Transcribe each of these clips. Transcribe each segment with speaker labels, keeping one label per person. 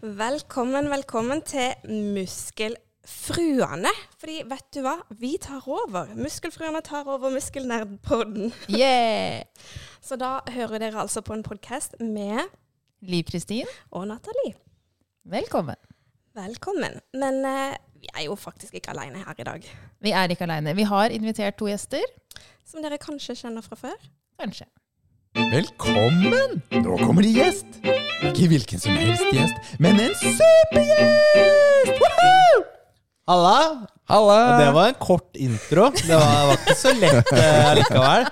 Speaker 1: Velkommen, velkommen til Muskelfruene. Fordi vet du hva? Vi tar over. Muskelfruene tar over Muskelnerdpodden.
Speaker 2: Yeah!
Speaker 1: Så da hører dere altså på en podkast med
Speaker 2: Liv Kristin,
Speaker 1: og Nathalie.
Speaker 2: velkommen.
Speaker 1: Velkommen. Men eh, vi er jo faktisk ikke alene her i dag.
Speaker 2: Vi er ikke aleine. Vi har invitert to gjester.
Speaker 1: Som dere kanskje kjenner fra før.
Speaker 2: Kanskje.
Speaker 3: Velkommen! Nå kommer det gjest. Ikke hvilken som helst gjest, men en supergjest! Woohoo!
Speaker 4: Halla!
Speaker 3: Halla!
Speaker 4: Ja, det var en kort intro. Det var, var ikke så lett eh, likevel.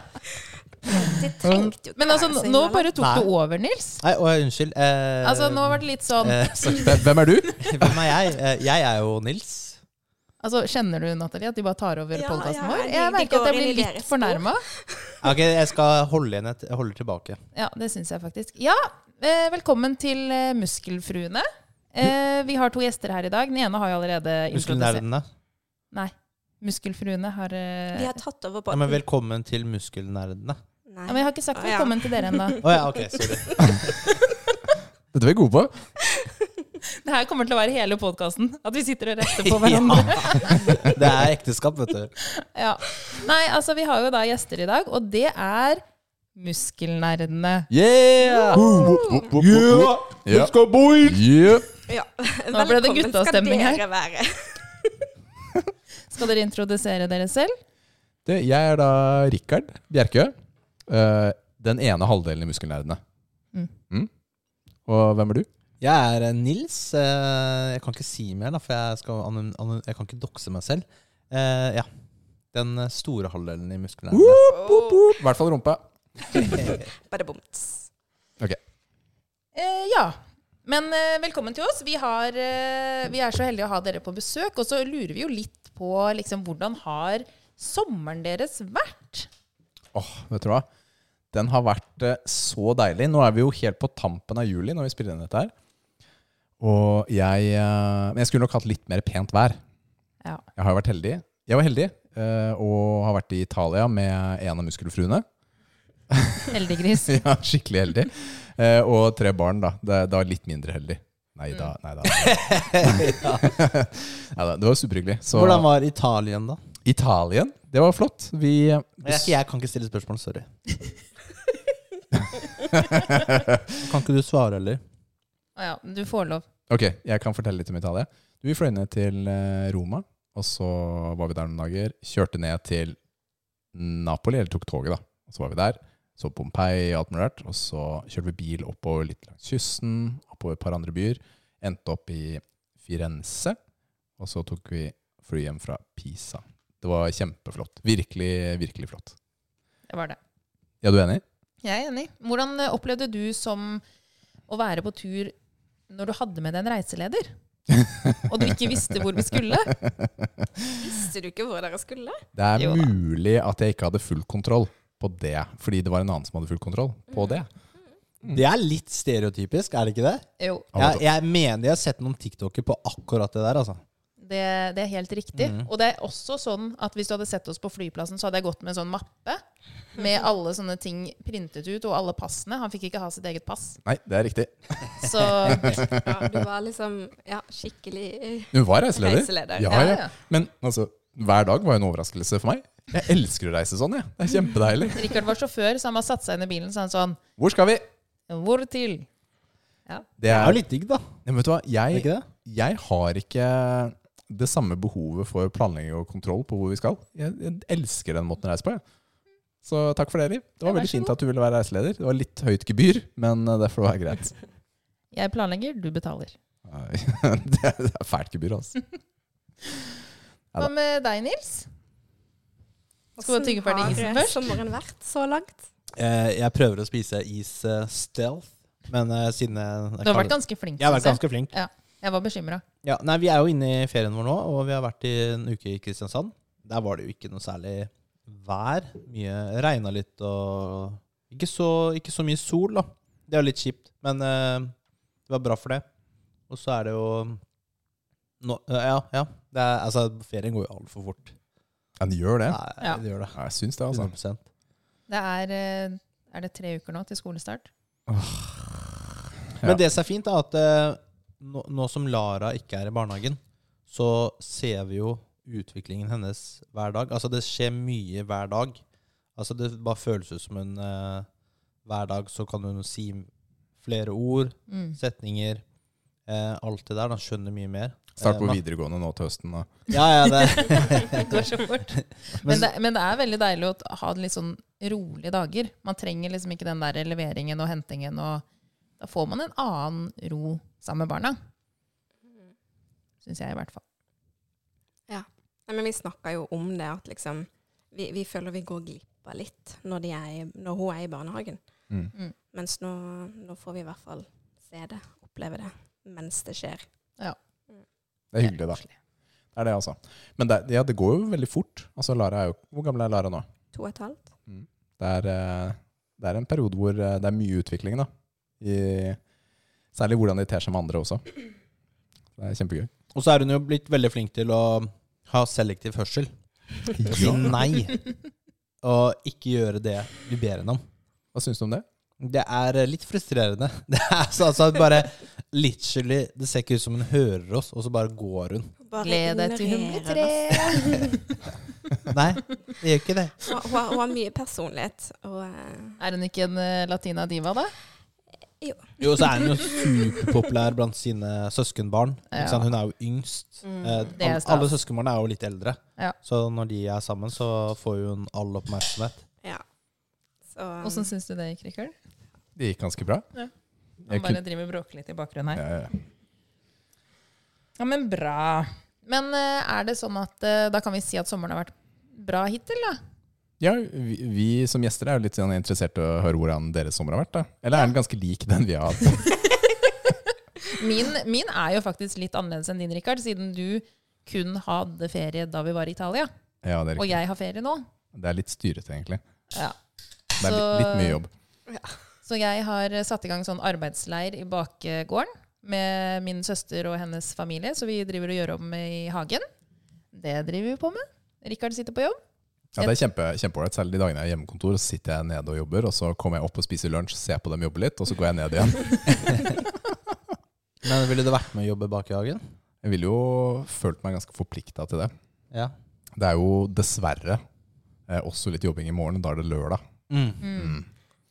Speaker 1: De trengte jo ikke
Speaker 2: Men altså,
Speaker 1: være så
Speaker 2: nå
Speaker 1: innimellom.
Speaker 2: bare tok
Speaker 4: Nei.
Speaker 2: du over, Nils.
Speaker 4: Nei, å, unnskyld. Eh,
Speaker 2: Altså, nå var det litt sånn
Speaker 4: eh, så,
Speaker 3: Hvem- Hvem er du?
Speaker 4: Hvem er jeg? Eh, jeg er jo Nils.
Speaker 2: Altså, Kjenner du, Natalie, at de bare tar over
Speaker 1: Ja,
Speaker 2: podcasten
Speaker 1: ja,
Speaker 2: vår?
Speaker 1: de-
Speaker 2: Jeg
Speaker 1: de
Speaker 2: merker at
Speaker 1: går
Speaker 2: jeg
Speaker 1: inn i
Speaker 2: blir
Speaker 1: deres
Speaker 2: litt
Speaker 1: spor.
Speaker 2: fornærma.
Speaker 4: Ok, jeg skal holde igjen et Jeg holder tilbake.
Speaker 2: Ja, det syns jeg faktisk. Ja, eh, velkommen til eh, Muskelfruene. Eh, vi har to gjester her i dag. Den ene har jo allerede introdusert
Speaker 4: Muskelnerdene.
Speaker 2: Nei. Muskelfruene har eh,
Speaker 1: De har tatt over
Speaker 4: Ja,
Speaker 1: båten.
Speaker 4: men velkommen til Muskelnerdene.
Speaker 2: ja, Men
Speaker 1: Nei.
Speaker 2: jeg har ikke sagt
Speaker 1: Å, ja.
Speaker 2: velkommen til dere ennå.
Speaker 4: Å ja, ok. Sorry.
Speaker 3: Dette er vi gode på.
Speaker 2: Det her kommer til å være hele podkasten. At vi sitter og retter på hverandre.
Speaker 4: Det er ekteskap, vet du.
Speaker 2: Ja. Nei, altså vi har jo da gjester i dag, og det er muskelnerdene.
Speaker 3: Yeah! Yeah.
Speaker 4: Let's go, boy!
Speaker 3: Yeah.
Speaker 1: Ja.
Speaker 2: Nå ble det
Speaker 1: Velkommen
Speaker 2: guttastemning her.
Speaker 1: skal dere være.
Speaker 2: Skal dere introdusere dere selv?
Speaker 3: Det, jeg er da Rikard Bjerkø. eh, den ene halvdelen i Muskelnerdene.
Speaker 2: Mm.
Speaker 3: Mm. Og hvem er du?
Speaker 4: Jeg er eh, Nils. Eh, Jeg kan ikke si mer, da, for jeg, skal, anon- anon- jeg kan ikke dokse meg selv. Eh, ja. Den eh, store halvdelen i muskelnerdene.
Speaker 1: Oh.
Speaker 3: I hvert fall rumpa.
Speaker 1: Bare bomt.
Speaker 2: Eh, ja. Men eh, velkommen til oss. Vi, har, eh, vi er så heldige å ha dere på besøk. Og så lurer vi jo litt på liksom, hvordan har sommeren deres vært?
Speaker 3: Åh, vet du hva? Den har vært eh, så deilig. Nå er vi jo helt på tampen av juli når vi spiller inn dette her. Og jeg eh, Men jeg skulle nok hatt litt mer pent vær.
Speaker 2: Ja.
Speaker 3: Jeg har jo vært heldig. Jeg var heldig eh, og har vært i Italia med en av muskelfruene.
Speaker 2: Heldiggris.
Speaker 3: Ja, skikkelig heldig. Eh, Og tre barn, da. Det det var litt mindre heldig. Nei da,
Speaker 4: Mm.
Speaker 3: nei da. Neida, det var superhyggelig. Så
Speaker 4: Hvordan var Italien, da?
Speaker 3: Italien, det var flott. Vi
Speaker 4: Jeg, jeg kan ikke stille spørsmål, sorry. kan ikke du svare, eller?
Speaker 2: Å ja, du får lov.
Speaker 3: Ok, jeg kan fortelle litt om Italia. Vi fløy ned til eh, Roma, og så var vi der noen dager. Kjørte ned til Napoli, eller tok toget, da. Og så var vi der. Så Pompeii og alt mulig rart. Og så kjørte vi bil oppover litt langs kysten, oppover et par andre byer. Endte opp i Firenze, og så tok vi fly hjem fra Pisa. Det var kjempeflott. Virkelig, virkelig flott.
Speaker 2: Det var det.
Speaker 3: Ja, du er enig?
Speaker 2: Jeg er enig. Hvordan eh, opplevde du som å være på tur når du hadde med deg en reiseleder? Og du ikke visste hvor vi skulle?
Speaker 1: Visste du ikke hvor dere skulle?
Speaker 3: Det er
Speaker 2: Jo da.
Speaker 3: mulig at jeg ikke hadde full kontroll på det, fordi det var en annen som hadde full kontroll
Speaker 2: Mm.
Speaker 3: på det.
Speaker 4: Det er litt stereotypisk, er det ikke det?
Speaker 2: Jo,
Speaker 4: Jeg, jeg mener jeg har sett noen TikToker på akkurat det der, altså.
Speaker 2: det, det er helt riktig.
Speaker 4: Mm.
Speaker 2: Og det er også sånn at hvis du hadde sett oss på flyplassen, så hadde jeg gått med en sånn mappe med alle sånne ting printet ut, og alle passene. Han fikk ikke ha sitt eget pass.
Speaker 3: Nei, det er riktig.
Speaker 2: Så
Speaker 1: Ja, du var liksom ja, skikkelig eh,
Speaker 3: Hun var reiseleder.
Speaker 1: Reiseleder,
Speaker 3: Ja,
Speaker 2: ja,
Speaker 3: ja.
Speaker 2: ja.
Speaker 3: Men altså, hver dag var jo en overraskelse for meg. Jeg elsker å reise sånn, jeg. Det er kjempedeilig.
Speaker 2: Richard var sjåfør, så han bare satte seg inn i bilen så han sånn
Speaker 3: Hvor skal vi?
Speaker 2: Hvor til?
Speaker 3: Det
Speaker 4: Det er jo
Speaker 3: er,
Speaker 4: litt digg, da.
Speaker 3: Nei, men vet du hva,
Speaker 4: Er det
Speaker 3: jeg,
Speaker 4: ikke det?
Speaker 3: jeg har ikke det samme behovet for planlegging og kontroll på hvor vi skal. Jeg, jeg elsker den måten å reise på, jeg. Så takk for det, Liv. Det var
Speaker 2: Ja, vær
Speaker 3: veldig
Speaker 2: så
Speaker 3: fint
Speaker 2: god.
Speaker 3: at du ville være reiseleder. Det var litt høyt gebyr, men eh, det får være greit.
Speaker 2: Jeg planlegger, du betaler.
Speaker 3: Nei, Det er det er fælt gebyr, altså.
Speaker 2: Hva med deg, Nils? Skal vi tygge ferdig
Speaker 1: Hvordan
Speaker 2: isen
Speaker 1: har
Speaker 2: først?
Speaker 1: sommeren vært så langt?
Speaker 4: Eh, Jeg prøver å spise is eh, stealth, men eh, siden jeg, jeg
Speaker 2: Du har
Speaker 4: kan-
Speaker 2: vært ganske flink.
Speaker 4: Jeg har vært
Speaker 2: synes
Speaker 4: ganske flink.
Speaker 2: Jeg var bekymra.
Speaker 4: Ja, nei, Vi er jo inne i ferien vår nå, og vi har vært i en uke i Kristiansand. Der var det jo ikke noe særlig vær. Mye regna litt og ikke så, ikke så mye sol, da. Det er jo litt kjipt, men eh, det var bra for det. Og så er det jo nå, Ja, ja. Det er, altså, ferien går jo altfor fort.
Speaker 3: Ja, det gjør det.
Speaker 4: Nei,
Speaker 2: Ja.
Speaker 4: det gjør det.
Speaker 3: Ja, Jeg syns det, altså.
Speaker 4: 100
Speaker 2: Det er eh, Er det tre uker nå til skolestart?
Speaker 3: Ja.
Speaker 4: Men det som er fint, er at eh, nå, nå som Lara ikke er i barnehagen, så ser vi jo utviklingen hennes hver dag. Altså, det skjer mye hver dag. Altså, det bare føles ut som hun eh, Hver dag så kan hun si flere ord,
Speaker 2: Mm.
Speaker 4: setninger. Eh, alt det der. Da skjønner mye mer.
Speaker 3: Start på
Speaker 4: Eh, ma-
Speaker 3: videregående nå til høsten. Da.
Speaker 4: Ja, ja, det.
Speaker 2: det går så fort. Men
Speaker 4: Men-
Speaker 2: det, men det er veldig deilig å t- ha litt sånn rolige dager. Man trenger liksom ikke den der leveringen og hentingen. Og da får man en annen ro sammen med barna. Mm. Syns jeg, i hvert fall.
Speaker 1: Nei, men vi snakka jo om det, at liksom vi, vi føler vi går glipp av litt når, de er, i- når hun er i barnehagen.
Speaker 3: Mm.
Speaker 2: Mm.
Speaker 1: Mens nå, nå får vi i hvert fall se det, oppleve det, mens det skjer.
Speaker 3: Det er hyggelig, da. Det er det, altså. Men det, ja, det går jo veldig fort. Altså, Lara er jo, hvor gammel er Lara nå?
Speaker 1: To og et halvt.
Speaker 3: Det er, eh, det er en periode hvor eh, det er mye utvikling, da. I, særlig hvordan de ter seg med andre også. Det er kjempegøy.
Speaker 4: Og så er hun jo blitt veldig flink til å ha selektiv hørsel. Å si nei. Og ikke gjøre det vi ber henne om.
Speaker 3: Hva syns du om det?
Speaker 4: Det er eh, litt frustrerende. Det er så, altså bare literally Det ser ikke ut som hun hører oss, og så bare går hun.
Speaker 1: Bare
Speaker 2: Gled deg til hun
Speaker 1: ignorerer
Speaker 2: blir
Speaker 1: det.
Speaker 2: tre.
Speaker 4: Nei, det gjør ikke det.
Speaker 1: Hun, hun, har- hun har mye personlighet. Og, eh,
Speaker 2: Er hun ikke en eh, latina diva, da?
Speaker 4: Jo, så er hun jo superpopulær blant sine søskenbarn.
Speaker 2: Ja.
Speaker 4: Ikke sant? Hun er jo yngst. Eh,
Speaker 1: mm.
Speaker 2: Det er
Speaker 4: alle,
Speaker 2: stas.
Speaker 4: alle søskenbarna er jo litt eldre,
Speaker 2: Ja.
Speaker 4: så når de er sammen, så får jo hun all oppmerksomhet.
Speaker 1: Ja. Så,
Speaker 2: Åssen syns du det gikk, Rikard?
Speaker 3: Det gikk ganske bra.
Speaker 2: Ja.
Speaker 3: Jeg
Speaker 2: Han
Speaker 3: kunne,
Speaker 2: bare driver og bråker litt i bakgrunnen her.
Speaker 3: ja, ja, ja.
Speaker 2: Ja, men bra. Men eh, er det sånn at eh, da kan vi si at sommeren har vært bra hittil, da?
Speaker 3: ja vi, vi som gjester er jo litt sånn interessert i å høre hvordan deres sommer har vært. da. Eller er den ganske lik den vi har hatt?
Speaker 2: Min, min er jo faktisk litt annerledes enn din, Rikard, siden du kun hadde ferie da vi var i Italia.
Speaker 3: Ja, det er,
Speaker 2: Og
Speaker 3: riktig.
Speaker 2: jeg har ferie nå.
Speaker 3: det er litt styrete, egentlig.
Speaker 2: Ja.
Speaker 3: Det er litt,
Speaker 2: Så-
Speaker 3: litt mye jobb.
Speaker 2: Så jeg har eh, satt i gang sånn arbeidsleir i bakgården med min søster og hennes familie, så vi driver og gjør om i hagen. Det driver vi på med. Rikard sitter på jobb.
Speaker 3: Ja, det er kjempe, kjempeålreit. Særlig de dagene jeg er hjemmekontor, så sitter jeg nede og jobber, og så kommer jeg opp og spiser lunsj, ser på dem jobbe litt, og så går jeg ned igjen.
Speaker 4: Men ville du vært med å jobbe bak i hagen?
Speaker 3: Jeg ville jo følt meg ganske forplikta til det.
Speaker 4: Ja.
Speaker 3: Det er jo dessverre eh, også litt jobbing i morgen, da er det lørdag.
Speaker 4: Mm.
Speaker 3: Mm.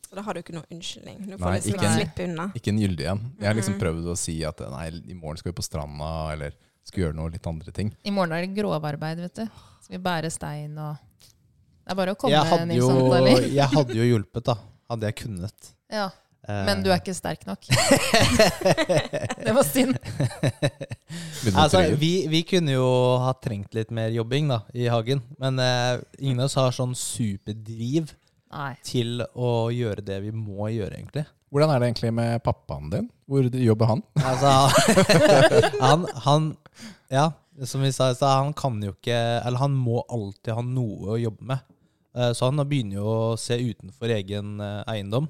Speaker 1: så da har du ikke noen unnskyldning. Du får
Speaker 3: Nei,
Speaker 1: liksom
Speaker 2: ikke en-
Speaker 1: slippe unna.
Speaker 3: Ikke en gyldig en. Jeg har liksom
Speaker 1: Mhm.
Speaker 3: prøvd å si at nei, i morgen skal vi på stranda, eller skal gjøre noe litt andre ting.
Speaker 2: I morgen er det grovarbeid, vet du. Så vi bærer stein og Det er bare å komme,
Speaker 4: jeg, hadde
Speaker 2: Nils
Speaker 4: jo,
Speaker 2: Arne Dali.
Speaker 4: jeg hadde jo hjulpet, da. Hadde jeg kunnet.
Speaker 2: Ja.
Speaker 4: Eh,
Speaker 2: Men du er ikke sterk nok. det var synd.
Speaker 3: Begynner med
Speaker 4: Altså,
Speaker 3: teorier.
Speaker 4: vi, vi kunne jo ha trengt litt mer jobbing da, i hagen, men eh, ingen av oss har sånn superdriv
Speaker 2: Nei.
Speaker 4: til å gjøre det vi må gjøre, egentlig.
Speaker 3: Hvordan er det egentlig med pappaen din? Hvor jobber han?
Speaker 4: Altså, han, han Ja, som vi sa i stad, han kan jo ikke Eller han må alltid ha noe å jobbe med. Eh, Så han begynner jo å se utenfor egen eh, eiendom.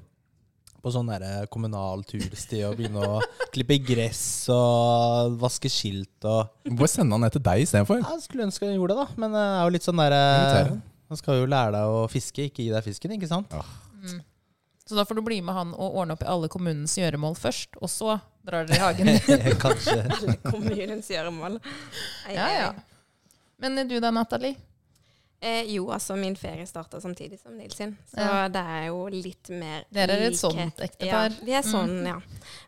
Speaker 4: På sånn derre kommunal tursti og begynne å klippe gress og vaske skilt og
Speaker 3: Hvorfor sende han ned til deg istedenfor?
Speaker 4: Jeg skulle ønske jeg gjorde det, da. Men det er jo litt sånn derre
Speaker 3: Irriterende.
Speaker 4: Man skal jo lære deg å fiske, ikke gi deg fisken, ikke sant?
Speaker 2: Så da får du bli med han og ordne opp i alle kommunens gjøremål først, og så drar dere i hagen.
Speaker 4: Kanskje.
Speaker 1: Alle kommunens gjøremål. eh, Ei,
Speaker 2: Ja, ja. Men du da, Natalie?
Speaker 1: Eh, jo, altså min ferie starter samtidig som Nils sin, så
Speaker 2: Ja.
Speaker 1: det er jo litt mer
Speaker 2: Dere er et
Speaker 1: likhet.
Speaker 2: sånt ektepar.
Speaker 1: Ja, vi er
Speaker 2: Mm.
Speaker 1: sånn, ja.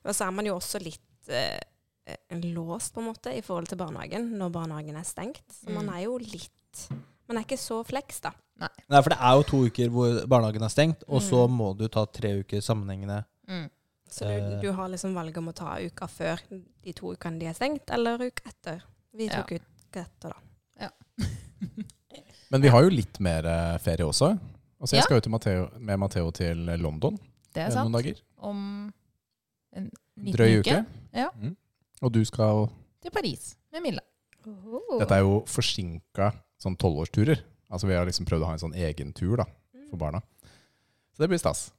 Speaker 1: Og så er man jo også litt eh, eh, låst, på en måte, i forhold til barnehagen, når barnehagen er stengt. Så man
Speaker 2: Mm.
Speaker 1: er jo litt Man er ikke så fleks, da.
Speaker 4: Nei, for det er jo to uker hvor barnehagen er stengt, og så må du ta tre uker sammenhengende.
Speaker 2: Mm.
Speaker 1: Så du,
Speaker 4: Eh.
Speaker 1: du har liksom valget om å ta uka før de to ukene de er stengt, eller uka etter. Vi
Speaker 2: Ja.
Speaker 1: tok uka etter, da.
Speaker 3: Men vi har jo litt mer eh, ferie også. Altså, jeg
Speaker 2: Ja.
Speaker 3: skal jo til Matteo, med Matheo til London
Speaker 2: Det
Speaker 3: eh,
Speaker 2: er
Speaker 3: noen
Speaker 2: sant.
Speaker 3: dager.
Speaker 2: Om en liten
Speaker 3: Drøy uke.
Speaker 2: Ja.
Speaker 3: Mm. Og du skal
Speaker 2: Til Paris med Milla.
Speaker 3: Dette er jo forsinka sånn tolvårsturer. Altså, vi har liksom prøvd å ha en sånn egen tur da,
Speaker 1: Mm.
Speaker 3: for barna. Så det blir stas.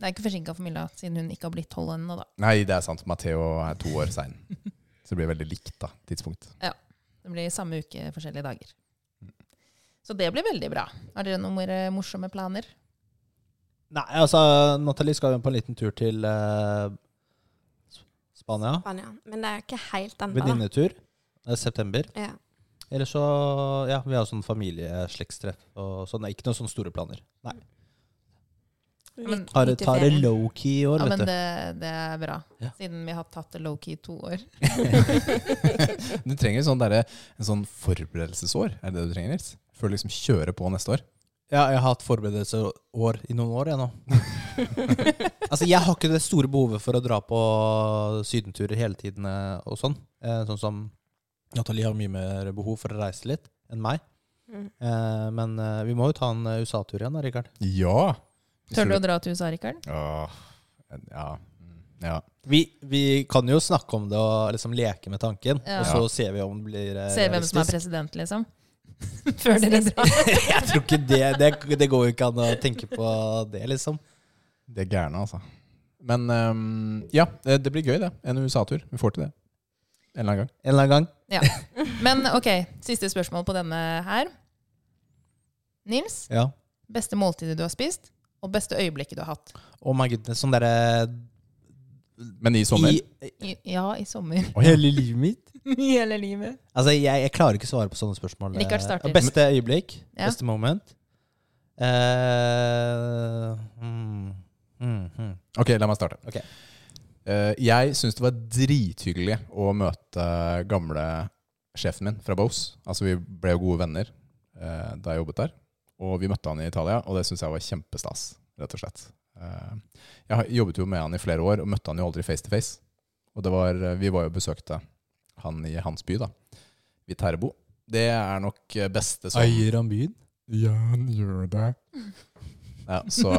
Speaker 2: Det er ikke forsinka for Milla, siden hun ikke har blitt tolv ennå, da.
Speaker 3: Nei, det er sant. Matheo er to år sein. Så det blir veldig likt da, tidspunkt.
Speaker 2: Det blir samme uke forskjellige dager. Så det blir veldig bra. Har dere noen mer morsomme planer?
Speaker 4: Nei, altså, Nathalie skal jo på en liten tur til eh, Sp- Spania.
Speaker 1: Spania. Men det er ikke helt ennå. da.
Speaker 4: Venninnetur. eh, September.
Speaker 1: Ja.
Speaker 4: Eller så Ja, vi har sånn familieslektstreff og sånn. Det er Ikke noen sånne store planer. Nei.
Speaker 2: men-
Speaker 1: Lykke-
Speaker 4: Har det,
Speaker 1: lykke
Speaker 4: tar det
Speaker 1: ferie.
Speaker 4: low-key i år,
Speaker 2: Ja, men
Speaker 4: vet du.
Speaker 2: det, det er bra.
Speaker 4: Ja.
Speaker 2: Siden vi har tatt det low-key i to år.
Speaker 3: Du trenger sånn derre- en sånn forberedelsesår, er det det du trenger, Nils? Før du liksom kjører på neste år.
Speaker 4: Ja, jeg har hatt forberedelseår i noen år, jeg nå. altså, jeg har ikke det store behovet for å dra på sydenturer hele tiden eh, og sånn. Eh, sånn som Natalie har mye mer behov for å reise litt enn meg.
Speaker 1: Mm.
Speaker 4: Eh, men eh, vi må jo ta en eh, USA-tur igjen da, Rikard.
Speaker 3: Ja!
Speaker 2: Tør du å dra til USA, Rikard?
Speaker 3: Åh, ja. Mm, ja.
Speaker 4: Vi, vi kan jo snakke om det og liksom leke med tanken,
Speaker 2: Ja.
Speaker 4: og så ser vi om det blir eh,
Speaker 2: Ser hvem som er
Speaker 4: realistisk.
Speaker 2: president, liksom. Før dere drar.
Speaker 4: Jeg tror ikke det, det, det går jo ikke an å tenke på det, liksom.
Speaker 3: Det er gærne, altså. Men ehm, ja, det, det blir gøy, det. En USA-tur. Vi får til det. En eller annen gang.
Speaker 4: En eller annen gang.
Speaker 2: Men ok, siste spørsmål på denne her. Nils,
Speaker 4: Ja.
Speaker 2: beste måltidet du har spist, og beste øyeblikket du har hatt?
Speaker 4: Oh my goodness, sånn derre
Speaker 3: Men i sommer.
Speaker 4: I,
Speaker 2: I, ja, i sommer.
Speaker 3: Å, ja.
Speaker 4: Hele livet mitt?
Speaker 2: I hele livet.
Speaker 4: Altså, jeg, jeg klarer ikke å svare på sånne spørsmål. eh,
Speaker 2: Rikard starter.
Speaker 4: Beste øyeblikk?
Speaker 2: Ja.
Speaker 4: Beste moment? Eh, mm, mm, mm.
Speaker 3: Ok, la meg starte.
Speaker 4: Ok.
Speaker 3: Eh, jeg syns det var drithyggelig å møte gamle sjefen min fra Bose. Altså, vi ble jo gode venner eh, da jeg jobbet der. Og vi møtte han i Italia, og det syns jeg var kjempestas, rett og slett. Eh, jeg har- jobbet jo med han i flere år, og møtte han jo aldri face to face. Og det var, eh, vi var jo og besøkte han i hans by, da. Viterbo. Det er nok eh, beste som
Speaker 4: han byen?
Speaker 3: ja, han gjør det. Ja, så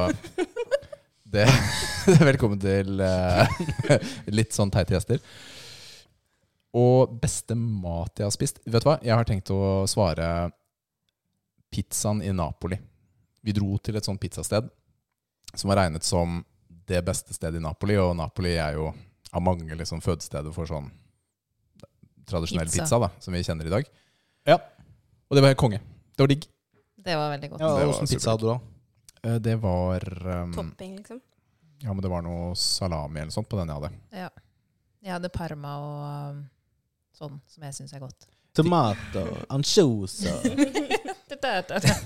Speaker 3: det, Velkommen til eh, litt sånn teite gjester. Og beste mat jeg har spist Vet du hva? Jeg har tenkt å svare pizzaen i Napoli. Vi dro til et sånt pizzasted som var regnet som det beste stedet i Napoli, og Napoli er jo av mange liksom fødesteder for sånn tradisjonell
Speaker 2: Pizza.
Speaker 3: pizza, da, som vi kjenner i dag.
Speaker 4: Ja.
Speaker 3: Og det var helt konge. Det var digg.
Speaker 2: Det var veldig godt.
Speaker 4: Ja,
Speaker 3: Det var
Speaker 4: Åssen pizza
Speaker 3: supert.
Speaker 4: hadde du da?
Speaker 3: Eh, Det var ehm,
Speaker 1: Topping, liksom.
Speaker 3: Ja, men det var noe salami eller sånt på den jeg hadde.
Speaker 2: Jeg hadde parma og um, sånn, som jeg syns er godt.
Speaker 4: Tomat og ansjos og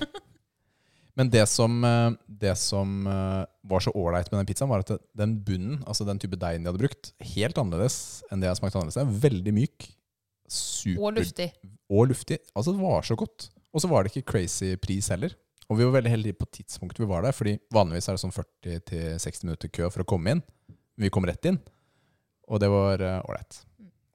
Speaker 3: Men det som, eh, det som eh, var så ålreit med den pizzaen, var at det- den bunnen, altså den type deigen de hadde brukt, helt annerledes enn det jeg smakte annerledes. Den er Veldig myk. Super
Speaker 2: Og luftig.
Speaker 3: og luftig. Altså, det var så godt. Og så var det ikke crazy pris heller. Og vi var veldig heldige på tidspunktet vi var der, fordi vanligvis er det sånn 40-60 minutter kø for å komme inn. Men vi kom rett inn, og det var eh, ålreit.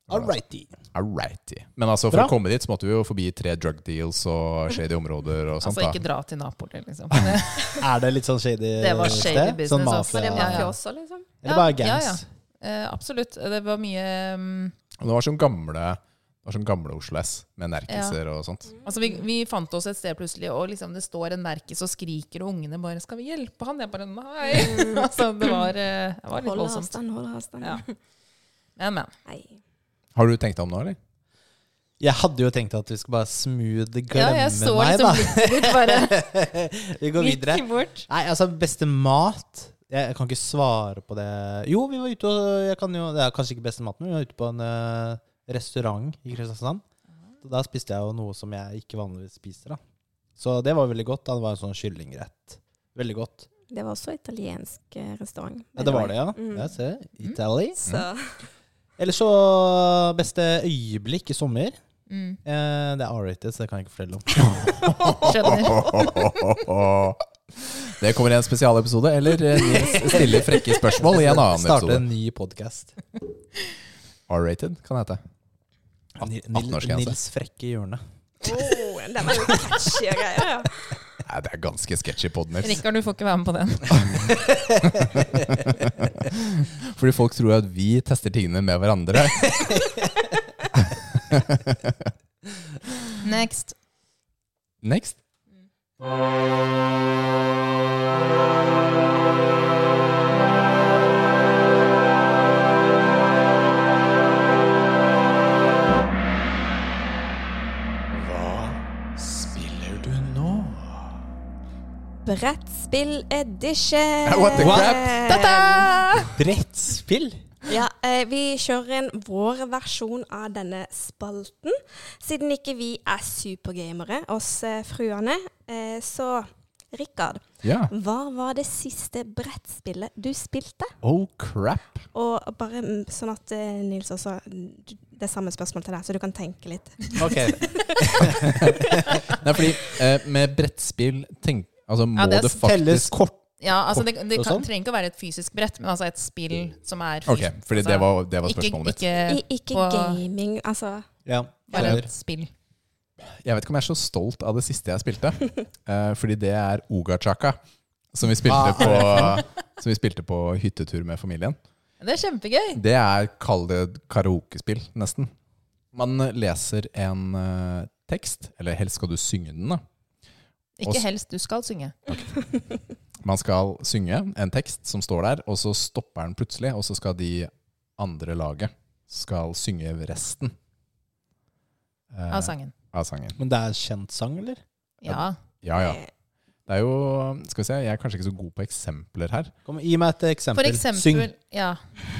Speaker 4: Alrighty.
Speaker 3: Alrighty. Men altså, for
Speaker 4: Bra.
Speaker 3: å komme dit så måtte vi jo forbi tre drug deals og shady områder og sånt.
Speaker 2: Altså ikke
Speaker 3: da.
Speaker 2: dra til Napoli, liksom. Det,
Speaker 4: Er det litt sånn shady
Speaker 2: Det var shady
Speaker 4: sted?
Speaker 2: business,
Speaker 4: Sånn
Speaker 2: altså.
Speaker 1: Var det
Speaker 4: mafia?
Speaker 2: Ja, ja.
Speaker 1: mafia også, liksom?
Speaker 4: Eller bare
Speaker 2: Ja, ja,
Speaker 4: gangs?
Speaker 2: eh, absolutt. Det var mye um,
Speaker 3: Og det var sånn gamle det var sånn gamle Oslo S med nerkiser og sånt.
Speaker 2: Altså, vi, vi fant oss et sted plutselig, og liksom det står en merkis og skriker, og ungene bare 'Skal vi hjelpe han?' Jeg bare 'Nei'. altså, det var, eh, det var litt
Speaker 1: Hold
Speaker 2: voldsomt.
Speaker 1: avstand, hold avstand.
Speaker 2: Ja. Men, men.
Speaker 1: Nei.
Speaker 3: Har du tenkt deg om nå, eller?
Speaker 4: Jeg hadde jo tenkt at vi skulle bare smooth glemme
Speaker 2: Ja, jeg så
Speaker 4: meg,
Speaker 2: liksom blikket ditt bare
Speaker 4: da. vi går videre.
Speaker 2: gikk bort.
Speaker 4: Nei, altså beste mat jeg, jeg kan ikke svare på det. Jo, vi var ute og jeg kan jo, Det er kanskje ikke beste maten, men vi var ute på en eh, restaurant i Kristiansand. Så da spiste jeg jo noe som jeg ikke vanligvis spiser. da. Så det var veldig godt. da. Det var en sånn kyllingrett. Veldig godt.
Speaker 1: Det var også italiensk eh, restaurant. by the
Speaker 4: Ja, det var
Speaker 1: way.
Speaker 4: det, ja.
Speaker 1: Mm.
Speaker 4: Jeg ser. Italy.
Speaker 1: Så
Speaker 4: Eller så beste øyeblikk i sommer.
Speaker 2: Mm.
Speaker 4: Eh, det er R-rated, så det kan jeg ikke fortelle om.
Speaker 3: Det kommer i en spesialepisode, eller eh, Nils stiller frekke spørsmål i en annen
Speaker 4: Starte
Speaker 3: episode.
Speaker 4: en ny podkast.
Speaker 3: R-rated kan det hete. 18-årsgrense.
Speaker 4: Nils Frekke i hjørnet.
Speaker 1: oh, Den var jo catchy og greier, ja.
Speaker 3: Nei, det er ganske sketchy pod, Nils.
Speaker 2: Rikard, du får ikke være med på den.
Speaker 3: Fordi folk tror at vi tester tingene med hverandre.
Speaker 2: Next.
Speaker 3: Next. Hva spiller du nå?
Speaker 1: Brettspill edition.
Speaker 3: What the crap?
Speaker 1: Ta-ta!
Speaker 4: Brettspill?
Speaker 1: Ja, eh, vi kjører inn vår versjon av denne spalten. Siden ikke vi er supergamere, oss eh, fruene. Eh, så Rikard,
Speaker 3: Ja.
Speaker 1: hva var det siste brettspillet du spilte?
Speaker 3: Oh crap.
Speaker 1: Og bare mm, sånn at eh, Nils også du- Det er samme spørsmål til deg, så du kan tenke litt.
Speaker 4: Ok.
Speaker 3: Nei, fordi eh, med brettspill tenk, altså, må
Speaker 2: Ja, det er
Speaker 3: det,
Speaker 2: s-
Speaker 4: Telles
Speaker 3: faktisk
Speaker 4: kort.
Speaker 2: Ja, altså det, det
Speaker 4: og
Speaker 2: kan,
Speaker 4: sånn?
Speaker 2: trenger ikke å være et fysisk brett, men altså et spill som er
Speaker 3: Mm. Ok,
Speaker 2: fysisk.
Speaker 3: fordi
Speaker 2: altså,
Speaker 3: det var, det var
Speaker 2: ikke,
Speaker 3: spørsmålet mitt.
Speaker 2: ikke
Speaker 1: I, ikke
Speaker 2: Eh, på-
Speaker 1: gaming, altså.
Speaker 4: Ja.
Speaker 2: bare
Speaker 4: skjønner.
Speaker 2: et spill.
Speaker 3: Jeg vet ikke om jeg er så stolt av det siste jeg spilte. eh, fordi det er Ogachaka, som vi spilte
Speaker 2: Ah.
Speaker 4: Hva
Speaker 3: på Som vi spilte på hyttetur med familien.
Speaker 2: Det er kjempegøy.
Speaker 3: Det er, kall det karaokespill, nesten. Man eh, leser en eh, tekst, eller helst skal du synge den, da.
Speaker 2: Ikke
Speaker 3: Også-
Speaker 2: helst du skal synge.
Speaker 3: Man skal synge en tekst som står der, og så stopper den plutselig, og så skal de andre laget skal synge resten eh,
Speaker 2: av sangen.
Speaker 3: av sangen.
Speaker 4: Men det er kjent sang, eller?
Speaker 2: Ja.
Speaker 3: Ja,
Speaker 4: Ah,
Speaker 3: ja.
Speaker 1: Eh,
Speaker 3: Det er jo Skal vi se, jeg er kanskje ikke så god på eksempler her.
Speaker 4: Kom, gi meg et
Speaker 2: For
Speaker 4: eksempel. Syng.
Speaker 2: eksempel, ja.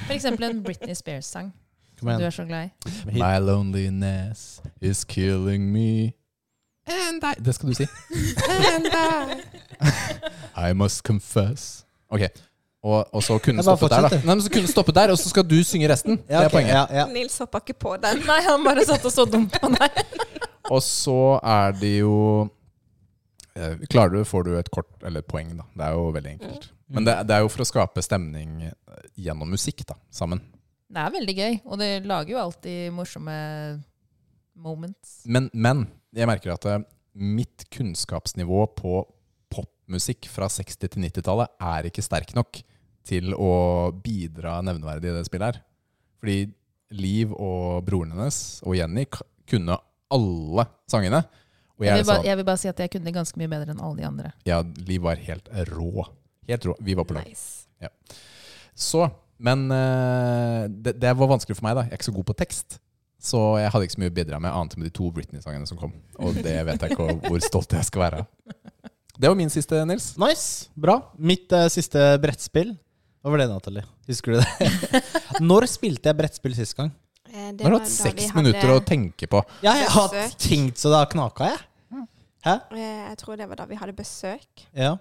Speaker 2: For eksempel en Britney Spears-sang.
Speaker 4: Kom
Speaker 2: Du
Speaker 4: igjen.
Speaker 2: er så glad i.
Speaker 4: Hit.
Speaker 3: My loneliness is killing me. And I Det skal du si. And I I must confess. Ok. Og, og så kunne
Speaker 4: Jeg bare
Speaker 3: stoppe der, da.
Speaker 4: fortsetter.
Speaker 3: Nei, men så kunne stoppe der, og så skal du synge resten.
Speaker 4: Ja,
Speaker 3: Det
Speaker 4: ok,
Speaker 3: er poenget.
Speaker 4: Ja, ja.
Speaker 1: Nils hoppa ikke på den.
Speaker 2: Nei, han bare satt og så dumt på deg.
Speaker 3: Og så er det jo eh, Klarer du, får du et kort eller et poeng, da. Det er jo veldig enkelt.
Speaker 4: Mm.
Speaker 3: Men det, det er jo for å skape stemning eh, gjennom musikk, da. Sammen.
Speaker 2: Det er veldig gøy, og det lager jo alltid morsomme moments.
Speaker 3: Men, men jeg merker at eh, mitt kunnskapsnivå på popmusikk fra 60- til 90-tallet er ikke sterk nok til å bidra nevneverdig i det spillet her. Fordi Liv og broren hennes og Jenny k- kunne alle sangene. Og jeg,
Speaker 2: Jeg
Speaker 3: er
Speaker 2: vil, bare,
Speaker 3: sånn,
Speaker 2: jeg vil bare si at jeg kunne det ganske mye bedre enn alle de andre.
Speaker 3: ja, Liv var helt rå. Helt rå. Vi var på lag.
Speaker 1: Nice.
Speaker 3: Så, men eh, det, det var vanskelig for meg, da. Jeg er ikke så god på tekst. Så jeg hadde ikke så mye å bidra med, annet enn med de to Britney-sangene som kom. Og det vet jeg ikke hvor stolt jeg skal være av. Det var min siste, Nils.
Speaker 4: Nice. Bra. Mitt eh, siste brettspill. Hva var det, Natalie? Husker du det? Når spilte jeg brettspill sist gang?
Speaker 1: Eh,
Speaker 3: Nå har du hatt seks minutter å tenke på.
Speaker 4: Ja, jeg har
Speaker 1: Besøk.
Speaker 4: tenkt så det har knaka, jeg.
Speaker 1: Eh, Jeg tror det var da vi hadde besøk.
Speaker 4: Ja.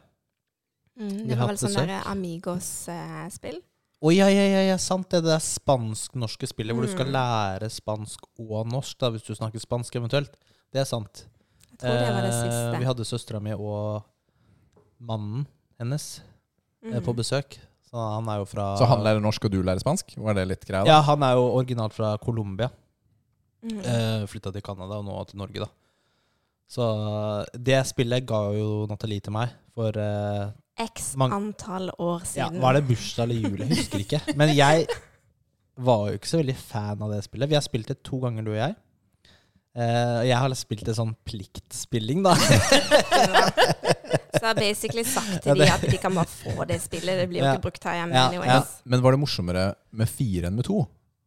Speaker 1: Mm,
Speaker 4: Vi
Speaker 1: det var vel
Speaker 4: hadde
Speaker 1: sånn
Speaker 4: besøk.
Speaker 1: der eh, Amigos-spill.
Speaker 4: Å ja, ja, ja, ja, sant det. Det er spansk-norske spillet hvor du skal
Speaker 1: Mm.
Speaker 4: lære spansk og norsk, da, hvis du snakker spansk eventuelt. Det er sant.
Speaker 1: jeg tror det var det
Speaker 4: Eh,
Speaker 1: siste.
Speaker 4: Vi hadde søstera mi og mannen hennes eh,
Speaker 1: Mhm.
Speaker 4: på besøk. Så han er jo fra
Speaker 3: Så han lærer norsk, og du lærer spansk? Var det litt greia? da?
Speaker 4: Ja, han er jo originalt fra Colombia.
Speaker 1: Mm. Mm.
Speaker 4: Eh, Flytta til Canada og nå til Norge, da. Så eh, det spillet ga jo Nathalie til meg for eh,
Speaker 1: X
Speaker 4: mange-
Speaker 1: antall år
Speaker 4: ja,
Speaker 1: siden.
Speaker 4: Var det bursdag eller jul? Jeg husker ikke. Men jeg var jo ikke så veldig fan av det spillet. Vi har spilt det to ganger, du og jeg. Eh, og jeg har spilt det sånn pliktspilling, da.
Speaker 1: Så jeg har basically sagt
Speaker 4: Ja,
Speaker 1: til
Speaker 4: det-
Speaker 1: de at de kan bare få det spillet. Det blir jo
Speaker 4: Ja.
Speaker 1: ikke brukt her hjemme
Speaker 4: Ja,
Speaker 1: anyways.
Speaker 4: ja.
Speaker 3: Men var det morsommere med fire enn med to?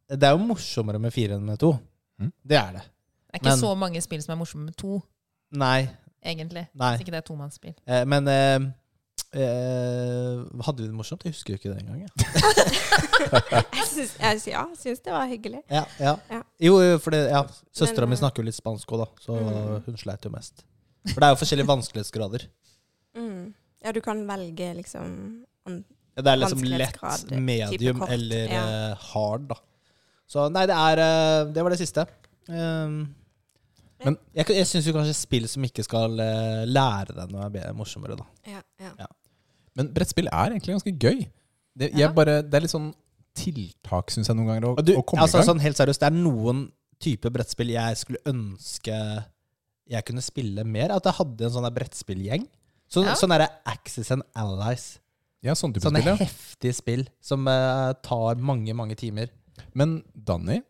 Speaker 4: Det er jo morsommere med fire enn med to.
Speaker 3: Mm.
Speaker 4: Det er det.
Speaker 2: Det er ikke
Speaker 4: Men-
Speaker 2: så mange spill som er morsomme med to,
Speaker 4: Nei.
Speaker 2: egentlig.
Speaker 4: nei.
Speaker 2: Hvis ikke det er tomannsspill.
Speaker 4: Eh, men eh, eh, Hadde vi det morsomt? Jeg husker jo ikke det engang. jeg.
Speaker 1: Jeg syns, jeg, sy- ja, jeg syns det var hyggelig.
Speaker 4: Ja, ja.
Speaker 1: Ja.
Speaker 4: Jo, jo, for det, ja. søstera
Speaker 1: Men,
Speaker 4: mi
Speaker 1: eh,
Speaker 4: snakker jo litt spansk òg, da, så
Speaker 1: Mm.
Speaker 4: hun sleit jo mest. For det er jo forskjellige vanskelighetsgrader.
Speaker 1: Mm. Ja, du kan velge liksom an-
Speaker 4: Ja, Det er liksom lett,
Speaker 1: Vanskelighetsgrad, type
Speaker 4: medium
Speaker 1: kort,
Speaker 4: eller
Speaker 1: ja.
Speaker 4: eh, hard, da. Så nei, det er eh, Det var det siste. Um,
Speaker 1: Men-
Speaker 4: jeg, kan- jeg syns jo kanskje spill som ikke skal eh, lære deg noe, er be- morsommere, da.
Speaker 1: ja, ja.
Speaker 3: Men brettspill er egentlig ganske gøy. Det,
Speaker 2: Ja.
Speaker 3: jeg bare, det er litt sånn tiltak, syns jeg, noen ganger. Å,
Speaker 4: Og du,
Speaker 3: å komme
Speaker 4: altså,
Speaker 3: i gang.
Speaker 4: sånn, helt seriøst, det er noen type brettspill jeg skulle ønske jeg kunne spille mer. At jeg hadde en sånn der brettspillgjeng. Så,
Speaker 2: Ja.
Speaker 4: Sånn derre Axis and Allies.
Speaker 3: ja, sånn type
Speaker 4: Sånne
Speaker 3: spill, ja.
Speaker 4: heftige spill som eh, tar mange, mange timer.
Speaker 3: Men Danny,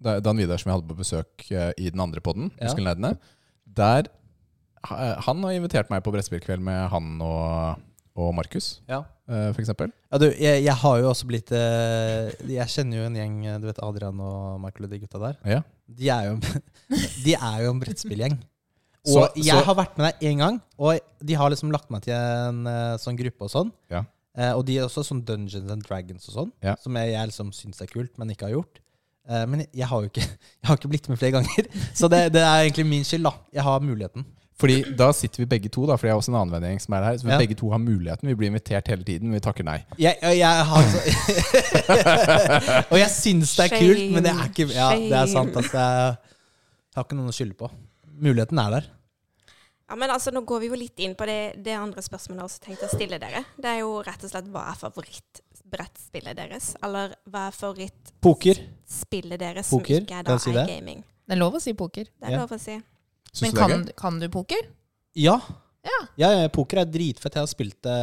Speaker 3: da- Dan Vidar som jeg hadde på besøk eh, i den andre podden,
Speaker 4: Ja.
Speaker 3: Muskelnerdene, der ha- eh, Han har invitert meg på brettspillkveld med han og, og Markus,
Speaker 4: Ja.
Speaker 3: eh, for eksempel.
Speaker 4: du, jeg, jeg har jo også blitt eh, Jeg kjenner jo en gjeng, eh, du vet Adrian og Michael og de gutta der.
Speaker 3: Ja.
Speaker 4: De er jo en, de er jo en brettspillgjeng. Og
Speaker 3: Så-
Speaker 4: jeg
Speaker 3: så-
Speaker 4: har vært med deg én gang, og de har liksom lagt meg til en eh, sånn gruppe og sånn.
Speaker 3: Ja.
Speaker 4: Eh, og de er også sånn Dungeons and Dragons og sånn,
Speaker 3: Ja.
Speaker 4: som jeg, jeg liksom syns er kult, men ikke har gjort. Eh, men jeg har jo ikke, jeg har ikke blitt med flere ganger, så det, det er egentlig min skyld. da. Jeg har muligheten.
Speaker 3: Fordi da sitter vi begge to, da, for jeg har også en annen vennegjeng som er her. Så vi
Speaker 4: Ja.
Speaker 3: begge to har muligheten. Vi blir invitert hele tiden, men vi takker nei.
Speaker 4: Jeg, jeg, jeg har så Og jeg syns det er kult, men det er ikke Ja, det er sant. Altså, jeg har ikke noen å skylde på. Muligheten er der.
Speaker 1: Ja, men altså, Nå går vi jo litt inn på det, det andre spørsmålet jeg også tenkte å stille dere. Det er jo rett og slett hva er favorittbrettspillet deres? Eller hva er
Speaker 4: Poker.
Speaker 1: favorittspillet deres som
Speaker 4: Poker?
Speaker 1: ikke er,
Speaker 4: Kan
Speaker 1: da,
Speaker 4: jeg si
Speaker 1: er
Speaker 4: det?
Speaker 1: gaming?
Speaker 2: Det er lov å si poker.
Speaker 1: Det er
Speaker 4: Ja.
Speaker 1: lov å si.
Speaker 3: Syns
Speaker 2: Men
Speaker 3: du det er
Speaker 2: kan,
Speaker 3: gøy?
Speaker 2: kan du poker?
Speaker 4: Ja.
Speaker 2: Ja.
Speaker 4: Ja, ja, poker er dritfett. Jeg har spilt det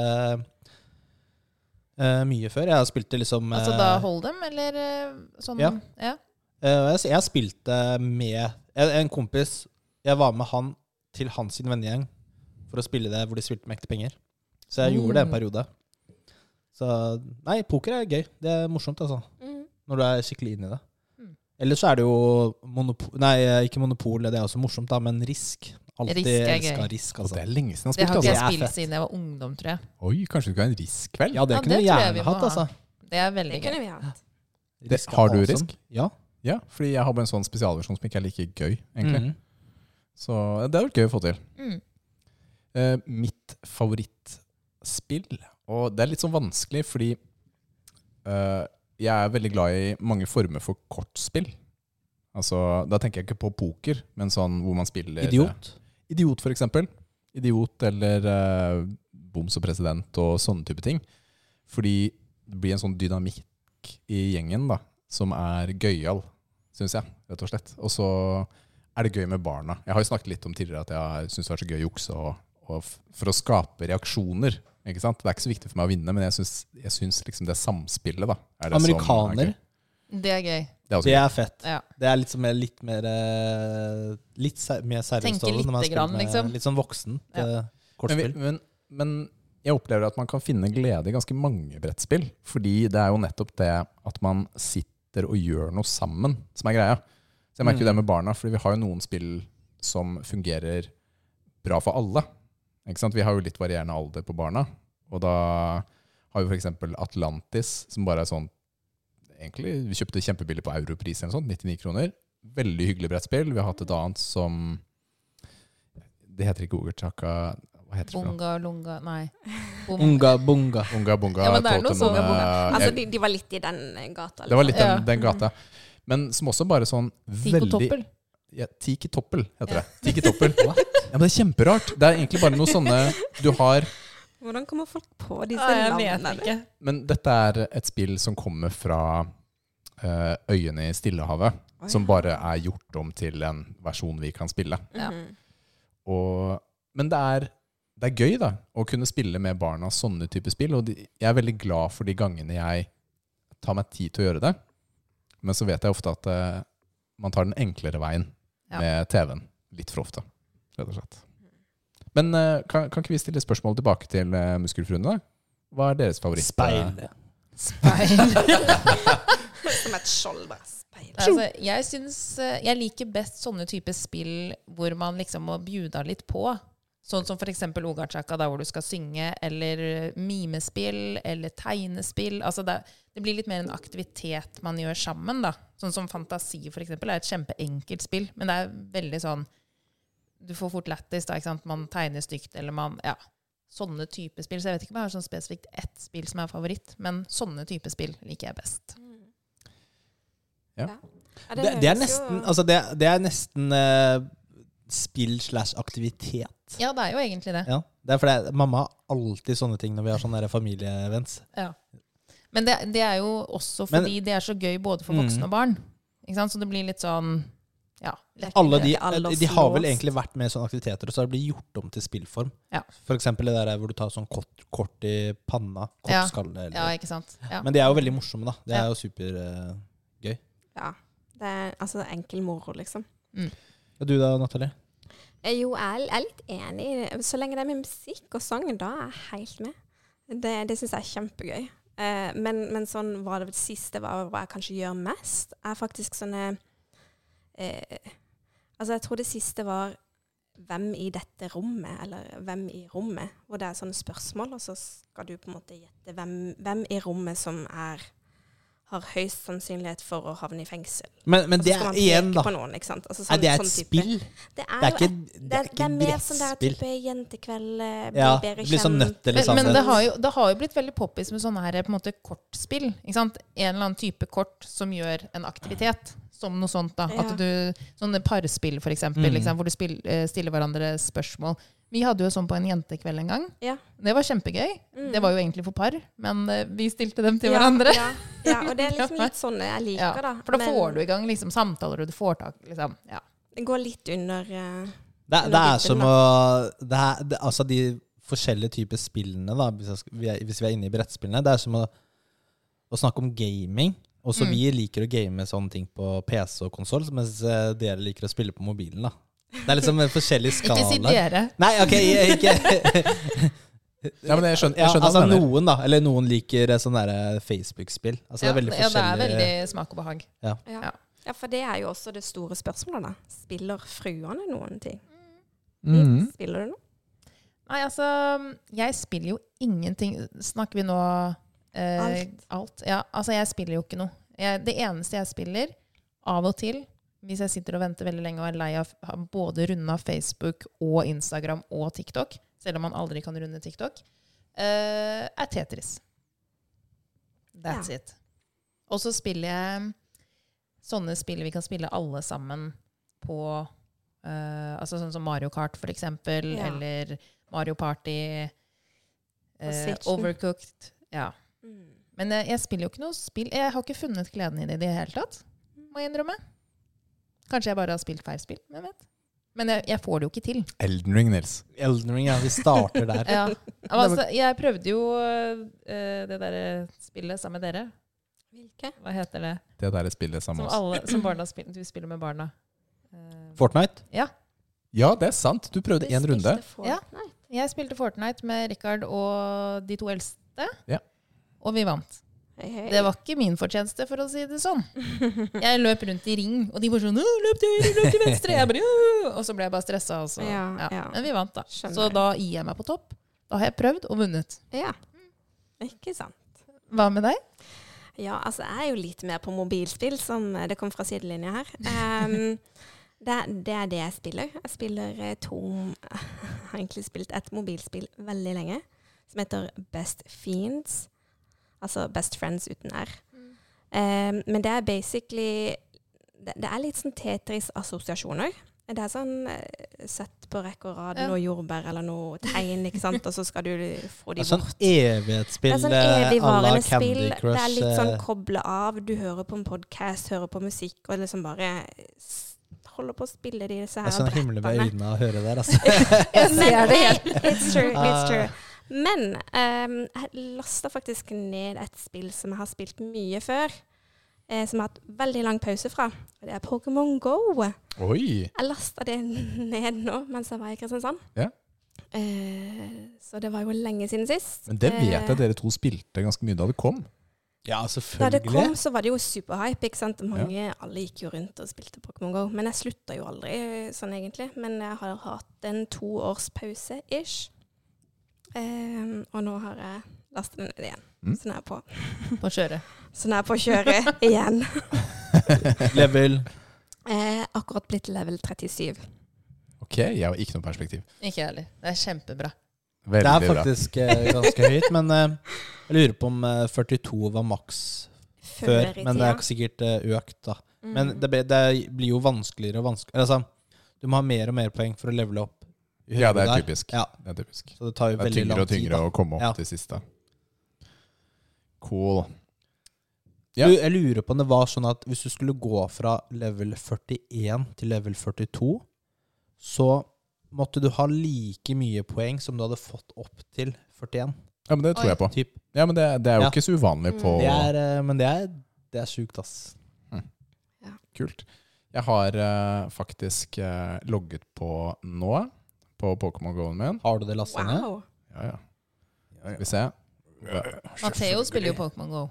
Speaker 4: eh, mye før. Jeg har spilt det liksom
Speaker 2: Altså
Speaker 4: eh,
Speaker 2: da hold dem, eller eh, sånn?
Speaker 4: Ja.
Speaker 2: ja.
Speaker 4: eh, jeg, jeg har spilt det med en, en kompis. Jeg var med han til hans sin vennegjeng for å spille det hvor de spilte med ekte penger. Så jeg gjorde det en
Speaker 2: Mm.
Speaker 4: periode. Så nei, poker er gøy. Det er morsomt, altså.
Speaker 1: Mm.
Speaker 4: Når du er skikkelig inne i det.
Speaker 2: Mm.
Speaker 4: Ellers så er det jo monopol Nei, ikke monopol, det er også morsomt, da, men risk. Alltid
Speaker 2: Risk er gøy.
Speaker 4: elska risk,
Speaker 3: Og
Speaker 4: altså.
Speaker 3: det er lenge siden han
Speaker 2: Det har ikke
Speaker 3: spilte, altså.
Speaker 2: jeg
Speaker 4: Det er
Speaker 2: spilt
Speaker 4: fett.
Speaker 2: siden jeg var ungdom, tror jeg.
Speaker 3: Oi, kanskje du skal ha en risk-kveld?
Speaker 4: Ja, det
Speaker 2: Ja,
Speaker 4: kunne
Speaker 2: det
Speaker 4: jeg
Speaker 2: tror jeg vi
Speaker 4: gjerne
Speaker 2: må
Speaker 4: hatt,
Speaker 2: ha.
Speaker 4: altså.
Speaker 2: Det er veldig
Speaker 1: Det
Speaker 2: gøy.
Speaker 1: kunne vi hatt.
Speaker 3: Det- har du
Speaker 4: awesome.
Speaker 3: risk?
Speaker 4: Ja.
Speaker 3: Ja, fordi jeg har bare en sånn spesialversjon som ikke er like gøy, egentlig.
Speaker 4: Mhm.
Speaker 3: Så eh, det hadde vært gøy å få til.
Speaker 2: Mm.
Speaker 3: Eh, mitt favorittspill. Og det er litt sånn vanskelig, fordi eh, jeg er veldig glad i mange former for kortspill. Altså, da tenker jeg ikke på poker, men sånn hvor man spiller
Speaker 4: Idiot.
Speaker 3: Idiot, for eksempel. Idiot eller eh, boms og president og sånne type ting. Fordi det blir en sånn dynamikk i gjengen da, som er gøyal, syns jeg, rett og slett. Og så er det gøy med barna. Jeg har jo snakket litt om tidligere at jeg syns det er så gøy å jukse og, og f- for å skape reaksjoner. Ikke sant? Det er ikke så viktig for meg å vinne, men jeg syns, jeg syns liksom det samspillet da, er det Som er
Speaker 4: Amerikaner.
Speaker 3: gøy.
Speaker 2: Det er gøy.
Speaker 3: Det er også
Speaker 4: Det
Speaker 3: gøy.
Speaker 4: er fett.
Speaker 2: Ja.
Speaker 4: Det er litt, mer, litt mer eh, Litt ser, mer seriøst.
Speaker 2: Tenke
Speaker 4: over når man
Speaker 2: lite
Speaker 4: spiller
Speaker 2: grann,
Speaker 4: med
Speaker 2: liksom.
Speaker 4: Litt sånn voksen
Speaker 2: Ja.
Speaker 4: eh,
Speaker 3: Men,
Speaker 4: kortspill.
Speaker 3: vi- men, men jeg opplever at man kan finne glede i ganske mange brettspill. Fordi det er jo nettopp det at man sitter og gjør noe sammen, som er greia. Så jeg merker jo det med barna, fordi vi har jo noen spill som fungerer bra for alle. Ikke sant? Vi har jo litt varierende alder på barna. Og da har vi f.eks. Atlantis, som bare er sånn egentlig, Vi kjøpte kjempebillig på europris, eller noe sånt, 99 kroner. Veldig hyggelig brettspill. Vi har hatt et annet som Det heter ikke Ogertaka Hva heter det? for noe?
Speaker 2: Bunga, lunga Nei. Bom-
Speaker 4: Bunga, bunga.
Speaker 3: Unga bunga.
Speaker 2: Ja, men det er noe
Speaker 3: Totem,
Speaker 2: sånn,
Speaker 3: eh,
Speaker 2: bunga.
Speaker 1: Altså,
Speaker 3: jeg-
Speaker 1: de, de var litt i den eh, gata.
Speaker 3: Det var litt
Speaker 2: Ja.
Speaker 3: den, den gata. Men som også bare sånn veldig
Speaker 2: Tikotoppel.
Speaker 3: ja, Tiki Toppel heter det. Tiki Toppel. Ja, men det er kjemperart. Det er egentlig bare noe sånne du har
Speaker 1: Hvordan kommer folk på disse
Speaker 2: Ah, jeg vet
Speaker 1: navnene?
Speaker 2: ikke.
Speaker 3: Men dette er et spill som kommer fra eh, øyene i Stillehavet.
Speaker 1: Oi.
Speaker 3: Som bare er gjort om til en versjon vi kan spille.
Speaker 2: Ja.
Speaker 1: Mhm.
Speaker 3: Og, men det er, det er gøy da, å kunne spille med barna sånne type spill. Og de, jeg er veldig glad for de gangene jeg tar meg tid til å gjøre det. Men så vet jeg ofte at eh, man tar den enklere veien
Speaker 2: Ja.
Speaker 3: med TV-en. Litt for ofte, rett og slett. Men eh, kan, kan ikke vi stille spørsmål tilbake til eh, Muskelfruene? da? Hva er deres favoritt? eh?
Speaker 4: Speil.
Speaker 1: Som et skjold, bare. Speil.
Speaker 2: Altså, jeg, syns, eh, jeg liker best sånne typer spill hvor man liksom må bjuda litt på. Sånn som f.eks. Ogarchaka, der hvor du skal synge, eller eh, mimespill, eller tegnespill. Altså det, det blir litt mer en aktivitet man gjør sammen. da. Sånn som Fantasi for eksempel, er et kjempeenkelt spill, men det er veldig sånn Du får fort lættis, da. ikke sant? Man tegner stygt, eller man Ja. Sånne typer spill. Så jeg vet ikke om jeg har sånn spesifikt ett spill som er favoritt, men sånne typer spill liker jeg best.
Speaker 1: Ja,
Speaker 4: Det, det er
Speaker 1: høres jo-
Speaker 4: nesten, altså det, det er nesten eh, spill slash aktivitet.
Speaker 2: Ja, det er jo egentlig det.
Speaker 4: Ja. Det er fordi mamma har alltid sånne ting når vi har sånne der familieevents.
Speaker 2: Ja. Men det, det er jo også
Speaker 4: Men-
Speaker 2: fordi det er så gøy både for voksne
Speaker 4: Mm.
Speaker 2: og barn. Ikke sant? Så det blir litt sånn ja, lett.
Speaker 4: Alle de,
Speaker 1: Ikke alle
Speaker 4: de har vel
Speaker 1: slås.
Speaker 4: egentlig vært med i sånne aktiviteter, og så har det blitt gjort om til spillform.
Speaker 2: Ja.
Speaker 4: For eksempel det der hvor du tar sånn kort, kort i panna, kort
Speaker 2: Ja.
Speaker 4: skalle. Eller.
Speaker 2: Ja, ikke sant? Ja.
Speaker 4: Men de er jo veldig morsomme, da. Det
Speaker 2: Ja.
Speaker 4: er jo super... eh,
Speaker 1: Ja. Det er altså enkel moro, liksom.
Speaker 4: Og du da, Natalie?
Speaker 1: Eh, Jo, jeg er- jeg er litt enig i det. Så lenge det er med musikk og sang, da er jeg helt med. Det, det syns jeg er kjempegøy. Eh, men, men sånn var det vel siste var hva jeg kanskje gjør mest, er faktisk sånne eh, Altså, jeg tror det siste var 'Hvem i dette rommet?' eller 'Hvem i rommet?' Hvor det er sånne spørsmål, og så skal du på en måte gjette hvem, hvem i rommet som er, har høyst sannsynlighet for å havne i fengsel.
Speaker 4: Men, men
Speaker 1: Og så
Speaker 4: det
Speaker 1: Altså, skal
Speaker 4: er
Speaker 1: man
Speaker 4: igjen,
Speaker 1: peke
Speaker 4: da.
Speaker 1: på Noen, ikke sant? Altså,
Speaker 4: Nei,
Speaker 1: sånn-
Speaker 4: det er et
Speaker 1: sånn type-
Speaker 4: spill.
Speaker 1: Det
Speaker 4: Det er
Speaker 1: jo
Speaker 4: ikke,
Speaker 1: et-
Speaker 4: det er ikke
Speaker 1: mer sånn der
Speaker 4: brettspill.
Speaker 1: type jentekveld, eh, bli
Speaker 4: Ja,
Speaker 1: bedre
Speaker 4: det blir sånn
Speaker 1: kjent.
Speaker 4: nøtt eller
Speaker 2: Men, men
Speaker 4: sannhet.
Speaker 2: det, har jo, det har jo blitt veldig poppis med sånne her på en måte kortspill. Ikke sant? En eller annen type kort som gjør en aktivitet. Som noe sånt, da.
Speaker 1: Ja.
Speaker 2: At du, sånne parspill, for eksempel,
Speaker 4: Mm.
Speaker 2: ikke sant, hvor du spill, eh, stiller hverandre spørsmål. Vi hadde jo sånn på en jentekveld en gang.
Speaker 1: Ja.
Speaker 2: Det var kjempegøy.
Speaker 1: Mm.
Speaker 2: Det var jo egentlig for par, men eh, vi stilte dem til
Speaker 1: Ja,
Speaker 2: hverandre.
Speaker 1: Ja, ja, og det er liksom litt sånne jeg liker,
Speaker 2: Ja,
Speaker 1: da.
Speaker 2: for da får du i gang liksom, samtaler, og du får tak liksom. ja.
Speaker 1: Det går litt under eh,
Speaker 4: Det, det
Speaker 1: Eller
Speaker 4: er som å det er, det, Altså, de forskjellige typer spillene, da, hvis, jeg, skal- vi er- hvis vi er inne i brettspillene, det er som å, å snakke om gaming. Også
Speaker 2: Mm.
Speaker 4: vi liker å game sånne ting på PC og konsoll, mens eh, dere liker å spille på mobilen, da. Det er liksom en forskjellig skala.
Speaker 2: Ikke si dere.
Speaker 4: Nei, OK, jeg, ikke
Speaker 3: Ja, men jeg skjønner,
Speaker 4: ja,
Speaker 3: jeg skjønner
Speaker 4: altså,
Speaker 3: hva du mener.
Speaker 4: Noen, da. Eller noen liker eh, sånn derre Facebook-spill. Altså, det er veldig
Speaker 2: ja, det er
Speaker 4: forskjellig.
Speaker 2: veldig smak og behag.
Speaker 1: ja.
Speaker 2: Ja.
Speaker 1: ja. for det er jo også det store spørsmålet, da. Spiller fruene noen ting?
Speaker 3: Mhm.
Speaker 4: Mm.
Speaker 1: Spiller du noe?
Speaker 2: Nei, altså, jeg spiller jo ingenting. Snakker vi nå eh,
Speaker 1: Alt.
Speaker 2: alt? Ja, altså, jeg spiller jo ikke noe. Jeg, det eneste jeg spiller, av og til, hvis jeg sitter og venter veldig lenge og er lei av av både runde av Facebook og Instagram og TikTok, selv om man aldri kan runde TikTok, eh, er Tetris. That's it. Og så spiller jeg sånne spill vi kan spille alle sammen på eh, Altså sånn som Mario Kart, for eksempel,
Speaker 1: Ja.
Speaker 2: eller Mario Party, eh,
Speaker 1: Switchen.
Speaker 2: Overcooked Ja.
Speaker 1: Mm.
Speaker 2: Men eh, jeg, jeg spiller jo ikke noe spill. Jeg har ikke funnet gleden i det i det hele tatt, må jeg innrømme. Kanskje jeg bare har spilt feil spill, hvem vet. Men jeg, jeg får det jo ikke til.
Speaker 3: Elden Ring, Nils.
Speaker 4: Elden Ring, ja. Vi starter der.
Speaker 2: Ja. Altså, jeg prøvde jo eh, det derre spillet sammen med dere.
Speaker 1: Hvilke?
Speaker 2: Hva heter det?
Speaker 3: Det der er spillet
Speaker 2: Som,
Speaker 3: sammen med oss.
Speaker 2: alle, som barna spiller, du spiller med barna. Eh,
Speaker 4: Fortnite?
Speaker 3: Ja, det er sant. Du prøvde én runde.
Speaker 2: Ja.
Speaker 1: Ja.
Speaker 2: jeg spilte Fortnite med Richard og de to eldste,
Speaker 3: Ja.
Speaker 2: og vi vant.
Speaker 1: Hei, hei.
Speaker 2: Det var ikke min fortjeneste, for å si det sånn. Jeg løp rundt i ring, og de var sånn «Åh, 'Løp til høyre, løp til venstre!' Jeg bare, «Åh!» og så ble jeg bare stressa. Og så, ja,
Speaker 1: Ja, ja.
Speaker 2: Men vi vant, da.
Speaker 1: Skjønner.
Speaker 2: Så da gir jeg meg på topp. Da har jeg prøvd og vunnet.
Speaker 1: Ja. Ikke sant.
Speaker 2: Hva med deg?
Speaker 1: Ja, altså jeg er jo litt mer på mobilspill, som det kom fra sidelinja her. Ehm, det, det er det jeg spiller. Jeg spiller eh, to Jeg har egentlig spilt et mobilspill veldig lenge, som heter Best Fiends. Altså Best Friends uten R. Ehm, men det er basically Det, det er litt sånn Tetris-assosiasjoner. Det er sånn eh, sett på rekke og rad
Speaker 2: Ja.
Speaker 1: noe jordbær eller noe tegn, ikke sant, og så skal du få
Speaker 4: Det
Speaker 1: de
Speaker 4: er sånn
Speaker 1: bort.
Speaker 4: evighetsspill
Speaker 1: Det er sånn
Speaker 4: eh, à la
Speaker 1: evigvarende spill.
Speaker 4: Candy Crush.
Speaker 1: Det er litt sånn
Speaker 4: eh,
Speaker 1: koble av. Du hører på en podkast, hører på musikk, og liksom bare s- holder på å spille de disse
Speaker 4: Det
Speaker 1: her
Speaker 4: er sånn himle med
Speaker 1: brettene.
Speaker 4: øynene av å høre der, altså.
Speaker 2: Jeg ser det helt.
Speaker 1: It's true, it's true.
Speaker 4: Ah.
Speaker 1: Men ehm, jeg lasta faktisk ned et spill som jeg har spilt mye før. Eh, som jeg har hatt veldig lang pause fra. Og det er Pokémon Go.
Speaker 3: Oi!
Speaker 1: Jeg lasta det ned nå mens jeg var i Kristiansand.
Speaker 3: Ja.
Speaker 1: Eh, så det var jo lenge siden sist.
Speaker 3: Men det vet
Speaker 1: Eh,
Speaker 3: jeg dere to spilte ganske mye da det kom.
Speaker 1: Da
Speaker 4: Ja,
Speaker 1: det kom,
Speaker 4: selvfølgelig.
Speaker 1: så var det jo superhype. ikke sant? Mange, Alle gikk jo rundt og spilte Pokémon GO. Men jeg slutta jo aldri eh, sånn, egentlig. Men jeg har hatt en toårspause ish. Ehm, og nå har jeg lastet den ned igjen.
Speaker 3: Mm.
Speaker 1: Så nå er jeg på,
Speaker 2: På kjøret.
Speaker 1: så nå er jeg på kjøret igjen.
Speaker 4: Level.
Speaker 1: Eh, akkurat blitt level 37.
Speaker 3: Ok, jeg har ikke noe perspektiv.
Speaker 2: Ikke jeg heller. Det er kjempebra.
Speaker 4: Det er
Speaker 3: Veldig bra.
Speaker 4: faktisk eh, ganske høyt, men eh, jeg lurer på om eh, 42 var maks før. Mm. Men det er sikkert eh, økt, da. Men det, blir- det blir jo vanskeligere og vanskeligere. Altså, du må ha mer og mer poeng for å levele opp.
Speaker 3: Ja, det er
Speaker 4: Der.
Speaker 3: typisk.
Speaker 4: Ja,
Speaker 3: Det er typisk.
Speaker 4: så det tar jo
Speaker 3: Det er
Speaker 4: veldig
Speaker 3: tyngre
Speaker 4: lang
Speaker 3: og
Speaker 4: tid.
Speaker 3: tyngre
Speaker 4: Da.
Speaker 3: å komme opp
Speaker 4: Ja.
Speaker 3: til siste. Cool. Ja.
Speaker 4: Du, jeg lurer på om det var sånn at hvis du skulle gå fra level 41 til level 42, så måtte du ha like mye poeng som du hadde fått opp til 41.
Speaker 3: Ja, men det
Speaker 2: Oi.
Speaker 3: tror jeg på.
Speaker 4: Typ.
Speaker 3: Ja, men det, det er jo
Speaker 4: Ja.
Speaker 3: ikke så uvanlig på
Speaker 1: Mm.
Speaker 4: Det er, eh, men det er, det er sjukt, ass.
Speaker 3: Kult. Jeg har eh, faktisk eh, logget på nå, på Pokémon Go-en min.
Speaker 4: Har du det lasta ned?
Speaker 1: Wow.
Speaker 3: Ja, ja. Skal vi se.
Speaker 2: Matheo spiller jo Pokémon Go.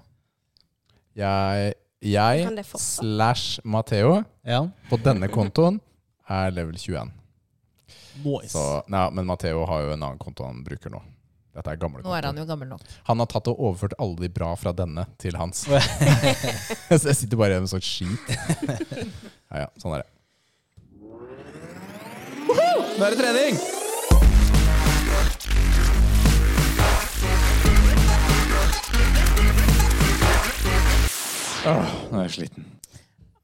Speaker 3: Jeg, jeg
Speaker 1: Kan det fortsatt?
Speaker 3: slash Matheo
Speaker 4: Ja.
Speaker 3: på denne kontoen er level 21.
Speaker 4: Nice.
Speaker 3: Så, nei, men Matheo har jo en annen konto han bruker nå. Dette er gamle
Speaker 2: Nå er han
Speaker 3: kontoen.
Speaker 2: jo gammel nok.
Speaker 3: Han, har tatt og overført alle de bra fra denne til hans. så jeg sitter bare igjen med sånt skit. Ja, ja, sånn er det. Nå er det trening! Åh, nå er jeg sliten.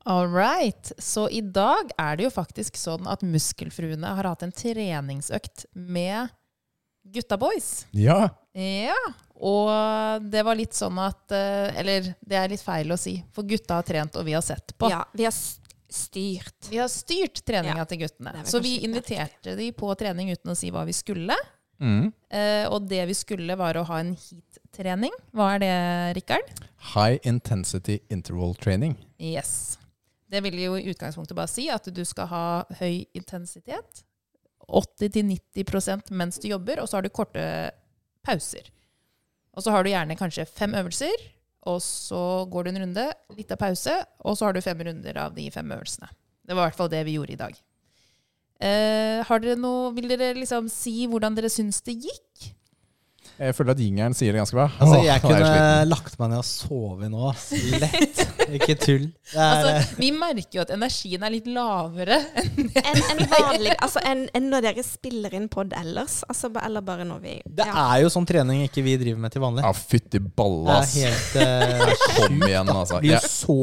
Speaker 2: All right. Så i dag er det jo faktisk sånn at Muskelfruene har hatt en treningsøkt med gutta boys.
Speaker 3: Ja,
Speaker 2: Ja, og det var litt sånn at eh, Eller det er litt feil å si, for gutta har trent, og vi har sett på.
Speaker 1: Ja, vi har s- styrt.
Speaker 2: Vi har styrt treninga
Speaker 1: Ja.
Speaker 2: til guttene.
Speaker 1: Det er vel
Speaker 2: Så
Speaker 1: kanskje
Speaker 2: vi
Speaker 1: ikke
Speaker 2: inviterte de på trening uten å si hva vi skulle.
Speaker 3: Mm.
Speaker 2: Eh, og det vi skulle, var å ha en heat-trening. Hva er det, Rikard?
Speaker 3: High intensity interval training.
Speaker 2: Yes. Det vil jo i utgangspunktet bare si at du skal ha høy intensitet. 80-90 mens du jobber, og så har du korte pauser. Og så har du gjerne kanskje fem øvelser, og så går du en runde, litt av pause, og så har du fem runder av de fem øvelsene. Det var i hvert fall det vi gjorde i dag. Eh, har dere noe, vil dere liksom si hvordan dere syns det gikk?
Speaker 3: Jeg føler at jingeren sier det ganske bra.
Speaker 4: Altså,
Speaker 3: Åh, nå
Speaker 4: jeg
Speaker 3: er
Speaker 4: kunne
Speaker 3: sliten.
Speaker 4: lagt meg ned og sovet nå. ass. Lett. Ikke tull. Det er, eh,
Speaker 2: Altså, vi merker jo at energien er litt lavere
Speaker 1: En, en vanlig Altså en, en når dere spiller inn pod ellers, altså, ba- eller bare når vi
Speaker 4: det er jo sånn trening ikke vi driver med til vanlig.
Speaker 3: Ja, Ah, fytti
Speaker 4: Det
Speaker 3: balla,
Speaker 4: er
Speaker 3: ass.
Speaker 4: helt eh,
Speaker 3: Kom igjen, altså.
Speaker 4: Blir jo
Speaker 3: Jeg,
Speaker 4: så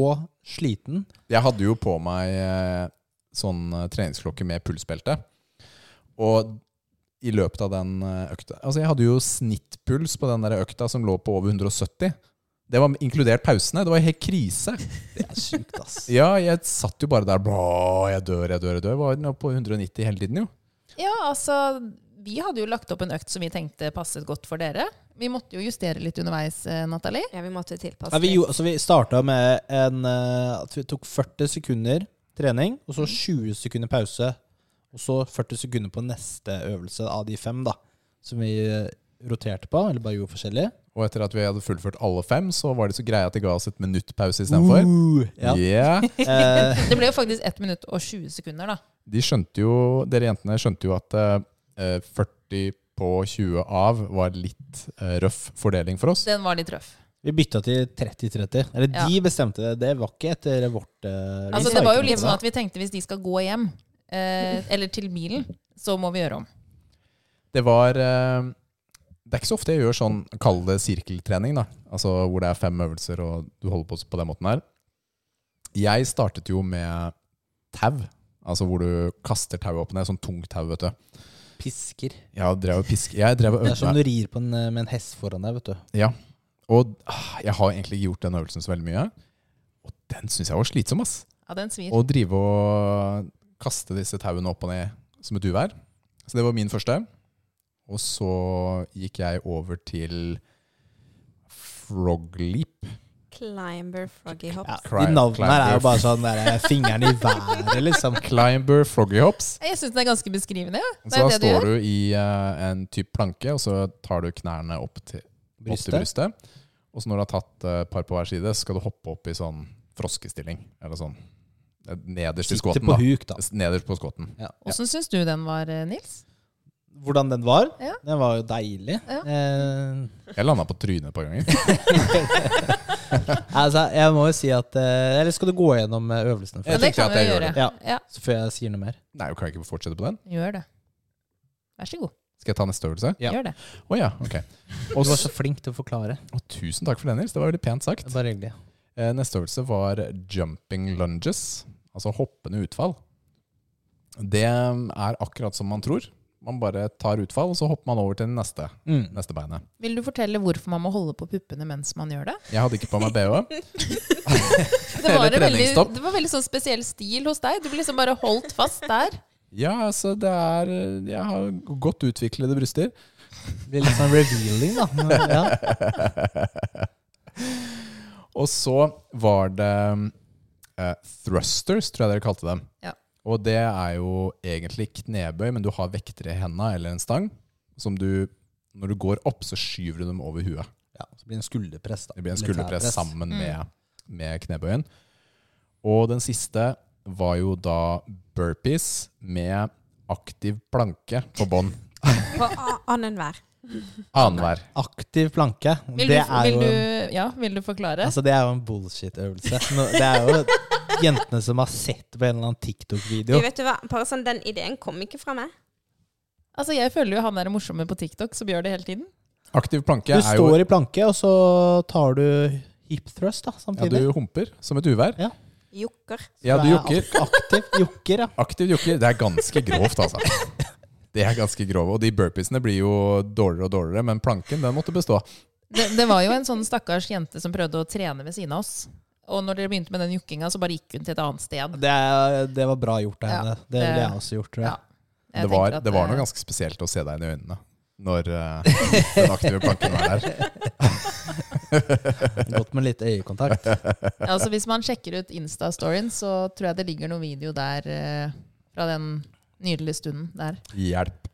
Speaker 4: sliten.
Speaker 3: jeg hadde jo på meg eh, sånn eh, treningsklokke med pulsbelte. Og i løpet av den eh, økta Altså, jeg hadde jo snittpuls på den der økta som lå på over 170. Det var inkludert pausene. Det var helt krise.
Speaker 4: Det er sjukt, ass.
Speaker 3: Ja, jeg satt jo bare der bra, jeg dør, jeg dør, jeg dør. Var nå på 190 hele tiden, jo.
Speaker 2: Ja, altså, vi hadde jo lagt opp en økt som vi tenkte passet godt for dere. Vi måtte jo justere litt underveis, eh, Nathalie.
Speaker 1: Ja, vi måtte tilpasse
Speaker 4: Ja, vi,
Speaker 1: litt.
Speaker 4: gjorde- altså, vi starta med en, eh, at vi tok 40 sekunder trening, og
Speaker 2: Mm.
Speaker 4: så 20 sekunder pause. Og så 40 sekunder på neste øvelse av de fem, da. Som vi eh, roterte på, eller bare gjorde forskjellig.
Speaker 3: Og etter at vi hadde fullført alle fem, så var de så greie at de ga oss et minutt pause istedenfor.
Speaker 4: Uh, ja.
Speaker 3: Yeah.
Speaker 4: Eh,
Speaker 2: Det ble jo faktisk 1 minutt og 20 sekunder, da.
Speaker 3: de skjønte jo, dere jentene skjønte jo at eh, 40 på 20 av var litt eh, røff fordeling for oss.
Speaker 2: Den var litt røff.
Speaker 4: vi bytta til 30-30. Eller
Speaker 2: Ja.
Speaker 4: de bestemte det. Det var ikke etter vårt eh, vi
Speaker 2: Altså,
Speaker 4: sa
Speaker 2: det var jo
Speaker 4: ikke noe
Speaker 2: litt
Speaker 4: om
Speaker 2: sånn at vi tenkte hvis de skal gå hjem, eh, eller til bilen, så må vi gjøre om.
Speaker 3: Det var eh, Det er ikke så ofte jeg gjør sånn, kall det sirkeltrening, da. Altså hvor det er fem øvelser, og du holder på på den måten her. Jeg startet jo med tau. Altså hvor du kaster tauet opp og ned. Sånn tungt tau, vet du.
Speaker 4: Pisker.
Speaker 3: Jeg drev og pisk... Jeg drev og
Speaker 4: Det er
Speaker 3: øvde
Speaker 4: som
Speaker 3: meg.
Speaker 4: du rir på en, eh, med en hest foran deg, vet du.
Speaker 3: Og ah, jeg har egentlig ikke gjort den øvelsen så veldig mye. Og den syns jeg var slitsom, ass.
Speaker 2: Ja, den svir.
Speaker 3: Og drive og kaste disse tauene opp og ned som et uvær. Så det var min første. Og så gikk jeg over til frog leap.
Speaker 1: Climber froggy hop.
Speaker 4: Ja,
Speaker 3: Cry-
Speaker 4: de navnene her er
Speaker 3: climber.
Speaker 4: jo bare sånn der, eh, fingeren i været, liksom.
Speaker 3: Climber froggy hops.
Speaker 2: Jeg syns den er ganske beskrivende. Ja. Det
Speaker 3: Så
Speaker 2: er
Speaker 3: da
Speaker 2: det du
Speaker 3: står du i eh, en type planke, og så tar du knærne opp til opp til
Speaker 4: Brystet.
Speaker 3: brystet. Og så når du har tatt eh, et par på hver side, så skal du hoppe opp i sånn froskestilling. Eller sånn eh, nederst i
Speaker 4: Sitter
Speaker 3: skåten,
Speaker 4: på
Speaker 3: da.
Speaker 4: huk, da.
Speaker 3: Nederst på skåten.
Speaker 2: Åssen syns du den var, eh, Nils?
Speaker 4: hvordan den var.
Speaker 2: Ja.
Speaker 4: Den var jo deilig.
Speaker 2: Ja.
Speaker 4: Eh,
Speaker 3: Jeg landa på trynet et par ganger.
Speaker 4: altså, jeg må jo si at eh, Eller skal du gå gjennom eh, øvelsene
Speaker 3: Jeg
Speaker 2: Ja, det
Speaker 4: først?
Speaker 3: tenkte
Speaker 2: kan
Speaker 3: at
Speaker 2: vi
Speaker 3: jeg
Speaker 2: jo
Speaker 3: gjør
Speaker 2: gjøre.
Speaker 4: det. Ja.
Speaker 2: ja,
Speaker 4: Så Før jeg sier noe mer.
Speaker 3: Nei, kan jeg ikke fortsette på den?
Speaker 2: gjør det. Vær så god.
Speaker 3: Skal jeg ta neste øvelse?
Speaker 4: Ja.
Speaker 2: Gjør det.
Speaker 3: Å ja, ok.
Speaker 4: Du var så flink til å forklare.
Speaker 3: Å, tusen takk for det, Nils. Det var veldig pent sagt.
Speaker 4: Det er Bare hyggelig.
Speaker 3: Eh, Neste øvelse var jumping lunges, altså hoppende utfall. Det er akkurat som man tror. Man bare tar utfall, og så hopper man over til det neste,
Speaker 4: Mm.
Speaker 3: neste beinet.
Speaker 2: Vil du fortelle hvorfor man må holde på puppene mens man gjør det?
Speaker 3: Jeg hadde ikke på meg E BH.
Speaker 2: Det var,
Speaker 3: Eller
Speaker 2: en veldig,
Speaker 3: treningstopp.
Speaker 2: det var veldig sånn spesiell stil hos deg. Du ble liksom bare holdt fast der.
Speaker 3: Ja, altså, det er Jeg har godt utviklede bryster.
Speaker 4: Det blir litt sånn revealing, da. Ja.
Speaker 3: Og så var det eh, thrusters, tror jeg dere kalte dem.
Speaker 2: Ja.
Speaker 3: Og det er jo egentlig knebøy, men du har vekter i henda eller en stang som du Når du går opp, så skyver du dem over huet.
Speaker 4: ja. Så blir det en skulderpress, da.
Speaker 3: Det blir en
Speaker 4: Militærpress.
Speaker 3: skulderpress sammen med, med knebøyen. Og den siste var jo da burpees med aktiv planke på bånn.
Speaker 1: På a- annenhver.
Speaker 3: Annenhver.
Speaker 4: Aktiv planke.
Speaker 2: Vil,
Speaker 4: det,
Speaker 2: du,
Speaker 4: er
Speaker 2: vil,
Speaker 4: jo,
Speaker 2: du, ja, vil du forklare?
Speaker 4: altså, det er jo en bullshit-øvelse. Nå- Det er jo jentene som har sett på en eller annen
Speaker 1: Du,
Speaker 4: TikTok-video.
Speaker 1: vet du hva? Bare sånn, Den ideen kom ikke fra meg.
Speaker 2: Altså, Jeg føler jo han er morsomme på TikTok, som gjør det hele tiden.
Speaker 3: Aktiv planke
Speaker 4: Du
Speaker 3: er jo
Speaker 4: står i planke, og så tar du hip thrust da,
Speaker 3: ja,
Speaker 4: samtidig.
Speaker 3: Du humper som et uvær.
Speaker 1: Jokker.
Speaker 3: Ja, du
Speaker 4: er
Speaker 3: jokker.
Speaker 4: ak- Aktiv jokker, ja.
Speaker 3: Aktiv jokker. Det er ganske grovt, altså. Det er ganske grove, og de burpeesene blir jo dårligere og dårligere, men planken den måtte bestå.
Speaker 2: Det, det var jo en sånn stakkars jente som prøvde å trene ved siden av oss. Og når dere begynte med den jukkinga, så bare gikk hun til et annet sted.
Speaker 4: Det, er, det var bra gjort av
Speaker 2: Ja,
Speaker 4: henne. det ville
Speaker 2: det-
Speaker 4: jeg også gjort, tror jeg.
Speaker 2: Ja. Jeg
Speaker 3: Det var,
Speaker 2: tenker at eh,
Speaker 3: det var
Speaker 2: det-
Speaker 3: noe ganske spesielt å se deg inn i øynene når eh, den aktive planken var der.
Speaker 4: Godt med litt øyekontakt.
Speaker 2: Altså, hvis man sjekker ut Insta-storyen, så tror jeg det ligger noe video der eh, fra den nydelige stunden der.
Speaker 3: Hjelp,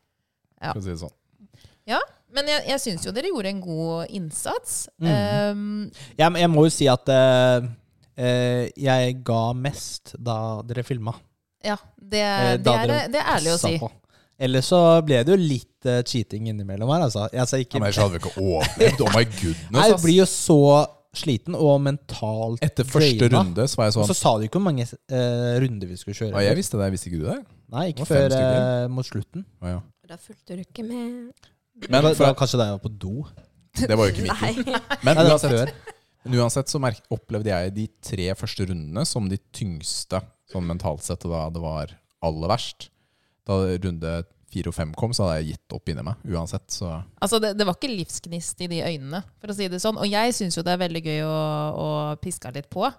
Speaker 2: Ja.
Speaker 3: for å si det sånn.
Speaker 2: Men jeg, jeg syns jo dere gjorde en god innsats.
Speaker 3: Mm.
Speaker 2: Um,
Speaker 4: Jeg, jeg må jo si at eh, eh, jeg ga mest da dere filma.
Speaker 2: ja, det,
Speaker 4: Eh,
Speaker 2: det,
Speaker 4: da
Speaker 2: er,
Speaker 4: dere
Speaker 2: det er ærlig å si.
Speaker 4: Ellers så ble det jo litt eh, cheating innimellom her, altså. Jeg, altså
Speaker 3: Ja,
Speaker 4: ikke,
Speaker 3: men Ellers hadde vi ikke overlevd. Oh my goodness.
Speaker 4: jeg
Speaker 3: ass.
Speaker 4: blir jo så sliten og mentalt
Speaker 3: Etter første
Speaker 4: drainet.
Speaker 3: runde så var jeg
Speaker 4: Og
Speaker 3: sånn
Speaker 4: så sa du ikke hvor mange eh, runder vi skulle kjøre.
Speaker 3: «Å, Jeg visste det, visste ikke du det?
Speaker 4: Nei, ikke
Speaker 3: Det var fem
Speaker 4: før eh, mot slutten.
Speaker 3: Å, ja.
Speaker 1: Og Da fulgte du ikke med.
Speaker 3: Men
Speaker 4: det
Speaker 3: for-
Speaker 4: var kanskje da jeg var på do.
Speaker 3: Det var jo ikke mitt.
Speaker 1: Nei.
Speaker 3: Men
Speaker 4: Nei, det var
Speaker 3: uansett,
Speaker 4: før.
Speaker 3: Men uansett så merk, opplevde jeg de tre første rundene som de tyngste, sånn mentalt sett, og da det var aller verst. Da runde fire og fem kom, så hadde jeg gitt opp inni meg uansett. Så
Speaker 2: Altså, det, det var ikke livsgnist i de øynene, for å si det sånn. Og jeg syns jo det er veldig gøy å, å piske litt på.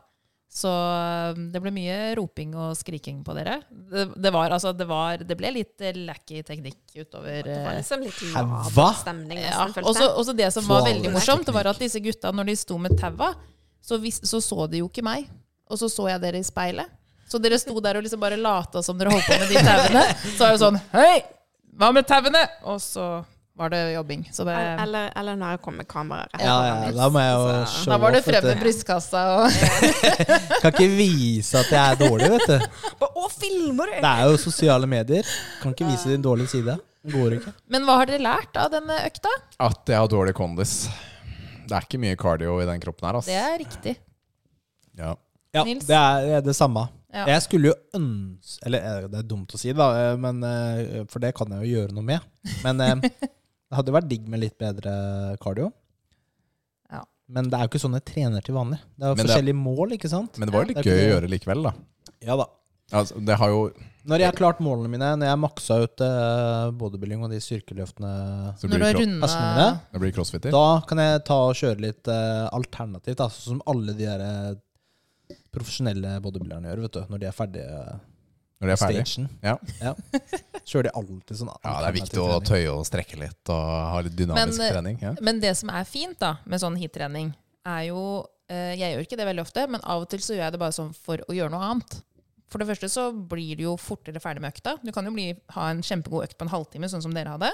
Speaker 2: Så um, det ble mye roping og skriking på dere. Det, det, var, altså, det, var, det ble litt eh, lacky teknikk utover
Speaker 1: Det var
Speaker 2: eh,
Speaker 1: liksom litt
Speaker 4: Hæ, hva?
Speaker 1: lav stemning.
Speaker 2: Ja,
Speaker 1: nesten, følte
Speaker 2: og så- og så det som var veldig
Speaker 4: Flawless
Speaker 2: morsomt, var at disse gutta, når de sto med taua, så, vis- så så de jo ikke meg. Og så så jeg dere i speilet. Så dere sto der og liksom bare lata som dere holdt på med de tauene. Så var det sånn Hei, hva med tauene? Og så var det jobbing. Så
Speaker 1: jeg. El-
Speaker 2: det,
Speaker 1: Eller, eller når jeg kom med kamera rett
Speaker 4: Ja,
Speaker 1: foran
Speaker 4: ja,
Speaker 1: meg.
Speaker 4: da må jeg jo
Speaker 1: Så-
Speaker 4: show
Speaker 2: altså, da var det
Speaker 4: off, vet
Speaker 2: frem med
Speaker 4: du.
Speaker 2: brystkassa og
Speaker 4: Kan ikke vise at jeg er dårlig, vet du.
Speaker 1: Bare, Å, filmer du?!
Speaker 4: Det er jo sosiale medier. Kan ikke vise din dårlige side. Går ikke.
Speaker 2: Men hva har dere lært av denne økta?
Speaker 3: at jeg har dårlig kondis. Det er ikke mye cardio i den kroppen her, ass.
Speaker 2: Det er riktig.
Speaker 3: Ja.
Speaker 4: Ja,
Speaker 2: Nils?
Speaker 4: det er, det er det samme.
Speaker 2: Ja.
Speaker 4: Jeg skulle jo ønske Eller eh, det er dumt å si, da, eh, men, eh, for det kan jeg jo gjøre noe med. Men eh, det hadde jo vært digg med litt bedre cardio.
Speaker 2: Ja.
Speaker 4: Men det er jo ikke sånn jeg trener til vanlig. Det er jo
Speaker 3: Men det-
Speaker 4: forskjellige mål, ikke sant?
Speaker 3: Men det var jo
Speaker 4: Ja,
Speaker 3: litt
Speaker 4: det er
Speaker 3: gøy å
Speaker 4: ikke
Speaker 3: gjøre likevel, da.
Speaker 4: Ja da.
Speaker 3: Altså, det har jo
Speaker 4: Når jeg har klart målene mine, når jeg har maksa ut eh, bodybuilding og de styrkeløftene,
Speaker 3: så
Speaker 2: Når
Speaker 3: blir
Speaker 2: du
Speaker 3: det
Speaker 2: har
Speaker 3: cro-
Speaker 4: personene,
Speaker 2: runda
Speaker 3: det blir crossfitter.
Speaker 4: da kan jeg ta og kjøre litt eh, alternativt, da, sånn som alle de der eh, profesjonelle bodybuilderne gjør, vet du, når de er ferdige eh,
Speaker 3: Når det er ferdig.
Speaker 4: stagen.
Speaker 3: Ja.
Speaker 4: Kjører de alltid sånn
Speaker 3: Ja, det er viktig å
Speaker 4: alternativ trening.
Speaker 3: tøye og strekke litt og ha litt dynamisk
Speaker 2: Men, eh,
Speaker 3: trening. Ja.
Speaker 2: Men det som er fint da, med sånn hittrening, er jo eh, Jeg gjør ikke det veldig ofte, men av og til så gjør jeg det bare sånn for å gjøre noe annet. For det første så blir du jo fortere ferdig med økta. Du kan jo bli, ha en kjempegod økt på en halvtime, sånn som dere hadde.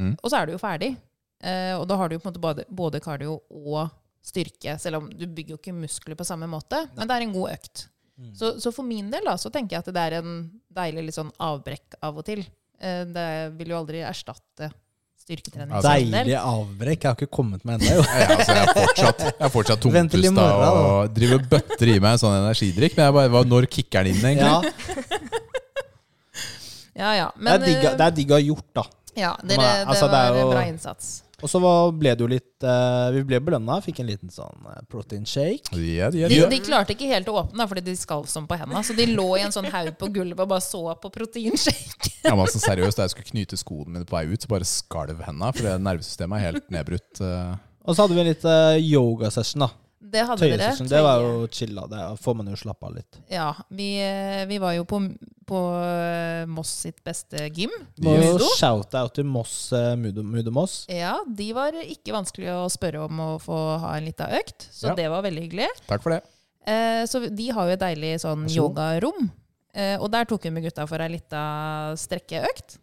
Speaker 3: Mm.
Speaker 2: Og så er du jo ferdig. Eh, og da har du jo på en måte både, både kardio og styrke, selv om du bygger jo ikke muskler på samme måte. Men det er en god økt.
Speaker 3: Mm.
Speaker 2: Så, så for min del da, så tenker jeg at det er en deilig litt sånn avbrekk av og til. Eh, det vil jo aldri erstatte styrketrening.
Speaker 3: Altså-
Speaker 2: for min del.
Speaker 4: Deilig avbrekk. Jeg har ikke kommet meg ennå, jo.
Speaker 3: Ja, ja, altså, jeg er fortsatt, jeg er fortsatt
Speaker 4: Vent til i
Speaker 3: tungpusta
Speaker 4: morgen, da.
Speaker 3: og driver bøtter i meg en sånn energidrikk. Men jeg bare, hva, når kicker den inn, egentlig?
Speaker 4: Ja,
Speaker 2: Ja, ja.
Speaker 4: det, er
Speaker 2: Men
Speaker 4: digg, å- det er digg å ha gjort, da.
Speaker 2: eh, ja,
Speaker 4: Men,
Speaker 2: dere, det
Speaker 4: altså, det er
Speaker 2: var
Speaker 4: jo-
Speaker 2: bra innsats.
Speaker 4: Og så var- ble det jo litt eh, Vi ble belønna. Fikk en liten sånn eh, protein shake.
Speaker 3: Ja, ja,
Speaker 2: De,
Speaker 3: ja.
Speaker 2: de klarte ikke helt å åpne, da, fordi de skalv som på henda. Så de lå i en sånn haug på gulvet og bare så på proteinshake.
Speaker 3: Jeg var så seriøs altså, da jeg skulle knyte skoene mine på vei ut, så bare skalv henda, for det nervesystemet er helt nedbrutt. eh.
Speaker 4: Og så hadde vi en litt eh, yoga-session, da.
Speaker 2: Det hadde dere.
Speaker 4: Tøyesession. Det var jo chilla. Det får man jo slappe av litt.
Speaker 2: Ja, vi, eh, vi var jo på, på eh, Moss sitt beste gym.
Speaker 4: Må jo
Speaker 2: Mudo?
Speaker 4: shout-out til Moss eh, Mudo, Mudo Moss.
Speaker 2: Ja, De var ikke vanskelig å spørre om å få ha en lita økt, så
Speaker 3: Ja.
Speaker 2: det var veldig hyggelig.
Speaker 3: Takk for det.
Speaker 2: Eh, så de har jo et deilig sånn
Speaker 4: Vær så god.
Speaker 2: yogarom. Eh, og der tok vi med gutta for ei lita strekkeøkt.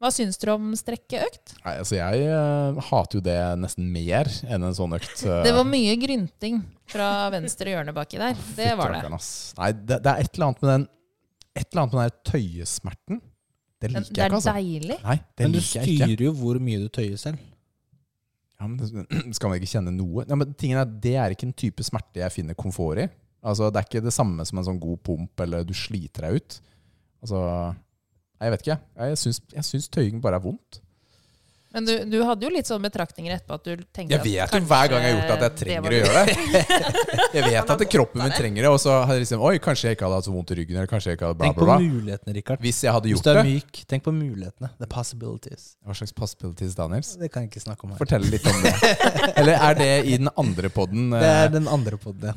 Speaker 2: Hva syns dere om strekkeøkt?
Speaker 3: Nei, altså, jeg eh, hater jo det nesten mer enn en sånn økt. eh,
Speaker 2: Det var mye grynting fra venstre hjørne baki der. Det var det.
Speaker 3: fytterakkeren, ass. Nei, det, det er et eller annet med den Et eller annet med den der tøyesmerten
Speaker 2: Den,
Speaker 3: Det
Speaker 2: det
Speaker 3: liker jeg
Speaker 2: er
Speaker 3: ikke, altså.
Speaker 2: deilig.
Speaker 3: Nei, det
Speaker 4: Men du
Speaker 3: liker jeg ikke.
Speaker 4: styrer jo hvor mye du tøyer selv.
Speaker 3: Ja, men det- skal man ikke kjenne noe? Ja, men tingen er, Det er ikke en type smerte jeg finner komfort i. Altså, Det er ikke det samme som en sånn god pump eller du sliter deg ut. Altså, nei, Jeg vet ikke. jeg. Jeg syns, jeg syns tøying bare er vondt.
Speaker 2: Men du, du hadde jo litt sånne betraktninger etterpå at du tenkte
Speaker 3: Jeg vet jo hver gang jeg har gjort det, at jeg trenger å gjøre det. Jeg vet at kroppen min trenger det. Og så hadde jeg liksom Oi, kanskje jeg ikke hadde hatt så vondt i ryggen. Eller kanskje jeg ikke hadde bla, bla,
Speaker 4: Tenk på
Speaker 3: bla.
Speaker 4: mulighetene, Rikard.
Speaker 3: Hvis jeg hadde
Speaker 4: Hvis
Speaker 3: gjort
Speaker 4: du er
Speaker 3: det
Speaker 4: myk, tenk på mulighetene. The possibilities.
Speaker 3: Hva slags possibilities, Daniels?
Speaker 4: Det kan jeg ikke snakke om her.
Speaker 3: Fortell litt om det. Eller er det i den andre eh, poden?
Speaker 4: Det er den andre podden,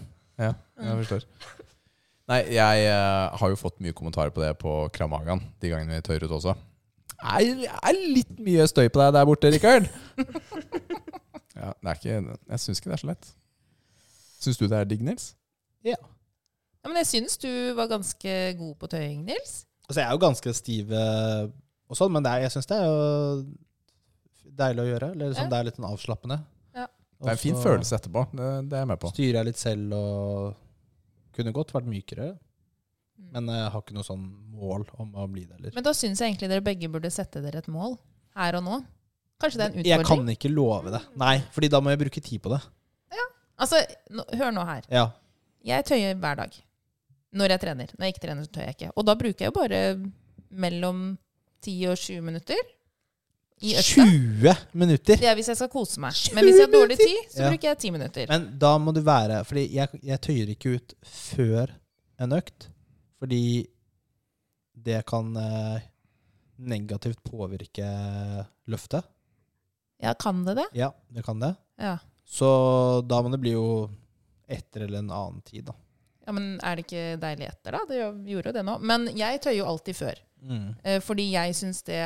Speaker 3: Ja,
Speaker 4: ja. Mm.
Speaker 3: jeg forstår. Nei, jeg eh, har jo fått mye kommentarer på det på Kramagan, de gangene vi tør ut også. Nei, det er litt mye støy på deg der borte, Rikard. ja, det er ikke, jeg syns ikke det er så lett. Syns du det er digg, Nils?
Speaker 2: Ja, men jeg syns du var ganske god på tøying, Nils.
Speaker 4: Altså, jeg er jo ganske stiv eh, og sånn, men det er, jeg syns det er jo deilig å gjøre. Eller sånn,
Speaker 2: Ja.
Speaker 4: Det er litt sånn avslappende.
Speaker 2: Ja.
Speaker 3: Det er en fin
Speaker 4: Og så
Speaker 3: følelse etterpå. Det, det er jeg med på.
Speaker 4: Styrer jeg litt selv og kunne godt vært mykere, men eh, jeg har ikke noe sånn mål om å bli det heller.
Speaker 2: Men da syns jeg egentlig dere begge burde sette dere et mål her og nå. Kanskje det er en
Speaker 4: Jeg
Speaker 2: utfordring?
Speaker 4: kan ikke love det. Nei, fordi da må jeg bruke tid på det.
Speaker 2: Altså, nå, hør nå her.
Speaker 4: Ja.
Speaker 2: Jeg tøyer hver dag. Når jeg trener. Når jeg ikke trener, så tøyer jeg ikke. Og da bruker jeg jo bare mellom 10 og 20 minutter i økta.
Speaker 4: 20 minutter!
Speaker 2: Det er hvis jeg skal kose meg. Men hvis jeg har dårlig tid, så
Speaker 4: Ja.
Speaker 2: bruker jeg 10 minutter.
Speaker 4: Men da må du være Fordi jeg, jeg tøyer ikke ut før en økt, fordi det kan eh, negativt påvirke løftet.
Speaker 2: Ja, kan det det?
Speaker 4: Ja, det kan det.
Speaker 2: Ja.
Speaker 4: Så da må det bli jo etter eller en annen tid, da.
Speaker 2: ja, men er det ikke deilig etter, da? Det gjør- gjorde jo det nå. Men jeg tøyer jo alltid før. Eh, Fordi jeg syns det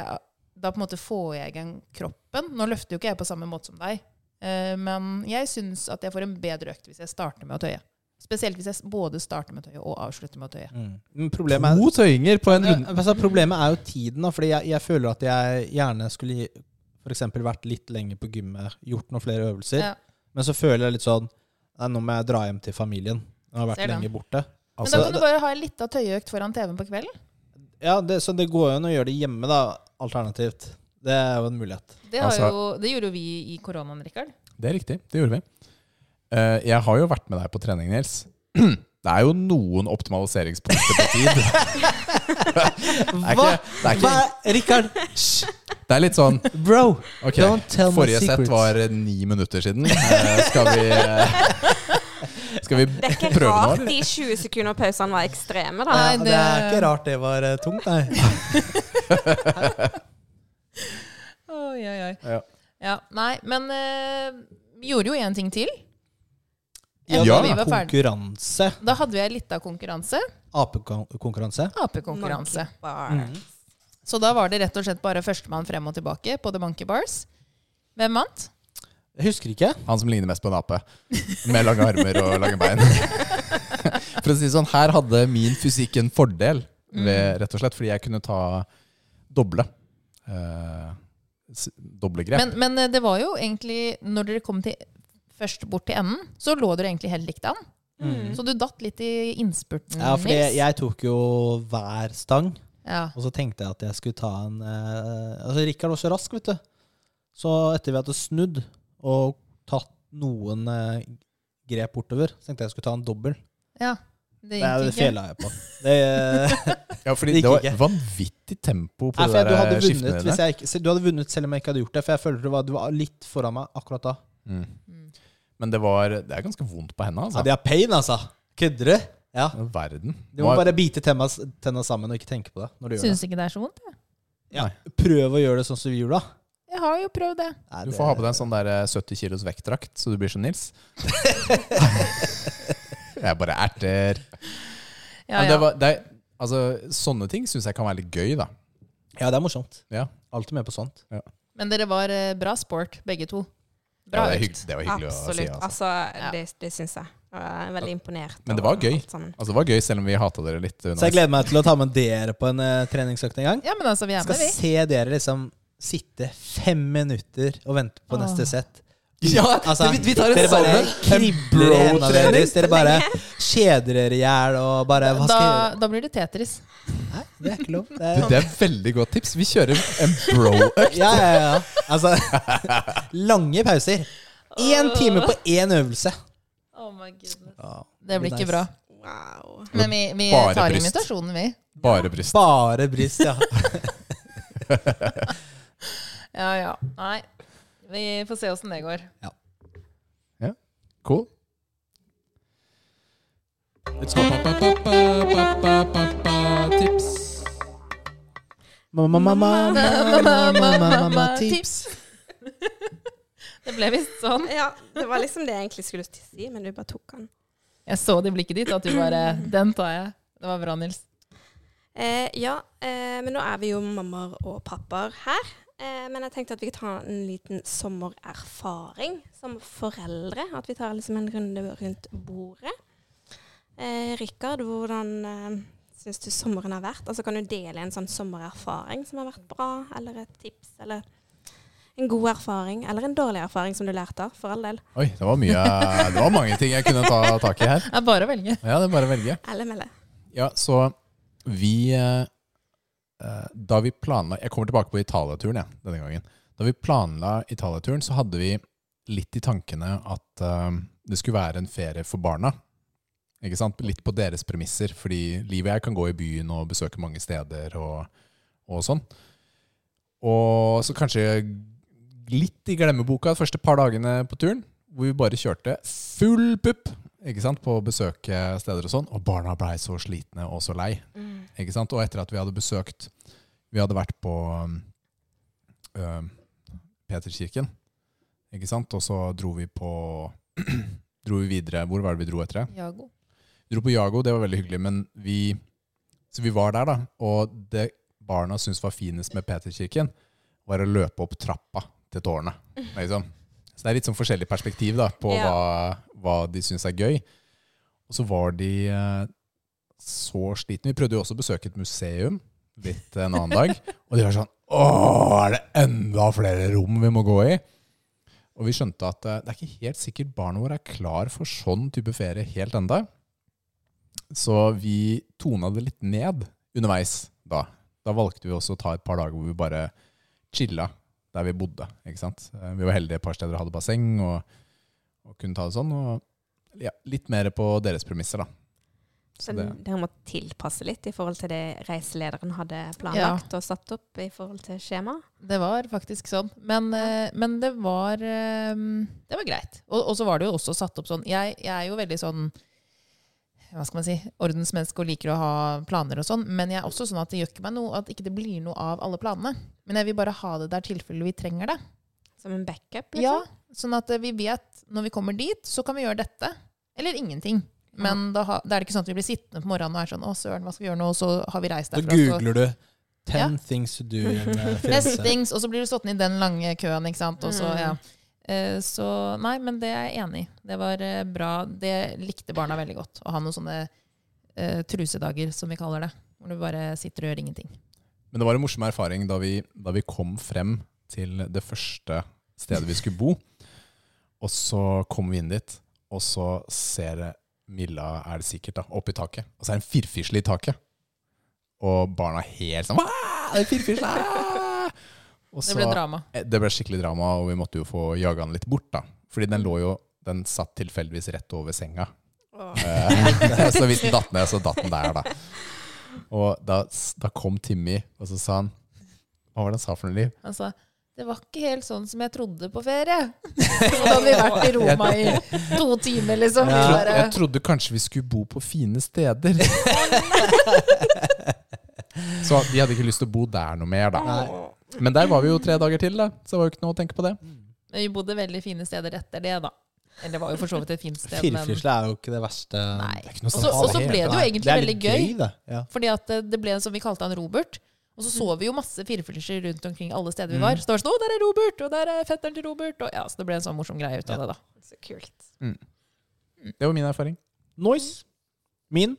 Speaker 2: Da på en måte får jeg i gang kroppen. Nå løfter jo ikke jeg på samme måte som deg, eh, men jeg syns at jeg får en bedre økt hvis jeg starter med å tøye. Spesielt hvis jeg s- både starter med å tøye og avslutter med å tøye.
Speaker 4: Men problemet er,
Speaker 3: tøyinger på
Speaker 4: Ja, Mm.
Speaker 2: eh,
Speaker 4: altså, problemet er jo tiden, da. Fordi jeg, jeg føler at jeg gjerne skulle f.eks. vært litt lenger på gymmet, gjort noen flere øvelser.
Speaker 2: Ja.
Speaker 4: Men så føler jeg litt sånn Nei, nå må jeg dra hjem til familien. Jeg har vært
Speaker 2: Ser den.
Speaker 4: lenge borte.
Speaker 2: Men
Speaker 3: Altså,
Speaker 2: da kan du bare ha en lita tøyeøkt foran TV-en på kvelden.
Speaker 4: Ja, det, Så det går jo an å gjøre det hjemme, da. Alternativt. Det er jo en mulighet.
Speaker 2: Det, har
Speaker 3: Altså-
Speaker 2: jo, det gjorde jo vi i koronaen, Rikard.
Speaker 3: det er riktig. Det gjorde vi. Eh, jeg har jo vært med deg på trening, Nils. Det er jo noen optimaliseringspunkter på tid. Det er
Speaker 4: Hva?
Speaker 3: ikke, det er ikke
Speaker 4: Rikard,
Speaker 3: Det er litt sånn
Speaker 4: bro!
Speaker 3: Ok,
Speaker 4: Don't tell my
Speaker 3: forrige sett
Speaker 4: secrets.
Speaker 3: var eh, ni minutter siden. Eh, skal vi eh, Skal vi
Speaker 1: Det er ikke
Speaker 3: prøve nå?
Speaker 1: rart
Speaker 3: eller?
Speaker 1: de 20 sekunder pausene var ekstreme, da.
Speaker 2: Nei,
Speaker 4: Ja, det...
Speaker 2: det-
Speaker 4: er ikke rart det var eh, tungt, nei.
Speaker 2: Oi, oi, oi.
Speaker 3: Ja.
Speaker 2: Ja, nei, men eh, vi gjorde jo én ting til.
Speaker 4: Ja,
Speaker 3: Ja.
Speaker 4: det
Speaker 2: vi
Speaker 4: var
Speaker 2: var ferdig.
Speaker 4: konkurranse.
Speaker 2: Da hadde vi ei lita konkurranse.
Speaker 4: Apekonkurranse.
Speaker 2: Apekonkurranse.
Speaker 1: Monkey bars.
Speaker 3: Mm.
Speaker 2: Så da var det rett og slett bare førstemann frem og tilbake på The Monkey Bars. Hvem vant?
Speaker 4: Jeg husker ikke.
Speaker 3: Han som ligner mest på en ape. Med lange armer og lange bein. For å si det sånn, her hadde min fysikk en fordel,
Speaker 4: Mm.
Speaker 3: ved, rett og slett, fordi jeg kunne ta doble. Eh, s- doble grep.
Speaker 2: Men, men eh, det var jo egentlig, når dere kom til, først bort til enden, så lå dere egentlig helt likt an. Så du datt litt i innspurten,
Speaker 4: Ja, fordi
Speaker 2: Nils.
Speaker 4: jeg tok jo hver stang,
Speaker 2: Ja.
Speaker 4: og så tenkte jeg at jeg skulle ta en eh, Altså, Rikard var så rask, vet du. Så etter vi hadde snudd og tatt noen eh, grep bortover, så tenkte jeg jeg skulle ta en dobbel.
Speaker 2: ja. Det
Speaker 4: Det,
Speaker 2: gikk
Speaker 4: det
Speaker 2: ikke.
Speaker 4: fela jeg på. Det, eh,
Speaker 3: ja, fordi
Speaker 4: det
Speaker 3: det,
Speaker 4: gikk
Speaker 3: var
Speaker 4: ikke.
Speaker 3: vanvittig tempo på
Speaker 4: Nei,
Speaker 3: det
Speaker 4: for jeg, du
Speaker 3: der
Speaker 4: hadde
Speaker 3: eh, skiftene
Speaker 4: vunnet
Speaker 3: dine.
Speaker 4: hvis jeg ikke, se, Du hadde vunnet selv om jeg ikke hadde gjort det, for jeg følte du var, du var litt foran meg akkurat da.
Speaker 3: Mm. Men det var Det er ganske vondt på henda, altså.
Speaker 4: Ja, det er pain, altså. Kødder du? Ja.
Speaker 3: Verden.
Speaker 4: Du må bare bite tenna, tenna sammen og ikke tenke på det. når du gjør
Speaker 2: Syns ikke det er så vondt, jeg.
Speaker 4: det. Ja. Prøv å gjøre det sånn som vi gjorde, da.
Speaker 2: Jeg har jo prøvd det.
Speaker 4: Nei,
Speaker 3: Du
Speaker 4: det-
Speaker 3: får ha på deg en sånn der eh, 70 kilos vektdrakt, så du blir som Nils. jeg bare erter.
Speaker 2: Ja,
Speaker 3: Men
Speaker 2: ja.
Speaker 3: det var, det, er- altså, sånne ting syns jeg kan være litt gøy, da.
Speaker 4: Ja, det er morsomt.
Speaker 3: Ja,
Speaker 4: Alltid med på sånt.
Speaker 2: Men dere var eh, bra sport, begge to.
Speaker 3: ja
Speaker 2: Bra
Speaker 3: det, er
Speaker 2: økt.
Speaker 3: hygg, det var hyggelig å si.
Speaker 1: Absolutt.
Speaker 3: Altså.
Speaker 1: Altså,
Speaker 2: Ja.
Speaker 1: det, det syns jeg. Og jeg er veldig imponert.
Speaker 3: Men det var
Speaker 1: over
Speaker 3: gøy.
Speaker 1: alt sånn. sammen.
Speaker 3: altså, det var gøy, selv om vi hata dere litt.
Speaker 4: Så jeg gleder meg til å ta med dere på en eh, treningsøkt en gang.
Speaker 2: Ja, men altså, vi er
Speaker 4: Skal
Speaker 2: med, vi.
Speaker 4: se dere liksom sitte fem minutter og vente på
Speaker 2: Åh.
Speaker 4: neste sett.
Speaker 3: Ja,
Speaker 4: Altså,
Speaker 3: vi, vi tar en
Speaker 4: dere bare
Speaker 3: sammen.
Speaker 4: kribler i hendene
Speaker 3: bro-trening.
Speaker 4: deres. Dere bare kjeder dere i hjel og bare Hva skal jeg gjøre?
Speaker 2: Da, da blir det Tetris.
Speaker 4: Nei, det er ikke lov. Det
Speaker 3: Du,
Speaker 4: er,
Speaker 3: det er veldig godt tips. Vi kjører en bro-økt.
Speaker 4: ja, ja, ja. Altså, lange pauser. Én time på én øvelse.
Speaker 2: Oh my goodness.
Speaker 4: Ja,
Speaker 2: Det blir ikke bra.
Speaker 1: Wow.
Speaker 2: Men vi, vi
Speaker 3: Bare
Speaker 2: tar
Speaker 3: bryst.
Speaker 2: invitasjonen, vi.
Speaker 3: Bare bryst.
Speaker 4: Bare bryst, ja.
Speaker 2: Ja, ja. Nei. Vi får se åssen det går.
Speaker 3: Cool.
Speaker 4: Litt smart.
Speaker 3: Tips.
Speaker 4: Mamma, mamma, mamma, mamma, mamma, tips.
Speaker 2: det ble visst sånn.
Speaker 1: Ja, det var liksom det jeg egentlig skulle til å si, men du bare tok den.
Speaker 2: Jeg så det i blikket ditt, at du bare Den tar jeg. Det var bra, Nils.
Speaker 1: Eh, ja, eh, men nå er vi jo mammaer og pappaer her. Eh, men jeg tenkte at vi kan ta en liten sommererfaring som foreldre. At vi tar liksom en runde rundt bordet. Eh, Rikard, hvordan eh, syns du sommeren har vært? Altså Kan du dele en sånn sommererfaring som har vært bra, eller et tips, eller en god erfaring, eller en dårlig erfaring som du lærte av, for all del.
Speaker 3: Oi, det var mye Det var mange ting jeg kunne ta tak i her.
Speaker 2: Det er bare å velge.
Speaker 3: Ja, det er bare å velge.
Speaker 1: Eller melde.
Speaker 3: Ja, så vi eh, eh, Da vi planla Jeg kommer tilbake på Italia-turen jeg, denne gangen. Da vi planla Italia-turen, så hadde vi litt i tankene at eh, det skulle være en ferie for barna. Ikke sant? Litt på deres premisser, fordi livet jeg kan gå i byen og besøke mange steder og, og sånn. Og så kanskje litt i glemmeboka de første par dagene på turen, hvor vi bare kjørte full pupp ikke sant, på å besøke steder og sånn. Og barna blei så slitne og så lei. Ikke sant? Og etter at vi hadde besøkt Vi hadde vært på um, øh, Peterkirken, ikke sant? og så dro vi på Dro vi videre Hvor var det vi dro etter det?
Speaker 2: Jago.
Speaker 3: Vi dro på Jago, det var veldig hyggelig, men vi Så vi var der, da. Og det barna syntes var finest med Peterkirken, var å løpe opp trappa til tårnet. Liksom. Så det er litt sånn forskjellig perspektiv da, på
Speaker 1: Ja.
Speaker 3: hva, hva de syns er gøy. Og så var de eh, så slitne. Vi prøvde jo også å besøke et museum litt en annen dag. Og de var sånn Åh, er det enda flere rom vi må gå i? Og vi skjønte at eh, det er ikke helt sikkert barna våre er klar for sånn type ferie helt enda. Så vi tona det litt ned underveis da. Da valgte vi også å ta et par dager hvor vi bare chilla der vi bodde. ikke sant? Eh, Vi var heldige et par steder og hadde basseng og, og kunne ta det sånn. Og ja, litt mer på deres premisser, da.
Speaker 1: Så
Speaker 3: Så det,
Speaker 1: dere må tilpasse litt i forhold til det reiselederen hadde planlagt og satt opp i forhold til skjema?
Speaker 2: Det var faktisk sånn. Men, eh, men det var eh, Det var greit. Og, og så var det jo også satt opp sånn jeg, jeg er jo veldig sånn hva skal man si, ordensmenneske og liker å ha planer og sånn, men jeg er også sånn at det gjør ikke meg noe at ikke det blir noe av alle planene. Men jeg vil bare ha det der tilfellet vi trenger det.
Speaker 1: Som en backup, liksom?
Speaker 2: Ja, sånn at eh, vi vet når vi kommer dit, så kan vi gjøre dette. Eller ingenting. Men da, ha, da er det ikke sånn at vi blir sittende på morgenen og er sånn Å, søren, hva skal vi gjøre nå? Og så har vi reist
Speaker 4: Da
Speaker 2: derfra. så-
Speaker 4: googler du 10 things to do in eh,
Speaker 2: Best
Speaker 4: Firenze.
Speaker 2: things, og så blir du stått i den lange køen, ikke sant. Og så, ja. Eh, så nei, men det er jeg enig i. Det var eh, bra. Det likte barna veldig godt. Å ha noen sånne eh, trusedager, som vi kaller det. Hvor du bare sitter og gjør ingenting.
Speaker 3: Men det var en morsom erfaring da vi, da vi kom frem til det første stedet vi skulle bo. Og så kommer vi inn dit, og så ser Milla, er det sikkert, da, opp i taket. Og så er det en firfisle i taket. Og barna er helt sånn «Wah, det er en firfisle! ah!» Og
Speaker 2: Det ble
Speaker 3: så-
Speaker 2: drama.
Speaker 3: Eh, Det ble skikkelig drama, og vi måtte jo få jaga den litt bort. da. Fordi den lå jo Den satt tilfeldigvis rett over senga. Eh, så hvis den datt ned, så datt den der, da. Og da, da kom Timmy, og så sa han Hva var det han sa for noe, Liv?
Speaker 2: Han sa det var ikke helt sånn som jeg trodde på ferie. Så da hadde vi vært i Roma i to timer, liksom. Vi
Speaker 4: Ja.
Speaker 2: bare,
Speaker 3: Jeg trodde kanskje vi skulle bo på fine steder. Så de hadde ikke lyst til å bo der noe mer, da.
Speaker 4: Nei.
Speaker 3: Men der var vi jo tre dager til, da. Så det var jo ikke noe å tenke på det.
Speaker 2: men vi bodde veldig fine steder etter det, da. Eller det var jo for så vidt et fint sted, men
Speaker 4: Firfisle er jo ikke det verste.
Speaker 2: Nei.
Speaker 3: Det er ikke noe sånn-
Speaker 2: Og så- og så ble det jo
Speaker 4: Nei,
Speaker 2: egentlig
Speaker 4: det er
Speaker 2: veldig
Speaker 4: litt
Speaker 2: gøy.
Speaker 4: det. Ja.
Speaker 2: Fordi at eh, det ble en som vi kalte han Robert. Og så så vi jo masse firfisler rundt omkring alle steder vi
Speaker 4: Mm.
Speaker 2: var. Så det var sånn, å, der er Robert, og der er fetteren til Robert. Og ja, så det ble en sånn morsom greie ut av det, da.
Speaker 1: Så kult.
Speaker 3: Det var min erfaring.
Speaker 4: Noise. Min?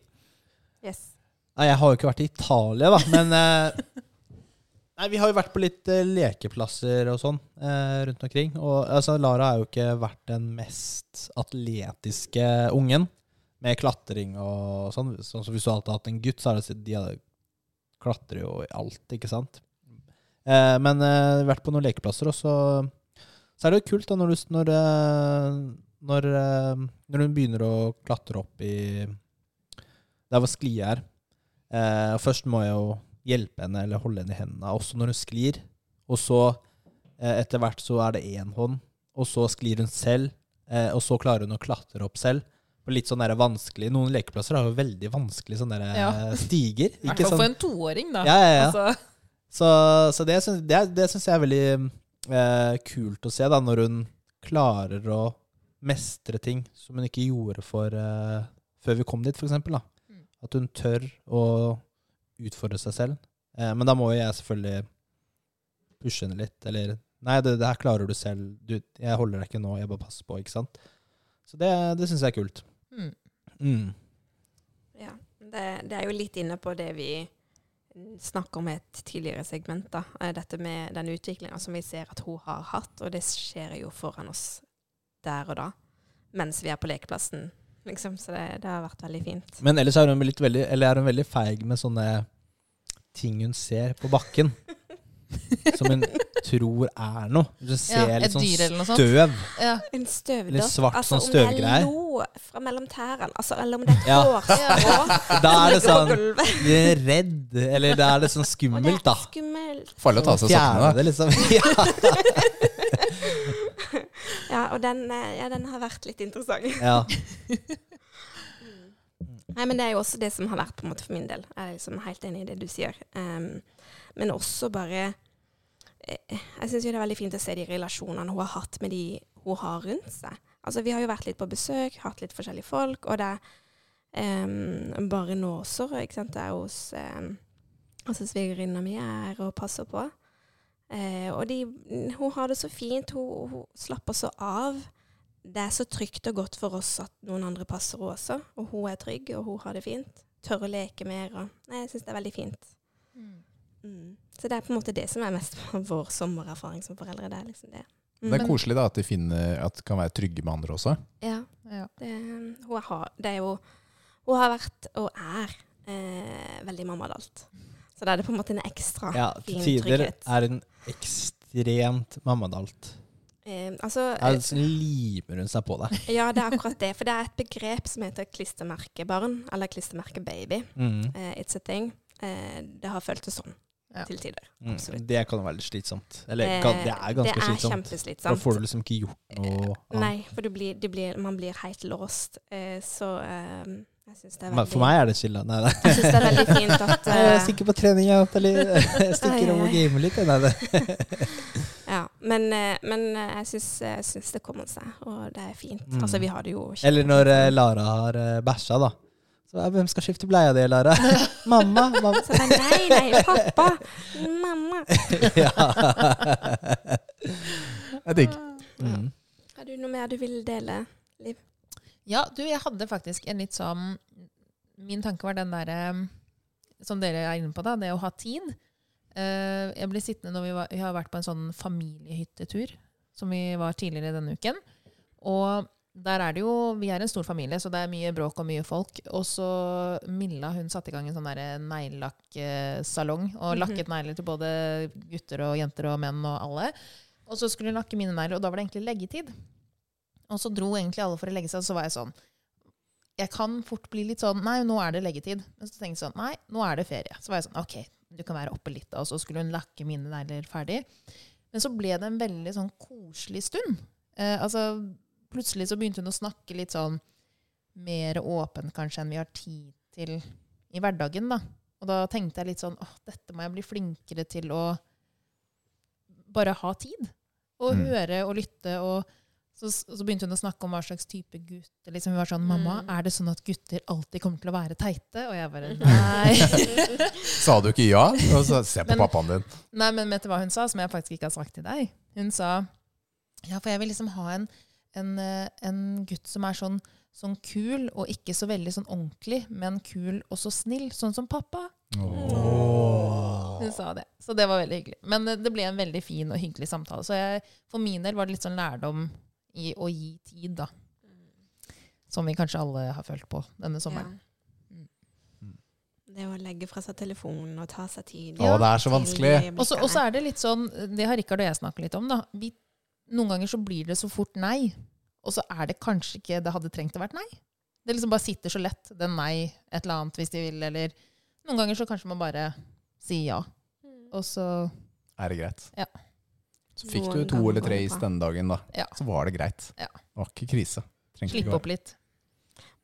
Speaker 1: Yes.
Speaker 4: Nei, jeg har jo ikke vært i Italia, da, men eh, Nei, vi har jo vært på litt eh, lekeplasser og sånn eh, rundt omkring. Og altså, Lara har jo ikke vært den mest atletiske ungen med klatring og sånn. Sånn som Hvis du alltid har hatt en gutt, så er det sikkert- de hadde- klatrer jo i alt, ikke sant? Eh, men eh, vært på noen lekeplasser, og så, så er det jo kult da når du, s- når, eh, når, eh, når hun begynner å klatre opp i der hvor sklia er. Eh, først må jeg jo hjelpe henne eller holde henne i hendene, også når hun sklir. Og så, eh, etter hvert, så er det én hånd, og så sklir hun selv. Eh, og så klarer hun å klatre opp selv. På litt sånn der vanskelig Noen lekeplasser har jo veldig vanskelig sånne der,
Speaker 2: Ja.
Speaker 4: eh, stiger.
Speaker 2: I hvert fall
Speaker 4: Ikke sånn
Speaker 2: for en toåring, da.
Speaker 4: ja, ja, ja.
Speaker 2: Altså,
Speaker 4: Så, så det syns det, er- det syns jeg er veldig eh, kult å se, da, når hun klarer å mestre ting som hun ikke gjorde for, eh, før vi kom dit, for eksempel. Da.
Speaker 2: Mm.
Speaker 4: At hun tør å utfordre seg selv. Eh, men da må jo jeg selvfølgelig pushe henne litt, eller Nei, det, det her klarer du selv. Du, jeg holder deg ikke nå, jeg bare passer på, ikke sant? Så det, det syns jeg er kult.
Speaker 2: mm.
Speaker 4: Mm.
Speaker 1: Ja, det, det er jo litt inne på det vi snakker om i et tidligere segment, da. Eh, Dette med den utviklinga som vi ser at hun har hatt, og det skjer jo foran oss der og da, mens vi er på lekeplassen, liksom. Så det, det har vært veldig fint.
Speaker 4: Men ellers er hun, litt veldig, eller er hun veldig feig med sånne ting hun ser på bakken. Som hun tror er noe. Hvis Hun ser
Speaker 2: Ja, et
Speaker 4: litt sånn
Speaker 2: dyr eller noe sånt.
Speaker 4: støv.
Speaker 2: ja.
Speaker 1: En støvdott.
Speaker 4: Eller svart
Speaker 1: Altså,
Speaker 4: sånn
Speaker 1: Om det
Speaker 4: støvgreier.
Speaker 1: er lo fra mellom tærne, altså, eller om det er et
Speaker 4: Ja.
Speaker 1: hårstrå
Speaker 4: Da er
Speaker 1: som
Speaker 4: det
Speaker 1: ligger på
Speaker 4: sånn
Speaker 1: gulvet.
Speaker 4: Du er redd. Eller da er det sånn
Speaker 1: Og det
Speaker 4: skummelt,
Speaker 1: er
Speaker 4: da.
Speaker 1: skummelt.
Speaker 3: Farlig å ta av seg
Speaker 4: Fjerne
Speaker 3: sokkene. da.
Speaker 4: det, liksom. Ja.
Speaker 1: Ja, og den, eh, ja, den har vært litt interessant.
Speaker 4: Ja.
Speaker 1: Nei, men det er jo også det som har vært på en måte for min del. Jeg er liksom helt enig i det du sier. Ehm, men også bare eh, Jeg syns jo det er veldig fint å se de relasjonene hun har hatt med de hun har rundt seg. Altså, vi har jo vært litt på besøk, hatt litt forskjellige folk, og det ehm, Bare nå også, ikke sant. Det er hos um, altså svigerinna mi er og passer på. Eh, og de, hun har det så fint. Hun, hun slapper så av det er så trygt og godt for oss at noen andre passer henne også. Og hun er trygg, og hun har det fint. Tør å leke mer. Og Nei, jeg syns det er veldig fint.
Speaker 2: Mm.
Speaker 1: Så det er på en måte det som er mest vår sommererfaring som foreldre. Det er liksom det. Mm.
Speaker 3: Det er koselig da, at de finner, at de kan være trygge med andre også.
Speaker 1: Ja,
Speaker 2: Ja.
Speaker 1: det, um, hun, har, det er jo, hun har vært, og er, eh, veldig mamma til alt. Så da er det på en måte en ekstra
Speaker 4: ja. Til
Speaker 1: fin
Speaker 4: tider
Speaker 1: trygghet.
Speaker 4: er hun ekstremt mammadalt.
Speaker 1: Eh, altså,
Speaker 4: Er det sånn limer hun seg på deg.
Speaker 1: ja, det er akkurat det. For det er et begrep som heter klistremerkebarn, eller klistremerkebaby.
Speaker 4: Mm.
Speaker 1: Eh, it's a thing. Eh, det har føltes sånn
Speaker 2: Ja.
Speaker 1: til tider.
Speaker 4: Mm.
Speaker 1: Absolutt.
Speaker 4: Det kan være litt slitsomt. Eller kan, det
Speaker 1: Eh,
Speaker 4: er ganske slitsomt. Da
Speaker 1: kjempeslitsomt.
Speaker 4: får du liksom ikke gjort noe annet.
Speaker 1: Nei, for du blir, du blir, man blir helt låst. Eh, så eh, jeg syns det er
Speaker 4: Men
Speaker 1: veldig
Speaker 4: For meg er det chill. da. Nei, nei.
Speaker 1: Jeg synes det er veldig fint at
Speaker 4: Nei, Jeg
Speaker 1: eh,
Speaker 4: stikker på trening, jeg. Eller jeg stikker
Speaker 1: Ai,
Speaker 4: om og
Speaker 1: ai.
Speaker 4: gamer litt. jeg. Nei, det.
Speaker 1: ja, Men, eh, men eh, jeg syns, jeg syns det kommer seg, og det er fint.
Speaker 4: Mm.
Speaker 1: Altså, vi har det jo kjempe-
Speaker 4: Eller når eh, Lara har eh, bæsja, da. Så ja, hvem skal skifte bleia di, Lara? mamma! mamma.
Speaker 1: Så jeg bare, Altså, Nei, nei, pappa! Mamma!
Speaker 4: ja.
Speaker 3: Det er digg.
Speaker 4: Mm.
Speaker 1: Har du noe mer du vil dele?
Speaker 2: Ja, du, jeg hadde faktisk en litt sånn Min tanke var den derre Som dere er inne på, da, det å ha tid. Eh, jeg ble sittende når vi, var, vi har vært på en sånn familiehyttetur som vi var tidligere denne uken. Og der er det jo Vi er en stor familie, så det er mye bråk og mye folk. Og så Milla hun satte i gang en sånn derre neglelakksalong og
Speaker 1: Mhm.
Speaker 2: lakket negler til både gutter og jenter og menn og alle. Og så skulle hun lakke mine negler, og da var det egentlig leggetid. Og så dro egentlig alle for å legge seg, og så var jeg sånn Jeg kan fort bli litt sånn Nei, nå er det leggetid. Men så tenkte jeg sånn Nei, nå er det ferie. Så var jeg sånn OK, du kan være oppe litt, da. Og så skulle hun lakke mine negler ferdig. Men så ble det en veldig sånn koselig stund. Eh, altså, plutselig så begynte hun å snakke litt sånn mer åpent kanskje enn vi har tid til i hverdagen, da. Og da tenkte jeg litt sånn åh, dette må jeg bli flinkere til å bare ha tid. Og
Speaker 3: Mm.
Speaker 2: høre og lytte og så, så begynte hun å snakke om hva slags type gutter. Liksom, hun var sånn 'Mamma,
Speaker 1: Mm.
Speaker 2: er det sånn at gutter alltid kommer til å være teite?' Og jeg bare Nei.
Speaker 3: Sa du ikke ja? Og så se på
Speaker 2: Men-
Speaker 3: pappaen din.
Speaker 2: Nei, men vet du hva hun sa, som jeg faktisk ikke har sagt til deg? Hun sa Ja, for jeg vil liksom ha en, en, eh, en gutt som er sånn, sånn kul, og ikke så veldig sånn ordentlig, men kul og så snill, sånn som pappa.
Speaker 3: Åh.
Speaker 2: Hun sa det. Så det var veldig hyggelig. Men eh, det ble en veldig fin og hyggelig samtale. Så jeg, for min del var det litt sånn lærdom i å gi tid, da. Som vi kanskje alle har følt på denne sommeren. Mm.
Speaker 1: Det å legge fra seg telefonen og ta seg tid.
Speaker 3: Å, det er så vanskelig.
Speaker 2: Og så og så er det litt sånn, det har Rikard og jeg snakket litt om, da. Vi, noen ganger så blir det så fort nei, og så er det kanskje ikke det hadde trengt å vært nei. Det liksom bare sitter så lett, den nei, et eller annet hvis de vil, eller Noen ganger så kanskje man bare sier ja, og så
Speaker 3: Er det greit?
Speaker 2: Ja.
Speaker 3: Så fikk du to eller tre is denne dagen, da.
Speaker 2: Ja.
Speaker 3: Så var det greit.
Speaker 2: Ja.
Speaker 3: Det var ikke krise. Trengte ikke
Speaker 2: slippe
Speaker 3: gå.
Speaker 2: opp litt.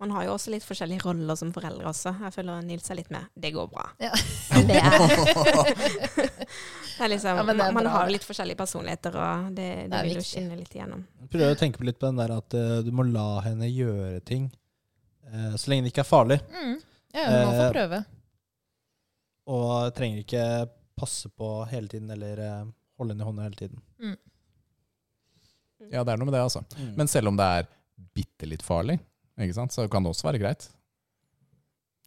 Speaker 1: Man har jo også litt forskjellige roller som foreldre også. Jeg føler Nils er litt med. Det går bra.
Speaker 2: Ja.
Speaker 1: Det er, det er liksom,
Speaker 2: Ja, men det er
Speaker 1: man- man
Speaker 2: bra,
Speaker 1: har
Speaker 2: det.
Speaker 1: jo litt forskjellige personligheter, og det, det,
Speaker 2: Det er
Speaker 1: vil jo
Speaker 2: viktig.
Speaker 1: skinne litt igjennom.
Speaker 4: Prøv å tenke på litt på den der at eh, du må la henne gjøre ting eh, så lenge det ikke er farlig.
Speaker 2: Mm. Ja, hun må få
Speaker 4: Eh,
Speaker 2: prøve.
Speaker 4: Og trenger ikke passe på hele tiden eller eh, holde henne i hånda hele tiden.
Speaker 3: Ja, det er noe med det, altså. Men selv om det er bitte litt farlig, ikke sant? så kan det også være greit.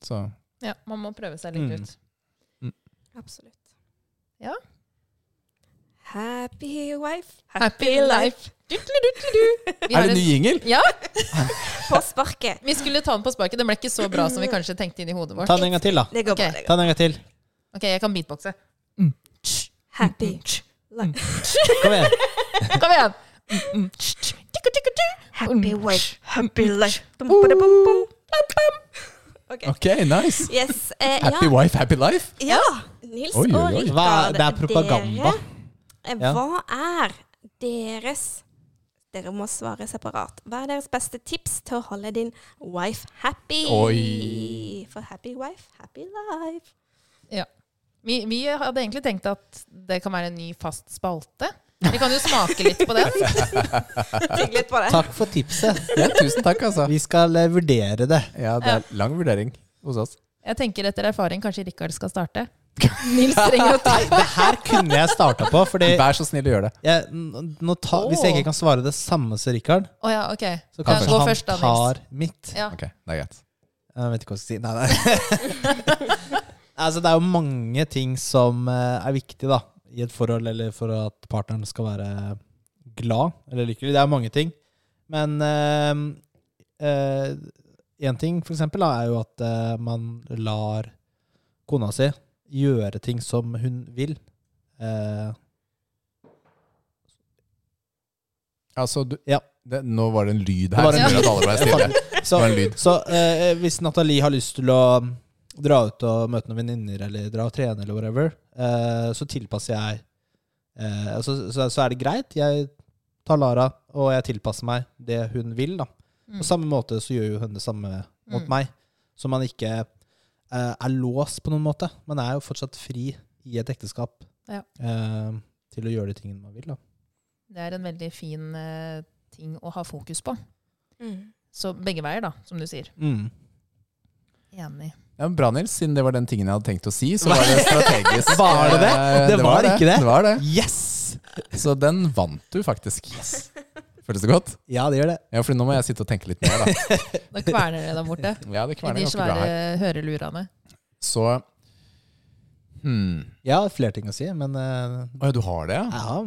Speaker 3: Så
Speaker 2: Ja, man må prøve seg litt
Speaker 4: Mm.
Speaker 2: ut.
Speaker 1: Absolutt.
Speaker 2: Ja.
Speaker 1: Happy wife,
Speaker 2: Happy life. Vi har
Speaker 3: Er det
Speaker 2: en-
Speaker 3: ny jingle?
Speaker 2: Ja,
Speaker 1: på sparket.
Speaker 2: vi skulle ta den på sparket. Den ble ikke så bra som vi kanskje tenkte inni hodet vårt.
Speaker 4: Ta den en gang til, da.
Speaker 1: Det går
Speaker 2: Ok.
Speaker 1: bra. Det går.
Speaker 4: Ta den en gang til.
Speaker 2: Ok, jeg kan beatboxe.
Speaker 1: Happy
Speaker 2: Mm-hmm.
Speaker 1: life.
Speaker 4: Kom igjen.
Speaker 2: Kom igjen! Mm-hmm.
Speaker 1: Happy wife, happy life. Bum, bada, bum, bum, bum, bum. Ok.
Speaker 3: Ok, nice!
Speaker 1: Yes. Eh, ja.
Speaker 3: Happy wife, happy life!
Speaker 1: ja. Nils
Speaker 3: Oi, oi,
Speaker 1: og
Speaker 3: oi.
Speaker 1: Rikard.
Speaker 4: Hva, det er propaganda.
Speaker 1: dere- Eh,
Speaker 4: Ja.
Speaker 1: Hva er deres Dere må svare separat. Hva er deres beste tips til å holde din wife happy?
Speaker 3: Oi.
Speaker 1: For happy wife, happy life.
Speaker 2: Vi, vi hadde egentlig tenkt at det kan være en ny fast spalte. Vi kan jo smake litt på den.
Speaker 1: Tygg litt på det.
Speaker 4: Takk for tipset.
Speaker 3: Ja, tusen takk, altså.
Speaker 4: Vi skal eh, vurdere det.
Speaker 3: Ja, det er lang vurdering hos oss.
Speaker 2: Jeg tenker etter erfaring kanskje Rikard skal starte. Nils trenger å ta
Speaker 4: Det her kunne jeg starta på, fordi
Speaker 3: Vær så snill å gjøre det.
Speaker 4: jeg, n- nå ta, hvis jeg ikke kan svare det samme som Richard,
Speaker 2: Å ja, ok. Ja,
Speaker 4: så kanskje
Speaker 2: gå
Speaker 4: han
Speaker 2: først, da, Nils.
Speaker 4: tar mitt.
Speaker 2: Ja.
Speaker 3: Ok, det er greit.
Speaker 4: Jeg vet ikke hva jeg skal si. Nei, nei. altså, det er jo mange ting som eh, er viktig da, i et forhold, eller for at partneren skal være glad eller lykkelig. Det er mange ting. Men én ting, for eksempel, da, er jo at eh, man lar kona si gjøre ting som hun vil. Eh,
Speaker 3: Altså, du,
Speaker 4: Ja.
Speaker 3: det, nå var det en lyd
Speaker 4: Det var
Speaker 3: her som
Speaker 4: en
Speaker 3: gjorde at alle ble stille. Det
Speaker 4: så
Speaker 3: var en lyd.
Speaker 4: så eh, hvis Nathalie har lyst til å um, dra ut og møte noen venninner, eller dra og trene, eller whatever, eh, så tilpasser jeg eh, så, så, så er det greit. Jeg tar Lara, og jeg tilpasser meg det hun vil. da.
Speaker 2: Mm.
Speaker 4: På samme måte så gjør jo hun det samme mot
Speaker 2: Mm.
Speaker 4: meg. Så man ikke eh, er låst på noen måte. Man er jo fortsatt fri i et ekteskap
Speaker 2: Ja.
Speaker 4: eh, til å gjøre de tingene man vil. da.
Speaker 2: Det er en veldig fin eh, ting å ha fokus på.
Speaker 1: Mm.
Speaker 2: Så begge veier, da, som du sier.
Speaker 4: Mm.
Speaker 2: Enig.
Speaker 3: Ja, men bra, Nils. Siden det var den tingen jeg hadde tenkt å si, så var det strategisk.
Speaker 4: Var det det?
Speaker 3: Eh,
Speaker 4: Det var ikke det.
Speaker 3: Det var det.
Speaker 4: Yes!
Speaker 3: Så den vant du faktisk. Føles det godt?
Speaker 4: Ja, det gjør det.
Speaker 3: Ja, for nå må jeg sitte og tenke litt mer, da.
Speaker 2: Da kverner det der borte.
Speaker 3: Ja, det
Speaker 2: I
Speaker 3: kverner
Speaker 2: de
Speaker 3: ganske bra
Speaker 2: svære
Speaker 3: her.
Speaker 2: hørelurene.
Speaker 3: Så hmm.
Speaker 4: Jeg har flere ting å si, men eh,
Speaker 3: Å ja, du har det, ja?
Speaker 4: ja,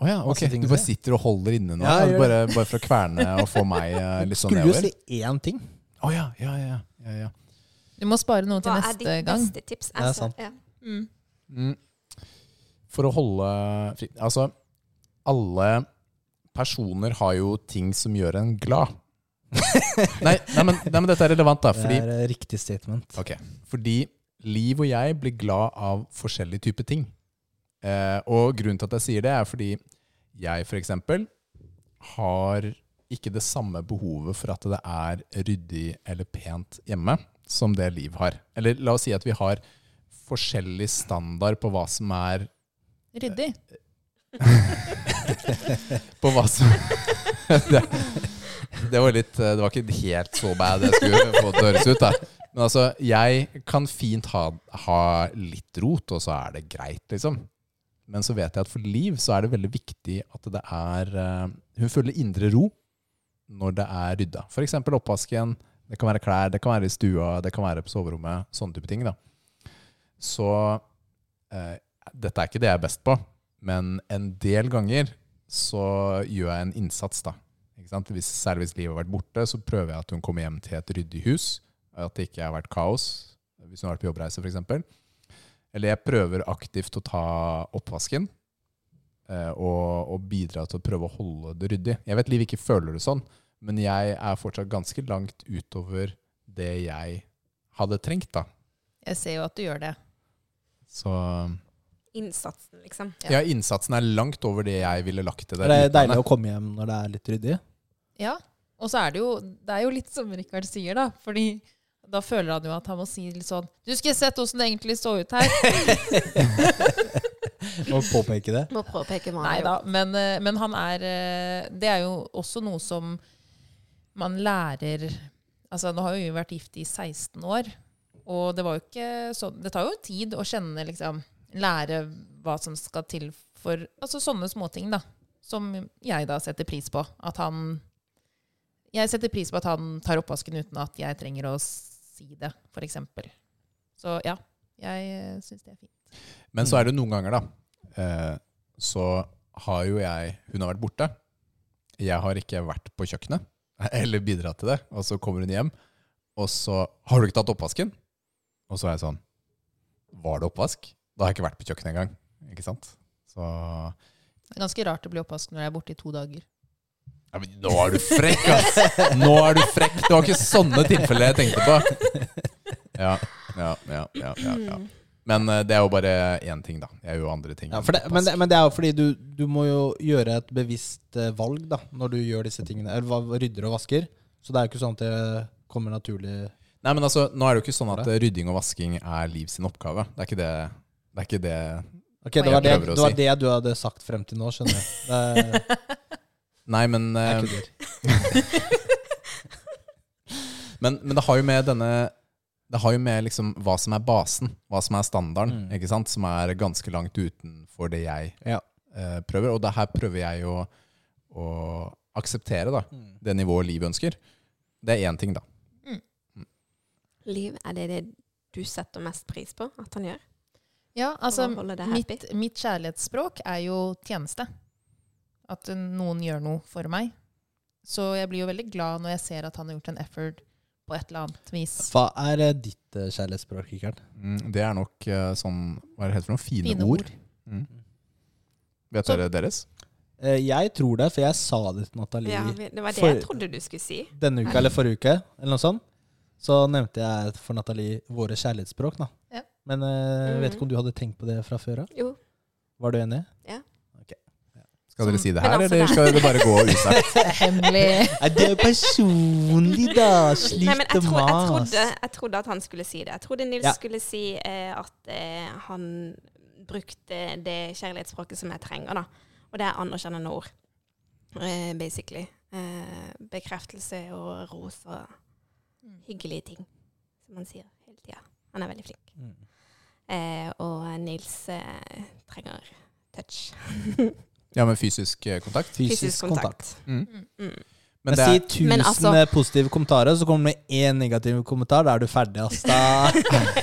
Speaker 3: Å ja, ok.
Speaker 4: Masse ting
Speaker 3: Du
Speaker 4: å
Speaker 3: bare
Speaker 4: si.
Speaker 3: sitter og holder inne nå?
Speaker 4: Ja, jeg gjør
Speaker 3: bare, bare for å kverne og få meg eh, litt sånn
Speaker 4: Skulle jo
Speaker 3: nedover?
Speaker 4: si én ting.
Speaker 3: Å ja, ja, ja. ja, ja.
Speaker 2: Du må spare noe til
Speaker 1: Hva er
Speaker 2: neste
Speaker 1: ditt
Speaker 2: gang.
Speaker 1: beste tips? Altså,
Speaker 4: er sant.
Speaker 1: Ja.
Speaker 2: Mm.
Speaker 3: Mm. For å holde fri Altså, alle personer har jo ting som gjør en glad. nei, nei, men, nei, men dette er relevant, da. Fordi
Speaker 4: det er eh, riktig statement.
Speaker 3: Ok, fordi Liv og jeg blir glad av forskjellige typer ting. Eh, og grunnen til at jeg sier det, er fordi jeg for eksempel har ikke det samme behovet for at det er ryddig eller pent hjemme som det Liv har. Eller la oss si at vi har forskjellig standard på hva som er
Speaker 2: Ryddig.
Speaker 3: på hva som det, det var litt eh, Det var ikke helt så bad jeg skulle få det til å høres ut, da. Men altså, jeg kan fint ha, ha litt rot, og så er det greit, liksom. Men så vet jeg at for Liv så er det veldig viktig at det er eh, Hun føler indre ro når det er rydda. F.eks. oppvasken. Det kan være klær, det kan være i stua, det kan være på soverommet. Sånne type ting. da. Så eh, dette er ikke det jeg er best på, men en del ganger så gjør jeg en innsats, da. Ikke sant? Hvis, særlig hvis livet har vært borte, så prøver jeg at hun kommer hjem til et ryddig hus. At det ikke har vært kaos, hvis hun har vært på jobbreise f.eks. Eller jeg prøver aktivt å ta oppvasken eh, og, og bidra til å prøve å holde det ryddig. Jeg vet Liv ikke føler det sånn, men jeg er fortsatt ganske langt utover det jeg hadde trengt. da.
Speaker 2: Jeg ser jo at du gjør det.
Speaker 3: Så
Speaker 1: Innsatsen, liksom.
Speaker 3: ja, innsatsen er langt over det jeg ville lagt til det.
Speaker 4: Er det
Speaker 3: uten
Speaker 4: deilig
Speaker 3: henne.
Speaker 4: å komme hjem når det er litt ryddig?
Speaker 2: Ja. Og så er det jo, det er jo litt som Rikard sier, da. Fordi da føler han jo at han må si litt sånn Du skulle sett åssen det egentlig så ut her.
Speaker 4: Å påpeke det.
Speaker 1: Må prøve å peke
Speaker 2: Nei da, men, eh, men han er eh, Det er jo også noe som man lærer Altså, nå har jo vi vært gift i 16 år, og det var jo ikke sånn Det tar jo tid å kjenne, liksom Lære hva som skal til for Altså sånne småting, da. Som jeg da setter pris på. At han Jeg setter pris på at han tar oppvasken uten at jeg trenger å si det, f.eks. Så ja, jeg syns det er fint.
Speaker 3: Men så er det noen ganger, da. Eh, så har jo jeg Hun har vært borte. Jeg har ikke vært på kjøkkenet eller bidratt til det. Og så kommer hun hjem, og så har du ikke tatt oppvasken? Og så er jeg sånn Var det oppvask? Da har jeg ikke vært på kjøkkenet engang. Ikke sant? Så ja,
Speaker 2: Det er ganske rart å bli oppvasken når jeg er borte i to dager.
Speaker 3: men Nå er du frekk, ass! Nå er du frekk! Det var ikke sånne tilfeller jeg tenkte på. Ja, ja, ja, ja, ja, ja. Men eh, det er jo bare én ting, da. Jeg gjør jo andre ting.
Speaker 4: Ja,
Speaker 3: enn
Speaker 4: for det,
Speaker 3: oppvask.
Speaker 4: men, det, men det er jo fordi du, du må jo gjøre et bevisst eh, valg da, når du gjør disse tingene. Eller hva- rydder og vasker. Så det er jo ikke sånn at det kommer naturlig
Speaker 3: Nei, men altså, nå er det jo ikke sånn at eh, rydding og vasking er Liv sin oppgave. Det er ikke det, det, er ikke det.
Speaker 4: Ok, det
Speaker 2: Jeg
Speaker 4: var det,
Speaker 3: prøver å
Speaker 4: det var
Speaker 3: si.
Speaker 4: det du hadde sagt frem til nå, skjønner jeg. Det er,
Speaker 3: Nei, men,
Speaker 4: det
Speaker 3: eh,
Speaker 4: er ikke dyrt.
Speaker 3: men, men det har jo med denne Det har jo med liksom hva som er basen, hva som er standarden,
Speaker 4: Mm.
Speaker 3: ikke sant? som er ganske langt utenfor det jeg
Speaker 4: Ja.
Speaker 3: eh, prøver. Og det her prøver jeg å, å akseptere, da.
Speaker 4: hmm.
Speaker 3: Det nivået Liv ønsker. Det er én ting, da.
Speaker 1: Liv, er det det du setter mest pris på at han gjør?
Speaker 2: Ja, altså
Speaker 1: å holde det happy.
Speaker 2: mitt, mitt kjærlighetsspråk er jo tjeneste. At eh, noen gjør noe for meg. Så jeg blir jo veldig glad når jeg ser at han har gjort en effort på et eller annet vis.
Speaker 4: Hva er eh, ditt eh, kjærlighetsspråk, Kikker'n?
Speaker 3: Mm, det er nok eh, sånn Hva er det helt for noe? Fine,
Speaker 2: Fine
Speaker 3: ord.
Speaker 2: ord.
Speaker 3: Mm. Vet
Speaker 2: Så-
Speaker 1: Sånn.
Speaker 3: dere deres?
Speaker 4: Eh, Jeg tror det, for jeg sa det til Nathalie
Speaker 1: Ja, vi- det var det
Speaker 4: for-
Speaker 1: jeg trodde du skulle si.
Speaker 4: denne uka eller forrige uke. Eller noe sånt. Så nevnte jeg for Nathalie våre kjærlighetsspråk. da.
Speaker 2: Ja.
Speaker 4: Men eh, jeg vet
Speaker 1: Mhm.
Speaker 4: ikke om du hadde tenkt på det fra før av?
Speaker 1: Jo.
Speaker 4: Var du enig?
Speaker 3: Skal dere
Speaker 2: Som-
Speaker 3: si det
Speaker 1: Men
Speaker 3: her,
Speaker 1: altså,
Speaker 3: eller
Speaker 1: det er-
Speaker 3: skal det bare gå usagt?
Speaker 2: Hemmelig.
Speaker 4: Nei, det er jo personlig, da!
Speaker 1: Nei, men jeg,
Speaker 4: Slikt
Speaker 1: tro, jeg,
Speaker 4: mas.
Speaker 1: trodde, jeg trodde at han skulle si det. Jeg trodde Nils
Speaker 4: Ja.
Speaker 1: skulle si eh, at eh, han brukte det kjærlighetsspråket som jeg trenger, da. Og det er anerkjennende ord, eh, basically. Eh, bekreftelse og ros og hyggelige ting, som han sier hele tida. Han er veldig flink.
Speaker 4: Mm.
Speaker 1: Eh, og Nils eh, trenger touch.
Speaker 3: Ja, men fysisk eh, kontakt.
Speaker 4: Fysisk, kontakt.
Speaker 1: Mm.
Speaker 3: Men
Speaker 4: Men
Speaker 3: det er,
Speaker 4: si tusen eh,
Speaker 1: Men altså-
Speaker 4: positive kommentarer, så kommer det med én negativ kommentar. Da er du ferdig, ass. Da,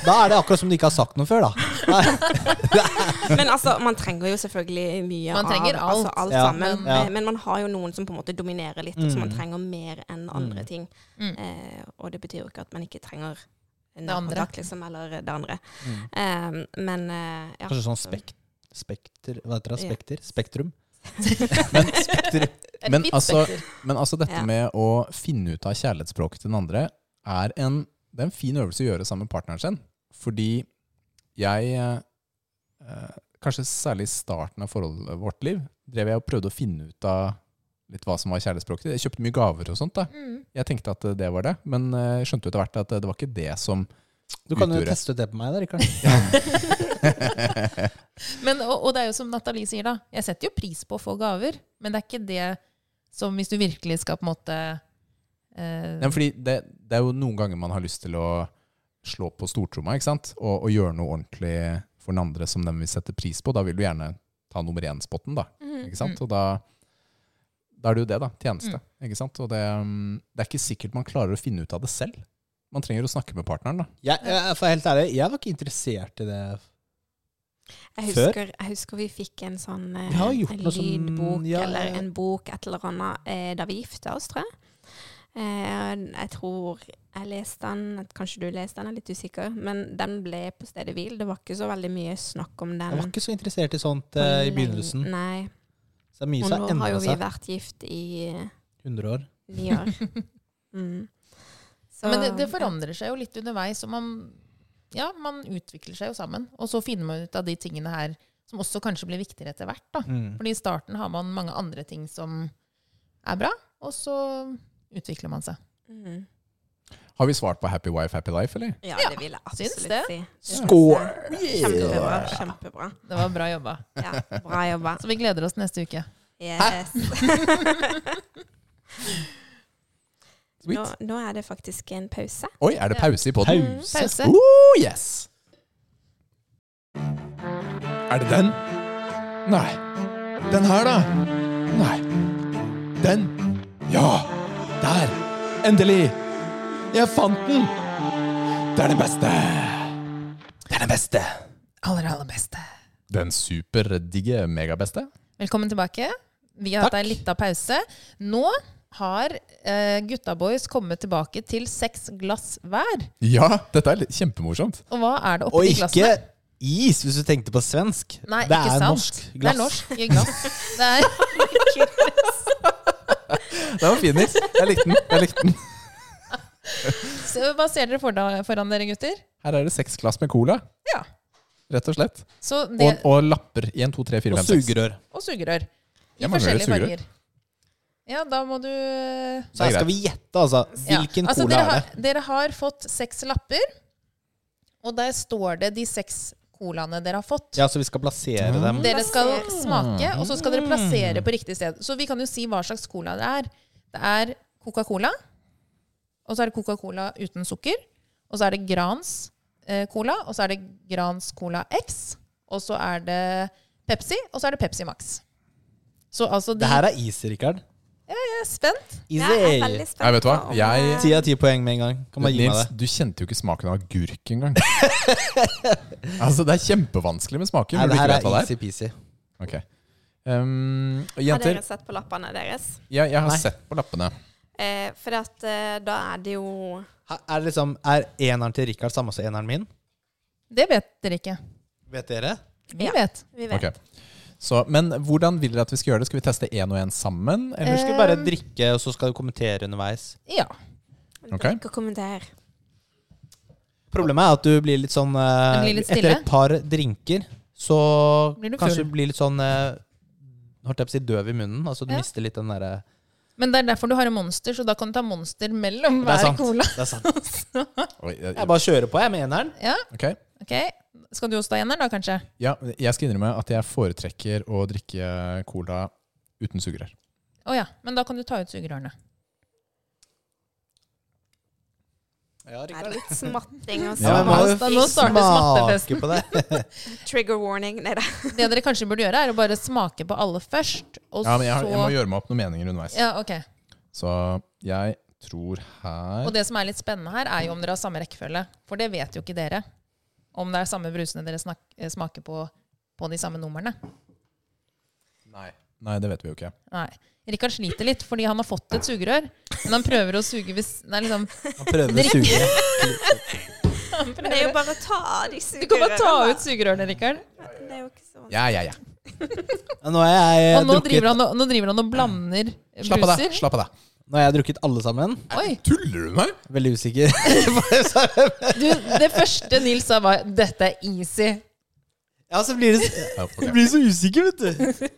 Speaker 4: da er det akkurat som du ikke har sagt noe før, da.
Speaker 1: Men altså, man trenger jo selvfølgelig mye
Speaker 2: Man trenger
Speaker 1: av
Speaker 2: alt.
Speaker 1: Altså, alt
Speaker 4: Ja,
Speaker 1: sammen.
Speaker 2: men-
Speaker 1: Eh, Men, man har jo noen som på en måte dominerer litt, og som man
Speaker 4: Mm.
Speaker 1: trenger mer enn andre
Speaker 4: Mm.
Speaker 1: ting.
Speaker 2: Mm.
Speaker 1: Eh, og det betyr jo ikke at man ikke trenger
Speaker 2: andre.
Speaker 1: nærkontakt, liksom, eller det andre.
Speaker 3: Mm.
Speaker 1: Eh, men eh, ja.
Speaker 4: Kanskje sånn spek spekter Hva heter det?
Speaker 1: Ja.
Speaker 4: Spekter? Spektrum?
Speaker 3: men,
Speaker 2: Et
Speaker 3: Men
Speaker 2: vidt
Speaker 3: altså-
Speaker 2: spekter.
Speaker 3: men altså dette
Speaker 1: Ja.
Speaker 3: med å finne ut av kjærlighetsspråket til den andre, er en, det er en fin øvelse å gjøre sammen med partneren sin. Fordi jeg, eh, kanskje særlig i starten av forholdet vårt liv, drev jeg og prøvde å finne ut av litt hva som var kjærlighetsspråket. Jeg kjøpte mye gaver og sånt da.
Speaker 2: Mm.
Speaker 3: Jeg tenkte at det var det, men eh, jeg skjønte jo etter hvert at det var ikke det som
Speaker 4: Du kan jo
Speaker 3: utgjorde.
Speaker 4: teste ut det på meg, da, Rikard.
Speaker 2: Men, og, og det er jo som Nathalie sier, da. Jeg setter jo pris på å få gaver, men det er ikke det som hvis du virkelig skal på en måte eh,
Speaker 3: Nei, men fordi det, det er jo noen ganger man har lyst til å slå på stortromma ikke sant? Og, og gjøre noe ordentlig for den andre som den vil sette pris på. Da vil du gjerne ta nummer én-spotten, da.
Speaker 4: Mm.
Speaker 3: Ikke sant? Og da, da er det jo det, da. Tjeneste. Ikke sant? Og det, mm, det er ikke sikkert man klarer å finne ut av det selv. Man trenger å snakke med partneren, da.
Speaker 4: Jeg, jeg, for helt ærlig, jeg var ikke interessert i det.
Speaker 1: Jeg
Speaker 4: Før?
Speaker 1: husker, jeg husker vi fikk en sånn eh,
Speaker 4: Vi har gjort
Speaker 1: en
Speaker 4: noe sånn-
Speaker 1: lydbok
Speaker 4: ja, ja,
Speaker 1: eller
Speaker 4: ja.
Speaker 1: en bok, et eller annet, eh, da vi gifta oss, tror jeg. Eh, jeg tror jeg leste den, kanskje du leste den, jeg er litt usikker, men den ble på stedet hvil. Det var ikke så veldig mye snakk om den.
Speaker 4: Jeg var ikke så interessert i sånt
Speaker 1: på
Speaker 4: eh, i
Speaker 1: lenge.
Speaker 2: mm.
Speaker 4: begynnelsen.
Speaker 1: Nei.
Speaker 4: Så det er mye
Speaker 1: Og
Speaker 4: som
Speaker 1: nå
Speaker 4: har
Speaker 1: har
Speaker 4: endra
Speaker 1: jo vi
Speaker 4: seg.
Speaker 1: vært gift i eh,
Speaker 4: 100 år.
Speaker 1: ni år. Mm. Så-
Speaker 2: Men det, det forandrer seg jo litt underveis, og man, ja, man utvikler seg jo sammen. Og så finner man ut av de tingene her som også kanskje blir viktigere etter hvert.
Speaker 4: Mm.
Speaker 2: Da. Fordi i starten har man mange andre ting som er bra, og så utvikler man seg.
Speaker 1: Mm.
Speaker 3: Har vi svart på Happy Wife, Happy Life, eller?
Speaker 1: Ja,
Speaker 2: Ja,
Speaker 1: det vil jeg
Speaker 2: syns
Speaker 1: absolutt
Speaker 2: det.
Speaker 1: si.
Speaker 3: Skål!
Speaker 1: Kjempebra. kjempebra.
Speaker 2: Det var bra jobba.
Speaker 1: Ja, bra jobba.
Speaker 2: Så vi gleder oss neste uke.
Speaker 1: Yes.
Speaker 3: Sweet.
Speaker 1: nå, nå er det faktisk en pause.
Speaker 3: Oi, er det pause i podden?
Speaker 4: Pause.
Speaker 2: Pause.
Speaker 3: Oh, yes! Er det den? Nei. Den her, da? Nei. Den? Ja! Der! Endelig! Jeg fant den! Det er den beste! Det er den beste!
Speaker 2: Aller, aller beste.
Speaker 3: Den superdigge megabeste?
Speaker 2: Velkommen tilbake. Vi har hatt ei lita pause. Nå har eh, Gutta Boys kommet tilbake til seks glass hver.
Speaker 3: Ja, dette er litt kjempemorsomt.
Speaker 2: Og hva er det
Speaker 4: Og
Speaker 2: oppi
Speaker 4: ikke
Speaker 2: glassene?
Speaker 4: is, hvis du tenkte på svensk.
Speaker 2: Nei,
Speaker 4: det
Speaker 2: ikke
Speaker 4: er
Speaker 2: sant.
Speaker 4: norsk
Speaker 2: Det
Speaker 4: glass.
Speaker 2: er norsk glass. Det er
Speaker 3: Den var fin, Nils. Jeg likte den. Jeg likte den.
Speaker 2: Så Hva ser dere for da- foran dere, gutter?
Speaker 3: Her er det seks glass med cola,
Speaker 2: Ja.
Speaker 3: rett og slett.
Speaker 2: Så det,
Speaker 3: Og, og lapper. 1, 2, 3, 4,
Speaker 4: Og
Speaker 3: 5, 6.
Speaker 4: sugerør.
Speaker 2: og sugerør. I
Speaker 3: Jeg mangler
Speaker 2: forskjellige
Speaker 3: sugerør.
Speaker 2: farger. Ja, da må du eh,
Speaker 3: Det
Speaker 4: Så her
Speaker 3: er
Speaker 4: skal vi gjette, altså.
Speaker 2: ja.
Speaker 4: Hvilken
Speaker 2: Altså,
Speaker 4: cola
Speaker 2: dere
Speaker 4: er
Speaker 2: har,
Speaker 4: det?
Speaker 2: Dere har fått seks lapper, og der står det de seks colaene dere har fått.
Speaker 4: Ja, så vi skal plassere dem.
Speaker 2: Dere skal
Speaker 1: Plassere.
Speaker 2: smake, og så skal dere plassere
Speaker 4: Mm.
Speaker 2: på riktig sted. Så vi kan jo si hva slags cola det er. Det er Coca-Cola, og så er det Coca-Cola uten sukker. Og så er det Grans eh, Cola, og så er det Grans Cola X. Og så er det Pepsi, og så er det Pepsi Max. Så altså de
Speaker 4: Det her er is, Rikard.
Speaker 2: Jeg er spent.
Speaker 1: Ja, Jeg er
Speaker 4: Easy.
Speaker 1: veldig spent.
Speaker 3: Nei, vet du hva?
Speaker 1: på om,
Speaker 3: Jeg-
Speaker 1: eh,
Speaker 4: Ti av ti poeng med en gang. Kan bare gi meg
Speaker 3: Nils,
Speaker 4: det.
Speaker 3: du kjente jo ikke smaken av agurk engang. altså, det er kjempevanskelig med smaken.
Speaker 4: Nei,
Speaker 3: Når du
Speaker 4: det
Speaker 3: ikke
Speaker 4: her
Speaker 3: vet
Speaker 4: er
Speaker 3: hva det er.
Speaker 4: easy-peasy.
Speaker 3: Ok. Um,
Speaker 1: Har
Speaker 3: jenter,
Speaker 1: dere sett på lappene deres?
Speaker 3: jeg, jeg har
Speaker 4: Nei.
Speaker 3: sett på lappene.
Speaker 1: Eh, for at, eh, da er det jo
Speaker 4: Her Er det liksom, er eneren til Rikard samme som eneren min?
Speaker 2: Det vet dere ikke.
Speaker 4: Vet dere?
Speaker 2: Vi
Speaker 1: Ja.
Speaker 2: vet.
Speaker 1: Vi vet.
Speaker 3: Ok. Så, men hvordan vil dere at vi skal gjøre det? Skal vi teste én og én sammen?
Speaker 2: Ehm.
Speaker 3: Eller?
Speaker 4: Eller skal vi bare drikke, og så skal du kommentere underveis?
Speaker 2: Ja.
Speaker 3: Ok.
Speaker 1: Drikk og kommenter.
Speaker 4: Problemet er at du blir litt sånn eh,
Speaker 2: Du blir litt
Speaker 4: Etter
Speaker 2: stille.
Speaker 4: et par drinker, så
Speaker 2: Blir du
Speaker 4: kanskje
Speaker 2: full.
Speaker 4: du blir litt sånn eh, Holdt jeg på å si døv i munnen. Altså du
Speaker 2: Ja.
Speaker 4: mister litt den derre
Speaker 2: Men det er derfor du har en monster, så da kan du ta monster mellom
Speaker 4: Det er
Speaker 2: hver
Speaker 4: sant.
Speaker 2: cola.
Speaker 4: Det er sant.
Speaker 3: Oi, jeg-
Speaker 4: Jeg bare kjører på, jeg, med eneren.
Speaker 2: Ja,
Speaker 3: ok.
Speaker 2: ok. Skal du også ta eneren, da, kanskje?
Speaker 3: Ja, jeg skal innrømme at jeg foretrekker å drikke cola uten sugerør.
Speaker 2: Å ja. Men da kan du ta ut sugerørene.
Speaker 4: Ja,
Speaker 1: Er det litt smatting og
Speaker 4: Ja,
Speaker 3: Ja,
Speaker 1: sånn?
Speaker 4: men må jo
Speaker 2: Da nå starter smattefesten.
Speaker 4: smake på det.
Speaker 1: Trigger warning. Nei da.
Speaker 2: Det dere kanskje burde gjøre, er å bare smake på alle først, og
Speaker 3: Ja, men jeg, har-
Speaker 2: så
Speaker 3: jeg må gjøre meg opp noen meninger underveis.
Speaker 2: Ja, ok.
Speaker 3: Så jeg tror her
Speaker 2: Og det som er litt spennende her, er jo om dere har samme rekkefølge. For det vet jo ikke dere. Om det er samme brusene dere snak eh, smaker på på de samme numrene.
Speaker 3: Nei. Nei, det vet vi jo ikke.
Speaker 2: Nei. Rikard sliter litt fordi han har fått et sugerør, men han prøver å suge hvis Nei, liksom
Speaker 4: Han prøver å suge.
Speaker 2: han
Speaker 1: Men det er jo
Speaker 2: prøver.
Speaker 1: bare å ta av de
Speaker 2: Du kan bare ta
Speaker 1: sugerørene.
Speaker 2: ut sugerørene, Rikard.
Speaker 1: Det er jo ikke så vanskelig.
Speaker 3: Ja, ja, ja.
Speaker 4: Nå har jeg eh,
Speaker 2: Og nå
Speaker 4: drukket,
Speaker 2: driver han, og- nå driver han og blander
Speaker 3: Slapp av deg.
Speaker 2: bruser.
Speaker 3: Slapp av deg.
Speaker 4: nå har jeg drukket alle sammen.
Speaker 2: Oi.
Speaker 3: Tuller du med meg?
Speaker 4: Veldig usikker.
Speaker 2: Du, det første Nils sa, var 'dette er easy'.
Speaker 4: Ja, så blir det,
Speaker 3: Ja, ok.
Speaker 4: jeg blir så usikker, vet du.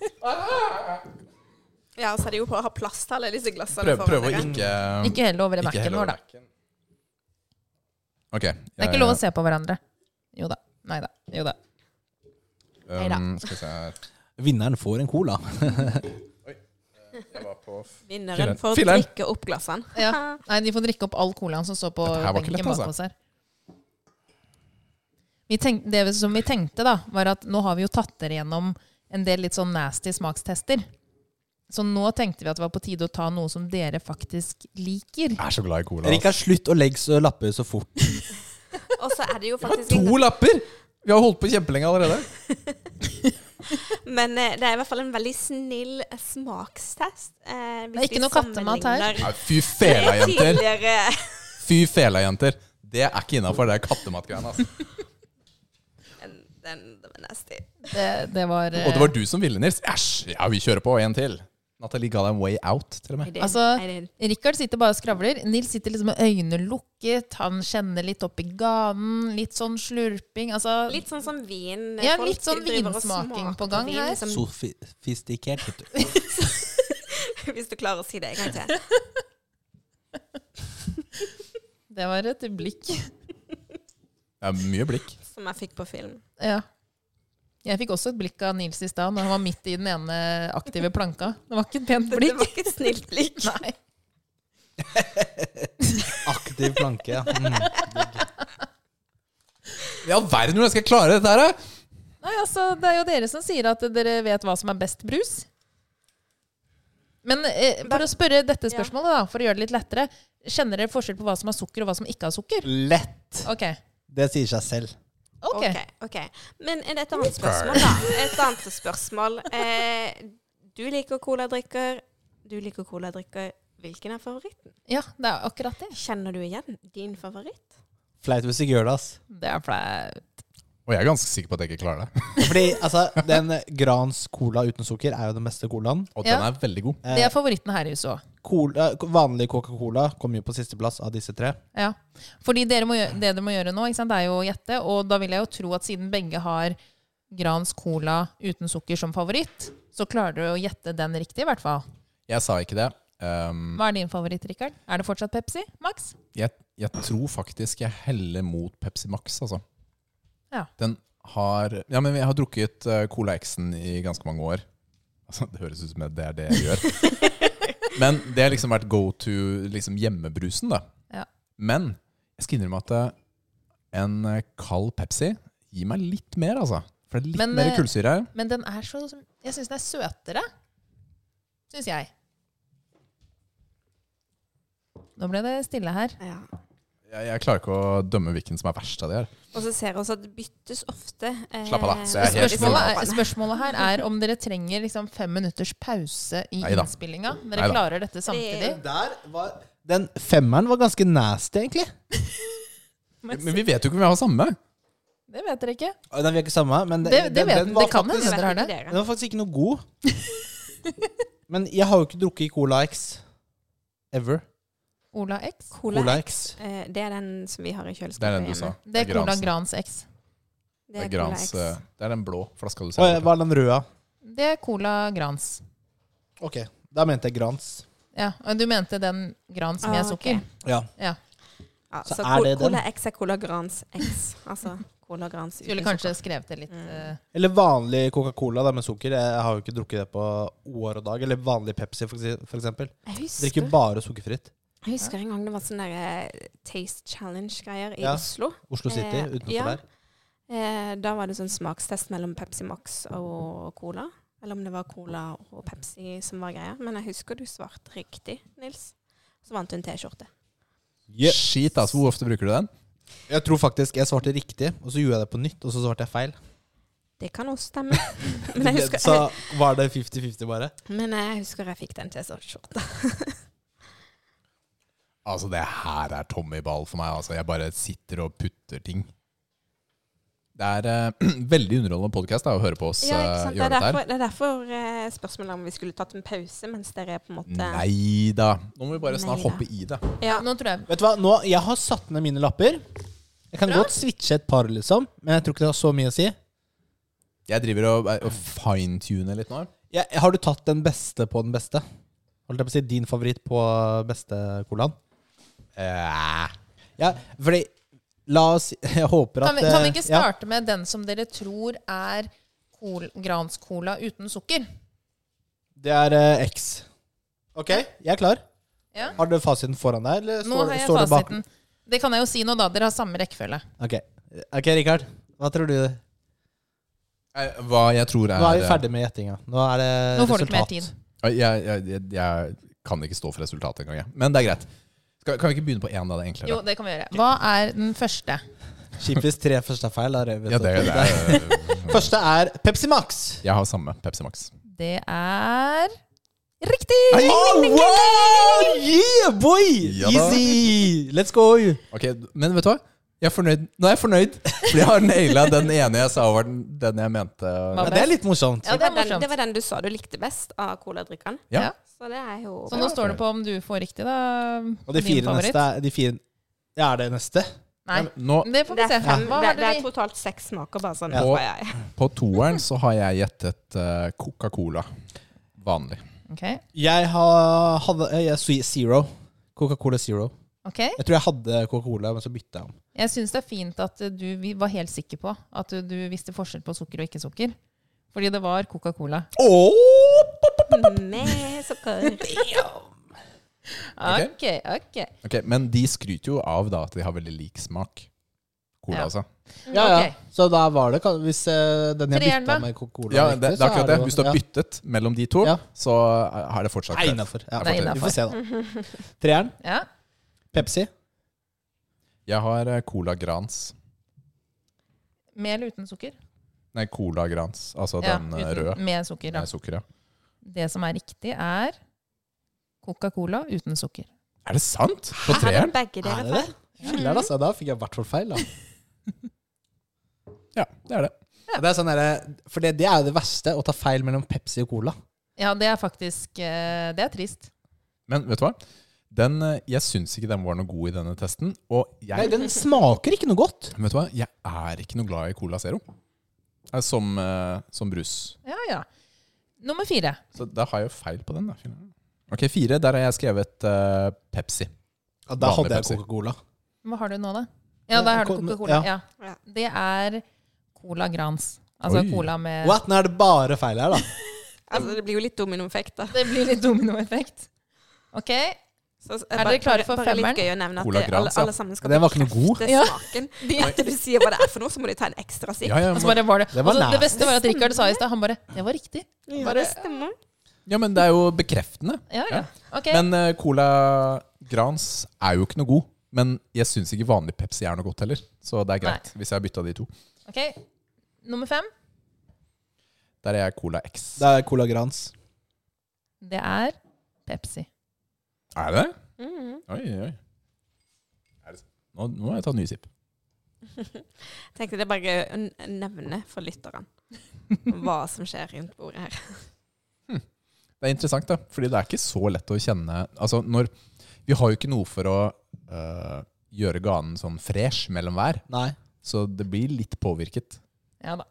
Speaker 1: Ja, så er det jo på å ha plass til alle disse glassene
Speaker 3: Prøv,
Speaker 1: foran
Speaker 3: prøv å
Speaker 1: dere.
Speaker 3: ikke
Speaker 2: Ikke heller over i Mac-en
Speaker 3: heller
Speaker 2: vår, da.
Speaker 3: over Mac-en. Ok.
Speaker 2: Det er ikke lov å se på hverandre. Jo da. Nei da. Jo da.
Speaker 1: Neida.
Speaker 3: Um, skal vi se her
Speaker 4: Vinneren får en cola.
Speaker 3: Jeg var på f-
Speaker 1: Vinneren får
Speaker 3: Filler'n.
Speaker 1: drikke opp glassene.
Speaker 2: Ja. Nei, de får drikke opp all colaen som står på
Speaker 3: Dette her var ikke
Speaker 2: benken
Speaker 3: lett, altså.
Speaker 2: bak oss her. Vi tenk, det som vi tenkte, da, var at nå har vi jo tatt dere gjennom en del litt sånn nasty smakstester. Så nå tenkte vi at det var på tide å ta noe som dere faktisk liker.
Speaker 3: Jeg er så glad i cola. ass.
Speaker 4: Rikard, slutt å legge så lapper så fort.
Speaker 3: altså.
Speaker 1: Og så er det jo faktisk en
Speaker 4: To lapper!
Speaker 3: Vi har holdt på kjempelenge allerede.
Speaker 1: Men eh, det er i hvert fall en veldig snill eh, smakstest. eh, hvis
Speaker 2: Det er ikke
Speaker 1: vi
Speaker 2: noe kattemat her.
Speaker 1: sammenligner
Speaker 3: Nei, fy fela,
Speaker 1: med
Speaker 3: jenter!
Speaker 1: tidligere-
Speaker 3: Fy fela, jenter! Det er ikke innafor, det er kattematgreiene. Altså.
Speaker 1: Den, den var nasty.
Speaker 2: Det, det var eh,
Speaker 3: Og det var du som ville, Nils. Æsj! Ja, vi kjører på. En til. Natalie ga deg en way out, til og
Speaker 1: I
Speaker 3: med.
Speaker 1: did,
Speaker 2: Altså-
Speaker 1: I did.
Speaker 2: Rikard sitter bare og skravler. Nils sitter liksom med øynene lukket. Han kjenner litt opp i ganen. Litt sånn slurping. Altså,
Speaker 1: Litt sånn som vin.
Speaker 2: Ja,
Speaker 1: folk
Speaker 2: litt sånn
Speaker 1: driver og
Speaker 2: vinsmaking
Speaker 1: smaker
Speaker 2: på gang
Speaker 1: vin,
Speaker 2: her.
Speaker 1: liksom,
Speaker 4: Sofistikert, vet du.
Speaker 1: hvis du klarer å si det en gang til.
Speaker 2: det var et blikk.
Speaker 3: Det er mye blikk.
Speaker 1: Som jeg fikk på film.
Speaker 2: Ja. Jeg fikk også et blikk av Nils i stad, når han var midt i den ene aktive planka. Det var ikke et pent
Speaker 1: Det, det
Speaker 2: blikk.
Speaker 1: var ikke et snilt blikk.
Speaker 2: Nei.
Speaker 4: Aktiv planke. ja. Mm.
Speaker 3: I all verden, hvordan skal jeg klare dette her? da?
Speaker 2: Nei, altså, det er jo dere som sier at dere vet hva som er best brus. Men eh, for å spørre dette
Speaker 1: Ja.
Speaker 2: spørsmålet, da, for å gjøre det litt lettere Kjenner dere forskjell på hva som har sukker, og hva som ikke har sukker?
Speaker 4: Lett.
Speaker 2: Ok.
Speaker 4: Det sier seg selv.
Speaker 2: Ok.
Speaker 1: ok, ok. Men er det et annet spørsmål, da? Et annet spørsmål. Eh, du liker coladrikker, du liker coladrikker. Hvilken er favoritten?
Speaker 2: Ja, det er akkurat det.
Speaker 1: Kjenner du igjen din favoritt?
Speaker 4: Flaut hvis du ikke gjør det, ass.
Speaker 2: Det er flaut.
Speaker 3: Og jeg er ganske sikker på at jeg ikke klarer det.
Speaker 4: Fordi altså, den Grans cola uten sukker er jo den beste colaen.
Speaker 3: Og
Speaker 2: Ja.
Speaker 3: den er veldig god.
Speaker 2: Det er favoritten her i huset òg.
Speaker 4: Cola, eh, vanlig Coca-Cola kommer jo på sisteplass av disse tre.
Speaker 2: Ja. Fordi dere må, gjø- det dere må gjøre nå, ikke sant, det er jo å gjette. Og da vil jeg jo tro at siden begge har Grans Cola uten sukker som favoritt, så klarer dere å gjette den riktig, i hvert fall.
Speaker 3: Jeg sa ikke det. Um,
Speaker 2: Hva er din favoritt, Rikard? Er det fortsatt Pepsi? Max?
Speaker 3: jeg, jeg tror faktisk jeg heller mot Pepsi Max, altså.
Speaker 2: Ja.
Speaker 3: Den har Ja, men jeg har drukket eh, Cola X-en i ganske mange år. Altså, det høres ut som det er det jeg gjør. men det har liksom vært go to liksom hjemmebrusen, da.
Speaker 2: Ja.
Speaker 3: Men jeg skal innrømme at eh, en eh, kald Pepsi gir meg litt mer, altså. For det er litt
Speaker 2: Men,
Speaker 3: mer
Speaker 2: eh,
Speaker 3: kullsyre her.
Speaker 2: Men den er så Jeg syns den er søtere. Syns jeg. Nå ble det stille her.
Speaker 1: Ja.
Speaker 3: Jeg, jeg klarer ikke å dømme hvilken som er verst av de her.
Speaker 1: Og så ser jeg også at det byttes ofte. eh,
Speaker 3: Slapp av da, så jeg er helt
Speaker 2: Spørsmålet, er, spørsmålet her er om dere trenger liksom fem minutters pause i
Speaker 3: Neida.
Speaker 2: innspillinga. Dere
Speaker 3: Neida.
Speaker 2: klarer dette samtidig.
Speaker 4: Der var Den femmeren var ganske nasty, egentlig.
Speaker 3: Men vi vet jo ikke om vi har samme.
Speaker 2: Det vet dere ikke.
Speaker 4: Og Den vil ikke samme, men
Speaker 2: Det, det, vet,
Speaker 4: den,
Speaker 2: det
Speaker 4: var
Speaker 2: kan
Speaker 4: faktisk,
Speaker 2: hende dere har det.
Speaker 4: den var faktisk ikke noe god. men jeg har jo ikke drukket Cola X. Ever.
Speaker 2: Ola X.
Speaker 1: Cola,
Speaker 4: Cola
Speaker 1: X.
Speaker 4: X.
Speaker 1: Eh, det er den som vi har i kjøleskapet.
Speaker 3: Det er den du sa.
Speaker 1: hjemme.
Speaker 2: Det er Cola
Speaker 3: Gransen.
Speaker 2: Grans X.
Speaker 1: Det er Cola
Speaker 3: Grans,
Speaker 1: X.
Speaker 3: eh, det er den blå flaska du
Speaker 4: Å,
Speaker 3: ser.
Speaker 4: hva er den røde?
Speaker 2: Det er Cola Grans.
Speaker 4: Ok, da mente jeg Grans.
Speaker 2: Ja, og Du mente den Grans med
Speaker 1: Ah,
Speaker 2: sukker?
Speaker 1: ok.
Speaker 4: Ja.
Speaker 2: Ja.
Speaker 1: Ja,
Speaker 4: Så
Speaker 1: så
Speaker 4: er det
Speaker 1: Col- Cola
Speaker 4: den?
Speaker 1: X er Cola Grans X. Altså Cola Grans uten
Speaker 2: Skulle kanskje skrevet det litt
Speaker 1: Mm.
Speaker 2: eh,
Speaker 4: Eller vanlig Coca-Cola da, med sukker. Jeg har jo ikke drukket det på år og dag. Eller vanlig Pepsi, for ekse- for eksempel.
Speaker 1: Jeg husker,
Speaker 4: Drikker bare sukkerfritt.
Speaker 1: jeg husker en gang det var sånne der, eh, Taste Challenge-greier i
Speaker 4: Ja.
Speaker 1: Oslo.
Speaker 4: Oslo City,
Speaker 1: Eh,
Speaker 4: utenfor
Speaker 1: ja.
Speaker 4: der.
Speaker 1: Eh, da var det sånn smakstest mellom Pepsi Max og Cola. Eller om det var Cola og Pepsi som var greia. Men jeg husker du svarte riktig, Nils. Så vant du en T-skjorte.
Speaker 3: Shit, altså. Hvor ofte bruker du den?
Speaker 4: Jeg tror faktisk jeg svarte riktig, og så gjorde jeg det på nytt, og så svarte jeg feil.
Speaker 1: Det kan også stemme. Men jeg
Speaker 4: Så
Speaker 1: husker,
Speaker 4: var det 50-50 bare.
Speaker 1: men jeg, husker jeg fikk den T-skjorta.
Speaker 3: Altså, det her er tommyball for meg. Altså. Jeg bare sitter og putter ting. Det er eh, veldig underholdende podkast å høre på oss
Speaker 1: Ja, ikke
Speaker 3: eh,
Speaker 1: sant? Det er
Speaker 3: gjøre dette her.
Speaker 1: derfor, det er derfor eh, spørsmålet om vi skulle tatt en pause mens dere er på en måte
Speaker 3: Nei da. Nå må vi bare snart
Speaker 1: Neida.
Speaker 3: hoppe i det.
Speaker 1: Ja.
Speaker 2: Nå tror jeg
Speaker 4: Vet du hva, nå, Jeg har satt ned mine lapper. Jeg kan godt switche et par, liksom, men jeg tror ikke det har så mye å si.
Speaker 3: Jeg driver og, eh, og fine-tuner litt nå.
Speaker 4: Jeg, har du tatt den beste på den beste? Holdt jeg på å si din favoritt på beste colaen?
Speaker 3: Eh,
Speaker 4: Ja, fordi La oss Jeg håper at
Speaker 2: Kan vi, kan vi
Speaker 4: eh,
Speaker 2: ikke
Speaker 4: ja.
Speaker 2: starte med den som dere tror er kol, Grans Cola uten sukker?
Speaker 4: Det er eh, X. Ok, jeg er klar.
Speaker 2: Ja.
Speaker 4: Har du fasiten foran deg? Eller står,
Speaker 2: Nå har jeg
Speaker 4: står det bak-
Speaker 2: fasiten. Det kan jeg jo si nå, da. Dere har samme rekkefølge.
Speaker 4: Ok, Ok, Rikard. Hva tror du? Nå
Speaker 3: eh, hva jeg tror er
Speaker 4: er vi ferdig med gjettinga. Nå er det resultat.
Speaker 2: Nå får du ikke mer tid.
Speaker 3: Eh, Jeg, jeg, jeg, jeg kan ikke stå for resultatet engang, jeg. Men det er greit. Skal, kan vi ikke begynne på én, da? Det er enklere.
Speaker 2: Jo, det kan vi gjøre. Hva er den første?
Speaker 4: Kjipt hvis tre først er feil. Da er det-
Speaker 3: Ja, det, det er,
Speaker 4: Første er Pepsi Max.
Speaker 3: jeg har samme Pepsi Max.
Speaker 2: Det er riktig!
Speaker 4: Oh, wow! Yeah, boy!
Speaker 3: Ja da.
Speaker 4: Easy! Let's go!
Speaker 3: Ok, Men vet du hva? Jeg er fornøyd. Nå er jeg fornøyd, for jeg har naila den ene jeg sa var den, den jeg mente.
Speaker 4: Ja, det er litt morsomt.
Speaker 2: Ja,
Speaker 1: Det var,
Speaker 2: det er
Speaker 1: den, det
Speaker 2: morsomt.
Speaker 1: var den du sa du likte best av coladrikkene.
Speaker 3: Ja.
Speaker 1: Så det er jo
Speaker 2: Så nå står det på om du får riktig, da.
Speaker 4: Og de
Speaker 2: din
Speaker 4: fire
Speaker 2: favoritt.
Speaker 4: neste er de fire Ja, er det neste?
Speaker 2: Nei,
Speaker 3: Nå,
Speaker 2: det får
Speaker 1: det
Speaker 2: vi se.
Speaker 1: er, fem,
Speaker 2: Hva
Speaker 1: det,
Speaker 2: hadde
Speaker 1: det er
Speaker 2: vi?
Speaker 1: totalt seks smaker, bare sånn.
Speaker 3: Ja.
Speaker 1: tror jeg.
Speaker 3: på toeren så har jeg gjettet eh, Coca-Cola. Vanlig.
Speaker 2: Ok,
Speaker 4: Jeg har hadde, jeg, jeg, Zero. Coca-Cola Zero.
Speaker 2: ok.
Speaker 4: Jeg tror jeg hadde Coca-Cola, men så bytta jeg om.
Speaker 2: Jeg syns det er fint at eh, du vi var helt sikker på at du, du visste forskjell på sukker og ikke sukker. Fordi det var Coca-Cola.
Speaker 1: Med sukker.
Speaker 2: Ok,
Speaker 3: Ok.
Speaker 2: ok.
Speaker 3: Ok, Men de skryter jo av da at de har veldig lik smak. Cola,
Speaker 2: Ja.
Speaker 3: altså.
Speaker 4: Ja, ja.
Speaker 2: Mm. Ok.
Speaker 4: Så da var det kan- Hvis eh, den jeg
Speaker 2: Treeren, da?
Speaker 4: bytta med Coca-Cola
Speaker 3: Ja,
Speaker 4: riktig,
Speaker 3: det, det er
Speaker 4: så
Speaker 3: akkurat det.
Speaker 4: jo-
Speaker 3: Hvis du har
Speaker 4: ja.
Speaker 3: byttet mellom de to,
Speaker 4: Ja.
Speaker 3: så eh, har det fortsatt
Speaker 4: Nei,
Speaker 3: rett.
Speaker 4: innafor. Ja,
Speaker 3: Det er
Speaker 4: vi får se, da. Treeren.
Speaker 2: Ja.
Speaker 4: Pepsi.
Speaker 3: Jeg har eh, Cola Grans.
Speaker 2: Med eller uten sukker?
Speaker 3: Nei, Cola Grans. Altså
Speaker 2: Ja,
Speaker 3: den eh,
Speaker 2: uten,
Speaker 3: røde.
Speaker 2: Med sukker, da.
Speaker 3: Med sukker, ja.
Speaker 2: Det som er riktig, er Coca-Cola uten sukker.
Speaker 3: Er det sant? På
Speaker 1: Hadde
Speaker 3: treeren?
Speaker 1: begge
Speaker 4: Er
Speaker 1: dere
Speaker 4: det det?
Speaker 1: feil?
Speaker 4: Filler, altså. Da fikk jeg i hvert fall feil. da
Speaker 3: Ja, det er det.
Speaker 4: Det er sånn derre- for det, det er jo det verste, å ta feil mellom Pepsi og Cola.
Speaker 2: Ja, det er faktisk eh, Det er trist.
Speaker 3: Men vet du hva? Den, eh, jeg syns ikke den var noe god i denne testen. Og jeg,
Speaker 4: Nei, den smaker ikke noe godt.
Speaker 3: vet du hva? jeg er ikke noe glad i Cola Zero. Eh, Som, eh, som brus.
Speaker 2: Ja, ja. Nummer fire.
Speaker 3: Så da har jeg jo feil på den. da. Ok, Fire. Der har jeg skrevet eh, Pepsi.
Speaker 4: Ja, da
Speaker 3: Vanlig
Speaker 4: hadde jeg
Speaker 3: Pepsi.
Speaker 4: Coca-Cola.
Speaker 2: Hva har du nå, da? Ja, da har du
Speaker 4: Ko-
Speaker 2: Coca-Cola. Ja.
Speaker 1: Ja.
Speaker 2: Det er Cola Grans. Altså
Speaker 3: Oi.
Speaker 2: cola med
Speaker 4: What? Nå er det bare feil her, da.
Speaker 1: Altså, det blir jo litt dominoeffekt, da.
Speaker 2: Det blir litt dominoeffekt. Ok.
Speaker 1: Så, er
Speaker 2: dere klare for femmeren?
Speaker 1: Litt gøy å nevne at
Speaker 3: Cola
Speaker 1: det-
Speaker 3: Grans,
Speaker 1: alle,
Speaker 3: ja.
Speaker 1: alle sammen skal
Speaker 4: altså. Den var ikke noe god.
Speaker 1: bekrefte
Speaker 2: Ja.
Speaker 1: smaken. At du sier hva det er for noe, så må du ta en ekstra sipp.
Speaker 3: Ja, ja,
Speaker 2: Og så
Speaker 3: men,
Speaker 2: Altså, bare var det
Speaker 4: Det var
Speaker 2: og så
Speaker 4: nært.
Speaker 2: det beste var at Richard sa i stad Han bare Det var riktig.
Speaker 1: Ja, det stemmer.
Speaker 3: ja, men det er jo bekreftende.
Speaker 2: Ja, ja. Ok.
Speaker 3: Men eh, Cola Grans er jo ikke noe god. Men jeg syns ikke vanlig Pepsi er noe godt heller. Så det er greit hvis jeg har bytta de to.
Speaker 2: ok. Nummer fem.
Speaker 3: Der er jeg Cola X.
Speaker 4: Det er Cola Grans.
Speaker 2: Det er Pepsi.
Speaker 3: Er det det?
Speaker 1: Mhm.
Speaker 3: Oi, oi. Er det? Nå, nå må jeg ta en ny sipp.
Speaker 1: Tenkte det er bare gøy å n- nevne for lytterne hva som skjer rundt bordet her.
Speaker 3: Det er interessant, da. Fordi det er ikke så lett å kjenne Altså, når Vi har jo ikke noe for å øh, gjøre ganen sånn fresh mellom hver,
Speaker 4: Nei.
Speaker 3: så det blir litt påvirket.
Speaker 2: Ja da.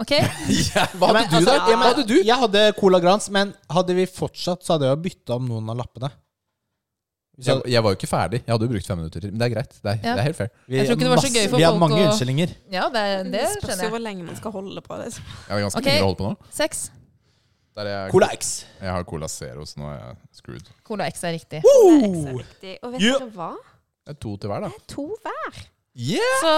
Speaker 2: Ok.
Speaker 3: ja, hva hadde
Speaker 4: Men,
Speaker 3: du,
Speaker 4: altså,
Speaker 3: da?
Speaker 4: ja, men,
Speaker 3: Hva hadde du?
Speaker 4: Jeg hadde Cola Grans, men hadde vi fortsatt, så hadde jeg jo bytta om noen av lappene. Så,
Speaker 3: Jeg, jeg var jo ikke ferdig. Jeg hadde jo brukt fem minutter til. Men det er greit. Det er,
Speaker 2: Ja.
Speaker 3: det er helt fair.
Speaker 4: vi,
Speaker 2: Jeg tror ikke det var så
Speaker 4: masse-
Speaker 2: gøy for
Speaker 4: Vi har
Speaker 2: folk
Speaker 4: mange
Speaker 2: å-
Speaker 4: unnskyldninger.
Speaker 2: Ja, det, det
Speaker 1: Det spørs jo
Speaker 2: skjønner
Speaker 1: hvor
Speaker 2: jeg.
Speaker 1: lenge man skal holde på det.
Speaker 3: Jeg har ganske
Speaker 2: Ok.
Speaker 3: mye å holde på nå.
Speaker 2: Seks.
Speaker 3: Der er jeg,
Speaker 4: Cola X.
Speaker 3: jeg har Cola Zero, så nå er jeg screwed.
Speaker 2: Cola X er riktig.
Speaker 1: Det er ekstra viktig. Og vet
Speaker 4: Ja.
Speaker 1: dere hva?
Speaker 3: Det er to til hver, da.
Speaker 1: Det er to hver.
Speaker 3: Yeah!
Speaker 1: Så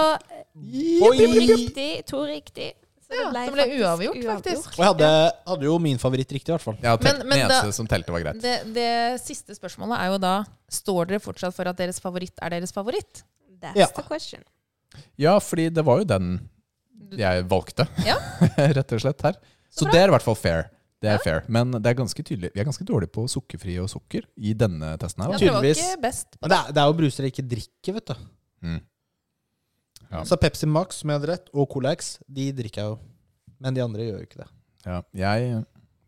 Speaker 4: Oi!
Speaker 1: to riktig, to riktig. Så
Speaker 2: Ja, det ble uavgjort, faktisk.
Speaker 4: Og jeg hadde, hadde jo min favoritt riktig, i hvert fall.
Speaker 3: Jeg har telt,
Speaker 2: Men- men
Speaker 3: den
Speaker 2: da-
Speaker 3: eneste som telte, var greit.
Speaker 2: Det, det siste spørsmålet er jo da Står dere fortsatt for at deres favoritt er deres favoritt?
Speaker 1: That's
Speaker 4: Ja.
Speaker 1: the question.
Speaker 3: Ja, fordi det var jo den jeg valgte,
Speaker 2: Ja.
Speaker 3: rett og slett, her. Så,
Speaker 2: bra.
Speaker 3: det er i hvert fall fair. Det er fair. Men det er ganske tydelig. vi er ganske dårlige på sukkerfri og sukker i denne testen
Speaker 2: Ja,
Speaker 3: her. da.
Speaker 2: dere var
Speaker 4: Tydeligvis.
Speaker 2: ikke best.
Speaker 4: Men det er, det er jo bruser jeg ikke drikker, vet du.
Speaker 3: Mm. Ja.
Speaker 4: Så Pepsi Max, som jeg hadde rett, og Cola X, de drikker jeg jo. Men de andre gjør jo ikke det.
Speaker 3: Ja, jeg,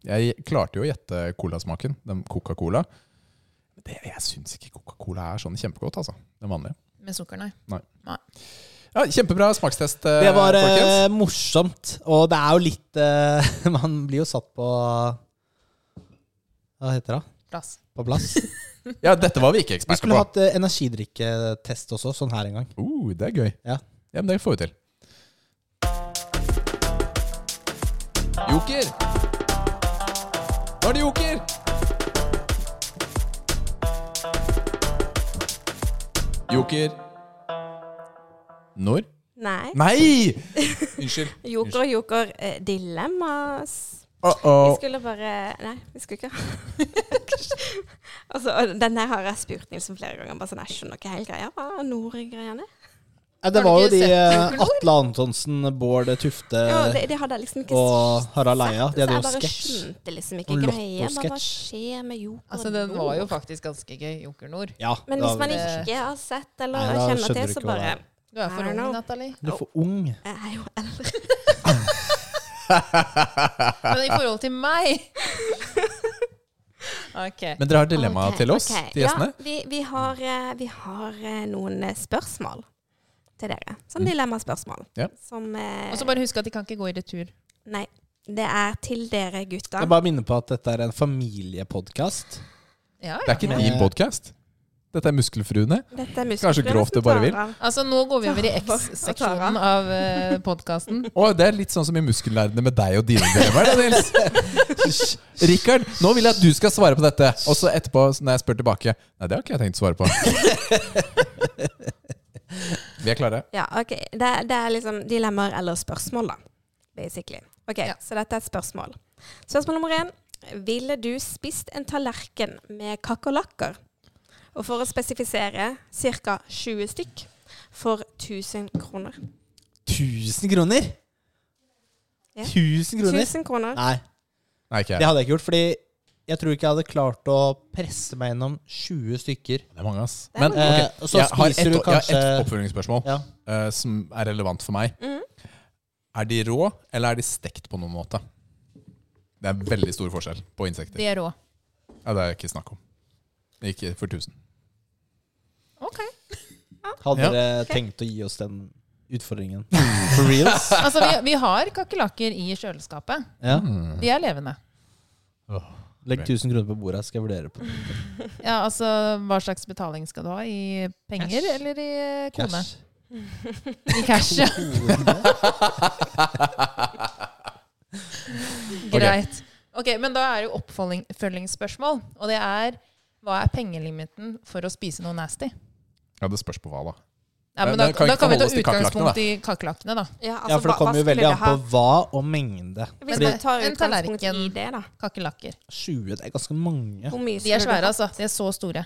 Speaker 3: jeg klarte jo å gjette colasmaken, den Coca-Cola. Men det, jeg syns ikke Coca-Cola er sånn kjempegodt, altså. Den vanlige.
Speaker 2: Med sukker, nei.
Speaker 3: Ja, kjempebra smakstest, eh,
Speaker 4: Det var eh,
Speaker 3: folkens.
Speaker 4: morsomt, og det er jo litt eh, Man blir jo satt på Hva heter det?
Speaker 2: Plass.
Speaker 4: På plass.
Speaker 3: Ja, dette var vi ikke
Speaker 4: Vi
Speaker 3: eksperter
Speaker 4: skulle
Speaker 3: på.
Speaker 4: hatt eh, energidrikketest også, sånn her en gang.
Speaker 3: Uh, det er gøy.
Speaker 4: Ja.
Speaker 3: ja, men det får vi til. Joker! Nå er det joker! Joker. Når?
Speaker 1: Nei.
Speaker 3: Nei! Unnskyld.
Speaker 1: Joker og joker eh, dilemmas.
Speaker 3: Uh
Speaker 1: Vi
Speaker 3: -oh.
Speaker 1: skulle bare Nei, vi skulle ikke Altså, og den her har jeg spurt Nilsen flere ganger. Bare sånn, jeg skjønner ikke helt greia. Hva er Nore-greiene?
Speaker 4: Nei,
Speaker 2: Har
Speaker 4: det
Speaker 2: du
Speaker 4: var jo
Speaker 2: ikke
Speaker 4: de
Speaker 2: sett
Speaker 4: eh,
Speaker 2: Ulven?
Speaker 4: Atle Antonsen, Bård Tufte
Speaker 2: Eh.
Speaker 1: Ja, det, det hadde jeg liksom ikke
Speaker 4: og Harald Eia.
Speaker 1: sett,
Speaker 4: De
Speaker 1: så
Speaker 4: hadde jo
Speaker 1: jeg bare
Speaker 4: sketsj.
Speaker 1: skjønte liksom ikke
Speaker 4: Og
Speaker 1: greia. Bare, Hva
Speaker 4: Lotto-sketsj.
Speaker 1: skjer med Joker
Speaker 2: Altså, den var jo
Speaker 1: nå?
Speaker 2: faktisk ganske gøy, Joker Nord.
Speaker 4: Ja,
Speaker 1: Men
Speaker 4: da-
Speaker 1: hvis man
Speaker 2: det-
Speaker 1: ikke har sett eller
Speaker 4: Nei, da skjønner
Speaker 1: kjenner til,
Speaker 4: du
Speaker 1: så
Speaker 4: ikke hva
Speaker 1: bare
Speaker 4: det
Speaker 2: Du er for
Speaker 1: I
Speaker 2: ung,
Speaker 1: know.
Speaker 2: Nathalie.
Speaker 4: Du er for ung.
Speaker 1: Jeg er jo eldre.
Speaker 2: Men i forhold til meg Ok.
Speaker 3: Men dere har dilemma
Speaker 1: Ok,
Speaker 3: til oss,
Speaker 1: ok.
Speaker 3: til gjestene.
Speaker 1: Ja, vi, vi, har, eh, vi har eh, noen eh, spørsmål til dere.
Speaker 4: Mm.
Speaker 1: Sånn dilemmaspørsmål.
Speaker 3: Ja.
Speaker 1: Som eh,
Speaker 2: Og så bare husk at de kan ikke gå i retur.
Speaker 1: Nei. Det er til dere gutter.
Speaker 4: Jeg bare minner på at dette er en familiepodkast.
Speaker 2: Ja,
Speaker 3: Det
Speaker 2: ja.
Speaker 3: er ikke
Speaker 4: Ja.
Speaker 3: din podkast. Dette er Muskelfruene.
Speaker 1: Dette er
Speaker 3: Kanskje grovt det bare vil.
Speaker 2: Altså, nå går vi over i X-seksjonen av uh, podkasten.
Speaker 3: Og det er litt sånn som i Muskellærerne med deg og dine dilemmaer. da, Nils. Rikard, nå vil jeg at du skal svare på dette. Og så etterpå, når jeg spør tilbake Nei, det har ikke jeg tenkt å svare på. Vi er klare.
Speaker 1: Ja, ok. Det, det er liksom dilemmaer eller spørsmål, da. Basically. Ok,
Speaker 2: Ja.
Speaker 1: Så dette er et spørsmål. Spørsmål nummer én. Ville du spist en tallerken med kakerlakker? Og for å spesifisere ca. 20 stykk for 1000 kroner.
Speaker 4: 1000 kroner!
Speaker 1: Ja.
Speaker 4: 1000 kroner?
Speaker 1: 1000 kroner.
Speaker 4: Nei,
Speaker 3: Nei, ikke
Speaker 4: det
Speaker 3: jeg.
Speaker 4: hadde jeg ikke gjort, fordi jeg tror ikke jeg hadde klart å presse meg gjennom 20 stykker.
Speaker 3: Det er mange, ass.
Speaker 1: Det er
Speaker 3: Men
Speaker 1: mange.
Speaker 3: ok,
Speaker 4: Eh, og så
Speaker 3: jeg har
Speaker 4: spiser
Speaker 3: ett
Speaker 4: du
Speaker 3: et, jeg har
Speaker 4: kanskje-
Speaker 3: ett oppfølgingsspørsmål
Speaker 4: Ja.
Speaker 3: eh, som er relevant for meg.
Speaker 1: Mhm.
Speaker 3: Er de rå, eller er de stekt på noen måte? Det er veldig stor forskjell på insekter.
Speaker 2: De er rå.
Speaker 3: Ja, det er ikke snakk om. Ikke for 1000.
Speaker 2: Ok.
Speaker 4: Hadde
Speaker 3: Ja.
Speaker 4: dere tenkt å gi oss den utfordringen? For reals?
Speaker 2: Altså, vi, vi har kakerlakker i kjøleskapet.
Speaker 4: Ja.
Speaker 3: Mm.
Speaker 2: De er levende.
Speaker 4: Legg 1000 kroner på bordet, skal jeg vurdere på det.
Speaker 2: Ja, altså, hva slags betaling skal du ha? I penger
Speaker 4: Cash.
Speaker 2: eller i eh, kone?
Speaker 4: Cash.
Speaker 2: I cash, ja. Greit. Ok, Men da er det jo oppfølging- oppfølgingsspørsmål. Og det er hva er pengelimiten for å spise noe nasty?
Speaker 3: Ja, det spørs på hva, da.
Speaker 2: Ja, men
Speaker 3: Men
Speaker 2: da,
Speaker 3: det kan
Speaker 2: da
Speaker 3: ikke
Speaker 2: kan vi ta
Speaker 3: holde oss til kakerlakkene,
Speaker 2: utgangspunkt
Speaker 3: da.
Speaker 2: i kakerlakkene, da.
Speaker 1: Ja, altså,
Speaker 4: Ja, for det
Speaker 1: hva-
Speaker 4: kommer jo
Speaker 1: hva
Speaker 4: veldig
Speaker 1: skulle
Speaker 4: an på
Speaker 1: du ha?
Speaker 4: hva og mengde.
Speaker 1: Hvis
Speaker 4: Fordi
Speaker 1: man tar
Speaker 2: en
Speaker 1: utgangspunkt i
Speaker 2: tallerken-
Speaker 1: det, da.
Speaker 2: Kakerlakker.
Speaker 4: 20, det er ganske mange.
Speaker 1: Hvor mye
Speaker 2: De er
Speaker 1: skulle du
Speaker 2: svære,
Speaker 1: ha?
Speaker 2: altså. De er så store.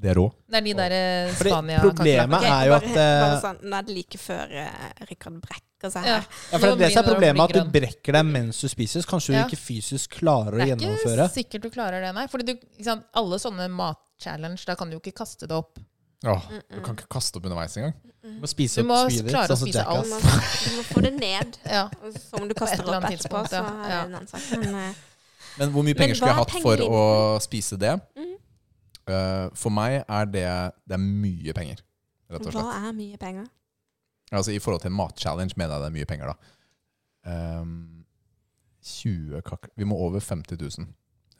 Speaker 3: Det er rå.
Speaker 2: Det er de der eh,
Speaker 4: Fordi
Speaker 2: Spania-kakerlakkene.
Speaker 4: problemet
Speaker 1: Ok,
Speaker 4: er jo at
Speaker 1: bare,
Speaker 4: eh,
Speaker 1: bare sånn, Nå er det like før eh, Rikard brekker seg
Speaker 2: Ja.
Speaker 1: her.
Speaker 4: Ja, for det,
Speaker 2: Nå
Speaker 4: er det som er
Speaker 2: begynner det å
Speaker 4: problemet,
Speaker 2: bli
Speaker 4: at du brekker deg mens du spiser. Så kanskje
Speaker 2: Ja.
Speaker 4: du ikke fysisk klarer å
Speaker 2: Det er
Speaker 4: gjennomføre.
Speaker 2: ikke sikkert du klarer det, nei. Fordi du, ikke sant, alle sånne matchallenge, da kan du jo ikke kaste det opp.
Speaker 1: Mm,
Speaker 3: Åh, du kan ikke kaste opp underveis engang.
Speaker 4: Du må spise
Speaker 2: Du må
Speaker 4: opp spydet,
Speaker 2: klare å
Speaker 4: sånn som
Speaker 2: spise
Speaker 1: Du,
Speaker 4: Jackass.
Speaker 1: må, du må få det ned.
Speaker 2: Ja.
Speaker 1: Og Så om du
Speaker 2: et
Speaker 1: kaster
Speaker 2: eller
Speaker 1: opp etterpå,
Speaker 2: annet tidspunkt,
Speaker 1: så
Speaker 2: ja.
Speaker 1: er det
Speaker 2: Ja.
Speaker 1: en annen sak. Men eh,
Speaker 3: Men hvor mye
Speaker 1: Men
Speaker 3: penger skulle jeg
Speaker 1: hva er Mm.
Speaker 3: hatt for å
Speaker 1: pengelimiten?
Speaker 3: spise det? Eh, for meg er det Det er mye penger, rett og
Speaker 1: hva
Speaker 3: slett.
Speaker 1: er mye penger?
Speaker 3: Altså I forhold til en matchallenge mener jeg det er mye penger, da. Ehm, 20 kak... Vi må over 50 000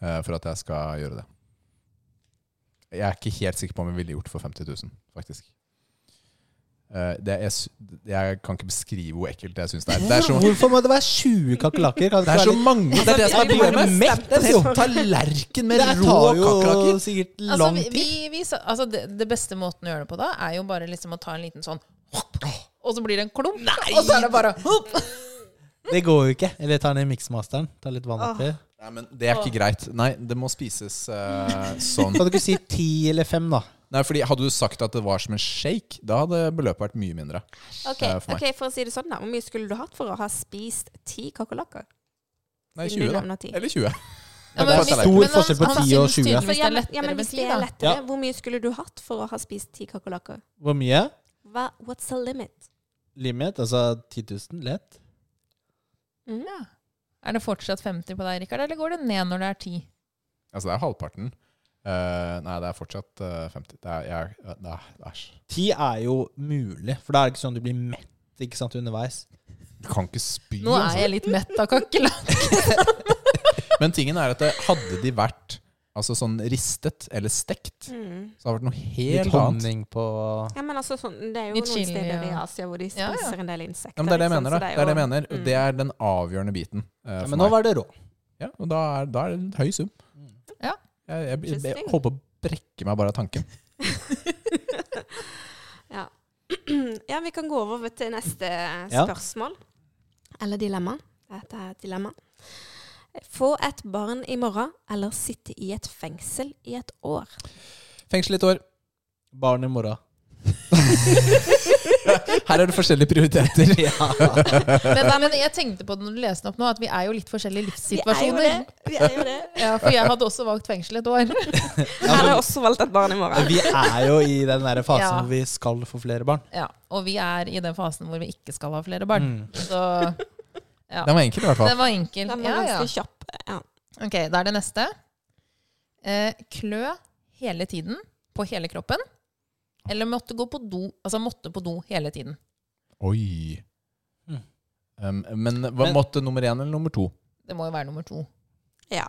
Speaker 3: eh, for at jeg skal gjøre det. Jeg er ikke helt sikker på om jeg ville gjort for 50 000, faktisk. Eh, det er, jeg, sy- jeg kan ikke beskrive hvor ekkelt jeg syns det er. Det er, så,
Speaker 4: Hvorfor må det være 20 kakerlakker? Kan
Speaker 3: det er så
Speaker 4: ikke være litt-
Speaker 3: mange! Det er det som er
Speaker 4: Vi blir
Speaker 3: problemet!
Speaker 4: mett,
Speaker 3: Det er
Speaker 4: altså.
Speaker 3: Tallerken med
Speaker 4: Det her
Speaker 3: rå
Speaker 4: tar
Speaker 3: kakerlakker!
Speaker 4: jo sikkert
Speaker 2: Altså,
Speaker 4: lang
Speaker 2: vi,
Speaker 4: tid.
Speaker 2: vi, vi, sa- altså det, det beste måten å gjøre det på da, er jo bare liksom å ta en liten sånn hopp, og så blir det en klump, og så er det bare hopp.
Speaker 4: Det går jo ikke. Eller ta ned miksmasteren. Ta litt vann oppi.
Speaker 3: Nei, men Det er ikke greit. Nei, det må spises eh, sånn.
Speaker 4: Kan du ikke si 10 eller 5, da?
Speaker 3: Nei, fordi Hadde du sagt at det var som en shake, da hadde beløpet vært mye mindre.
Speaker 1: Ok,
Speaker 3: Eh, for meg.
Speaker 1: ok, for å si det sånn, da. Hvor mye skulle du hatt for å ha spist ti kakerlakker?
Speaker 3: Nei,
Speaker 1: Siden
Speaker 3: 20,
Speaker 1: den
Speaker 3: da.
Speaker 1: er ti.
Speaker 3: Eller 20.
Speaker 2: Ja,
Speaker 4: Det er
Speaker 2: hvis-
Speaker 4: stor
Speaker 2: men han-
Speaker 4: forskjell på
Speaker 2: han
Speaker 4: 10 og
Speaker 2: synes tydeligvis
Speaker 4: 20.
Speaker 1: For,
Speaker 2: det
Speaker 1: ja,
Speaker 2: er
Speaker 1: men, ja,
Speaker 2: lettere
Speaker 1: men
Speaker 2: med
Speaker 1: hvis
Speaker 2: 10,
Speaker 1: det er
Speaker 2: da.
Speaker 1: lettere, hvor mye skulle du hatt for å ha spist ti kakerlakker?
Speaker 4: Hvor mye?
Speaker 1: Hva- What's the limit?
Speaker 4: Limit? Altså 10 000? Lett?
Speaker 2: Ja. Er det fortsatt 50 på deg, Rikard, eller går det ned når det er 10?
Speaker 3: Altså, det er halvparten. Eh, nei, det er fortsatt eh, 50. Det er, jeg, eh, det er, æsj.
Speaker 4: 10 er jo mulig, for da er det ikke sånn at du blir mett ikke sant, underveis.
Speaker 3: Du kan ikke spy.
Speaker 2: Nå er jeg
Speaker 3: Altså.
Speaker 2: litt mett av kakerlakker.
Speaker 3: Men tingen er at det, hadde de vært altså, sånn ristet eller stekt,
Speaker 1: Mm.
Speaker 3: så hadde det vært noe
Speaker 4: Litt
Speaker 3: helt annet.
Speaker 4: honning på
Speaker 1: Ja, men altså, sånn, det er jo
Speaker 2: Litt
Speaker 1: noen
Speaker 2: chili,
Speaker 1: steder i
Speaker 2: ja.
Speaker 1: Asia hvor de
Speaker 2: Ja, ja.
Speaker 1: spiser en del insekter.
Speaker 3: Ja, men det er det jeg
Speaker 1: liksom,
Speaker 3: mener.
Speaker 1: så
Speaker 3: da. Det er det jeg
Speaker 1: jo-
Speaker 3: mener. Og det er den avgjørende biten. eh,
Speaker 4: ja,
Speaker 3: for
Speaker 4: Men nå
Speaker 3: meg.
Speaker 4: var det rå.
Speaker 3: Ja, og da er, da er det en høy sum.
Speaker 2: Ja.
Speaker 3: Jeg, jeg, jeg, jeg
Speaker 1: Interesting.
Speaker 3: holder på å brekke meg bare av tanken.
Speaker 1: Ja. ja, vi kan gå over til neste
Speaker 4: Ja.
Speaker 1: spørsmål. Eller dilemma. Dette er et dilemma. Få et barn i morgen, eller sitte i et fengsel i et år.
Speaker 3: Fengsel i et år.
Speaker 4: Barn i morgen.
Speaker 3: Her er det forskjellige prioriteter.
Speaker 2: Men, men jeg tenkte på det når du leste den opp nå, at vi er jo litt forskjellige
Speaker 1: Vi er jo
Speaker 2: livssituasjoner.
Speaker 1: det. Vi er jo det.
Speaker 2: Ja, for jeg hadde også valgt fengsel et år.
Speaker 1: Jeg hadde også valgt et barn i morgen.
Speaker 4: Vi er jo i den der fasen
Speaker 2: Ja.
Speaker 4: hvor vi skal få flere barn.
Speaker 2: Ja, og vi er i den fasen hvor vi ikke skal ha flere barn.
Speaker 4: Mm.
Speaker 2: Så ja.
Speaker 3: Den var enkel, i hvert fall.
Speaker 2: Den var enkel.
Speaker 1: Den var
Speaker 2: Ja, ja.
Speaker 1: ganske kjapp. Ja.
Speaker 2: Ok, da er det neste. Eh, klø hele tiden på hele kroppen. Eller måtte gå på do, altså måtte på do hele tiden.
Speaker 3: Oi.
Speaker 4: Mm.
Speaker 3: Um, men hva
Speaker 4: Men-
Speaker 3: måtte nummer én eller nummer to?
Speaker 2: Det må jo være nummer to.
Speaker 1: ja.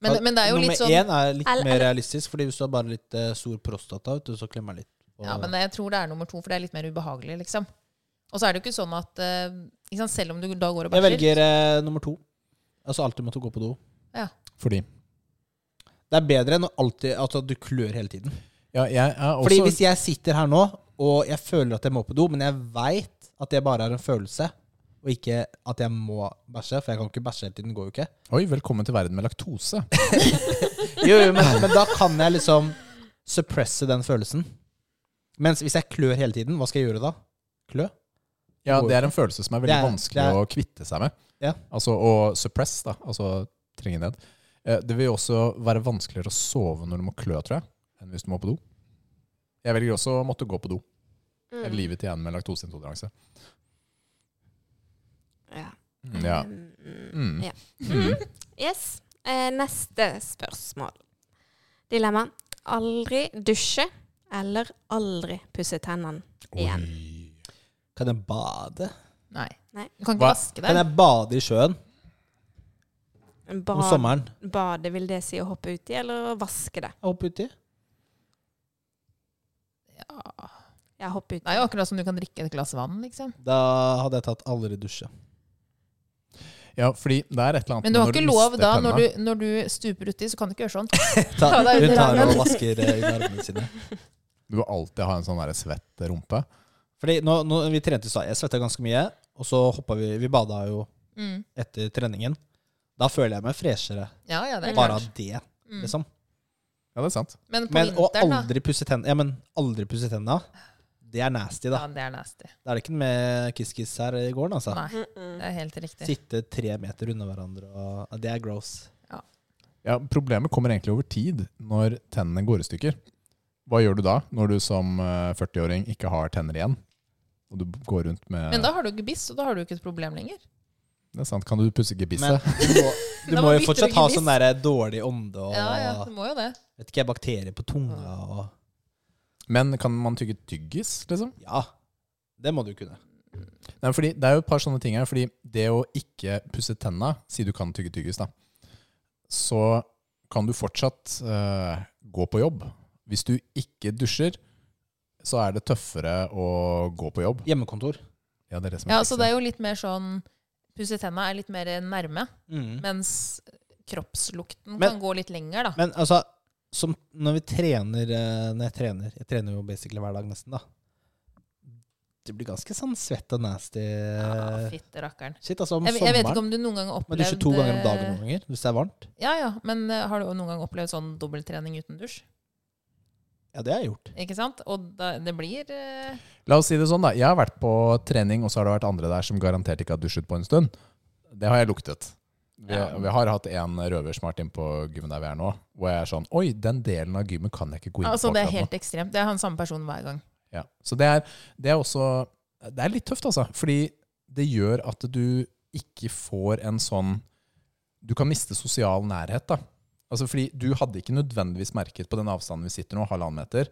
Speaker 2: Men, men det er jo
Speaker 4: Nummer
Speaker 2: litt sånn
Speaker 4: én er litt
Speaker 1: Eller-
Speaker 4: mer realistisk, fordi hvis du har bare litt eh, stor prostata, vet du, så klemmer jeg litt. på-
Speaker 2: Ja, men jeg tror det er nummer to, for det er litt mer ubehagelig, liksom. Og så er det jo ikke sånn at eh, ikke sant, Selv om du da går og
Speaker 4: jeg
Speaker 2: bæsjer
Speaker 4: velger eh, nummer to. Altså alltid måtte gå på do.
Speaker 3: Fordi
Speaker 4: Det er bedre enn å alltid, altså, at du klør hele tiden.
Speaker 3: ja, jeg er også,
Speaker 4: Fordi hvis jeg sitter her nå, og jeg føler at jeg må på do, men jeg veit at det bare er en følelse, og ikke at jeg må bæsje, for jeg kan ikke bæsje hele tiden, det går jo ikke.
Speaker 3: Oi, velkommen til verden med laktose.
Speaker 4: Jo, jo, men, men da kan jeg liksom suppresse den følelsen. Mens hvis jeg klør hele tiden, hva skal jeg gjøre da? Klø?
Speaker 3: Ja, Det er en følelse som er veldig
Speaker 4: Det er-
Speaker 3: vanskelig
Speaker 4: det er-
Speaker 3: å kvitte seg med.
Speaker 4: Ja.
Speaker 3: Altså å suppress, da. Altså trenge ned. Eh, Det vil også være vanskeligere å sove når du må klø, tror jeg, enn hvis du må på do. Jeg velger også å måtte gå på do.
Speaker 1: Mm.
Speaker 3: Livet til en med laktoseintoleranse.
Speaker 1: ja.
Speaker 3: Mm, Ja.
Speaker 1: Mm.
Speaker 3: Mm.
Speaker 1: Ja.
Speaker 3: Mm.
Speaker 1: Yes. Eh, neste spørsmål. Dilemma. Aldri dusje eller aldri pusse tennene igjen.
Speaker 3: Oi.
Speaker 4: Kan jeg bade?
Speaker 2: Nei.
Speaker 1: Nei.
Speaker 2: Du kan ikke
Speaker 3: Hva-
Speaker 2: vaske
Speaker 4: Kan
Speaker 2: deg.
Speaker 4: jeg bade i sjøen om
Speaker 1: Bad,
Speaker 4: sommeren?
Speaker 1: bade, vil det si å hoppe uti, eller å vaske det?
Speaker 4: Hoppe uti?
Speaker 2: Ja.
Speaker 1: Ja, hoppe
Speaker 2: Det
Speaker 1: uti.
Speaker 2: er jo akkurat som du kan drikke et glass vann, liksom.
Speaker 4: Da hadde jeg tatt aldri dusje.
Speaker 3: Ja, fordi det er et eller annet
Speaker 2: Men du har
Speaker 3: når
Speaker 2: ikke lov
Speaker 3: mister
Speaker 2: da,
Speaker 3: tennene-
Speaker 2: når du, når du stuper uti, så kan du ikke gjøre sånn.
Speaker 4: Ta,
Speaker 2: Ta deg ut i
Speaker 4: hun tar og
Speaker 2: armen.
Speaker 4: vasker eh, under armene sine.
Speaker 3: Du vil alltid ha en sånn der svett rumpe.
Speaker 4: Fordi nå, nå vi trente i stad, jeg svetta ganske mye, og så hoppa vi Vi bada jo
Speaker 2: Mm.
Speaker 4: etter treningen. Da føler jeg meg freshere.
Speaker 2: Ja, ja, det er
Speaker 4: Bare
Speaker 2: klart.
Speaker 4: av det,
Speaker 2: Mm.
Speaker 4: liksom.
Speaker 3: Ja, det er sant.
Speaker 2: Men på
Speaker 4: Men å
Speaker 2: vinteren, da.
Speaker 4: aldri pusse tenna Ja, men aldri pusse tenna, det er nasty,
Speaker 2: Ja,
Speaker 4: da.
Speaker 2: det er nasty.
Speaker 4: Da er det ikke med kiss-kiss her i gården, altså.
Speaker 2: Nei,
Speaker 1: Mm-mm.
Speaker 2: det er helt riktig.
Speaker 4: Sitte tre meter unna hverandre, og ja, det er gross.
Speaker 3: Ja, problemet kommer egentlig over tid, når tennene går i stykker. Hva gjør du da, når du som eh, 40-åring ikke har tenner igjen? Og du går rundt med
Speaker 2: Men da har du gebiss, og da har du ikke et problem lenger.
Speaker 3: Det er sant, kan du pusse gebisset?
Speaker 4: Men du må, du
Speaker 2: Da
Speaker 4: må
Speaker 2: må
Speaker 4: jo
Speaker 2: bytte
Speaker 4: fortsatt
Speaker 2: du
Speaker 4: ha
Speaker 2: gebiss.
Speaker 4: sånn der dårlig ånde og
Speaker 2: Ja, ja, du må jo det.
Speaker 4: vet ikke, jeg, bakterier på tunga og
Speaker 3: Men, kan man tygge tyggis, liksom?
Speaker 4: Ja. Det må du kunne.
Speaker 3: Nei, fordi det er jo et par sånne ting her. Fordi det å ikke pusse tenna, si du kan tygge tyggis, da, så kan du fortsatt eh, gå på jobb. Hvis du ikke dusjer, så er det tøffere å gå på jobb.
Speaker 4: Hjemmekontor.
Speaker 3: Ja, det er det som er
Speaker 2: Ja,
Speaker 3: trikset.
Speaker 2: så det er jo litt mer sånn Pusse tenna er litt mer nærme,
Speaker 4: Mm.
Speaker 2: mens kroppslukten
Speaker 4: Men-
Speaker 2: kan gå litt lenger, da.
Speaker 4: Men altså, som når vi trener eh, Når jeg trener Jeg trener jo basically hver dag, nesten, da. Det blir ganske sånn svett og nasty
Speaker 2: Ja, fitte rakkeren.
Speaker 4: shit, altså, eh, om
Speaker 2: Ah, Jeg, jeg vet ikke
Speaker 4: sommeren.
Speaker 2: om du noen gang har opplevd
Speaker 4: Man dusjer to ganger om
Speaker 2: eh,
Speaker 4: dagen noen ganger hvis det er varmt.
Speaker 2: Ja, ja, men eh, har du noen gang opplevd sånn dobbelttrening uten dusj?
Speaker 4: Ja, det har jeg gjort.
Speaker 2: Ikke sant? Og da, det blir eh,
Speaker 3: La oss si det sånn, da. Jeg har vært på trening, og så har det vært andre der som garantert ikke har dusjet på en stund. Det har jeg luktet. Vi,
Speaker 2: Ja.
Speaker 3: vi har hatt en røversmart inn på gymmen der vi er nå, hvor jeg er sånn Oi, den delen av gymmen kan jeg ikke gå inn
Speaker 2: Altså,
Speaker 3: på.
Speaker 2: det er
Speaker 3: akkurat nå.»
Speaker 2: helt ekstremt. Det er han samme personen hver gang.
Speaker 3: Ja. Så det er, det er også Det er litt tøft, altså. Fordi det gjør at du ikke får en sånn Du kan miste sosial nærhet, da. Altså fordi du hadde ikke nødvendigvis merket på den avstanden vi sitter nå, halvannen meter,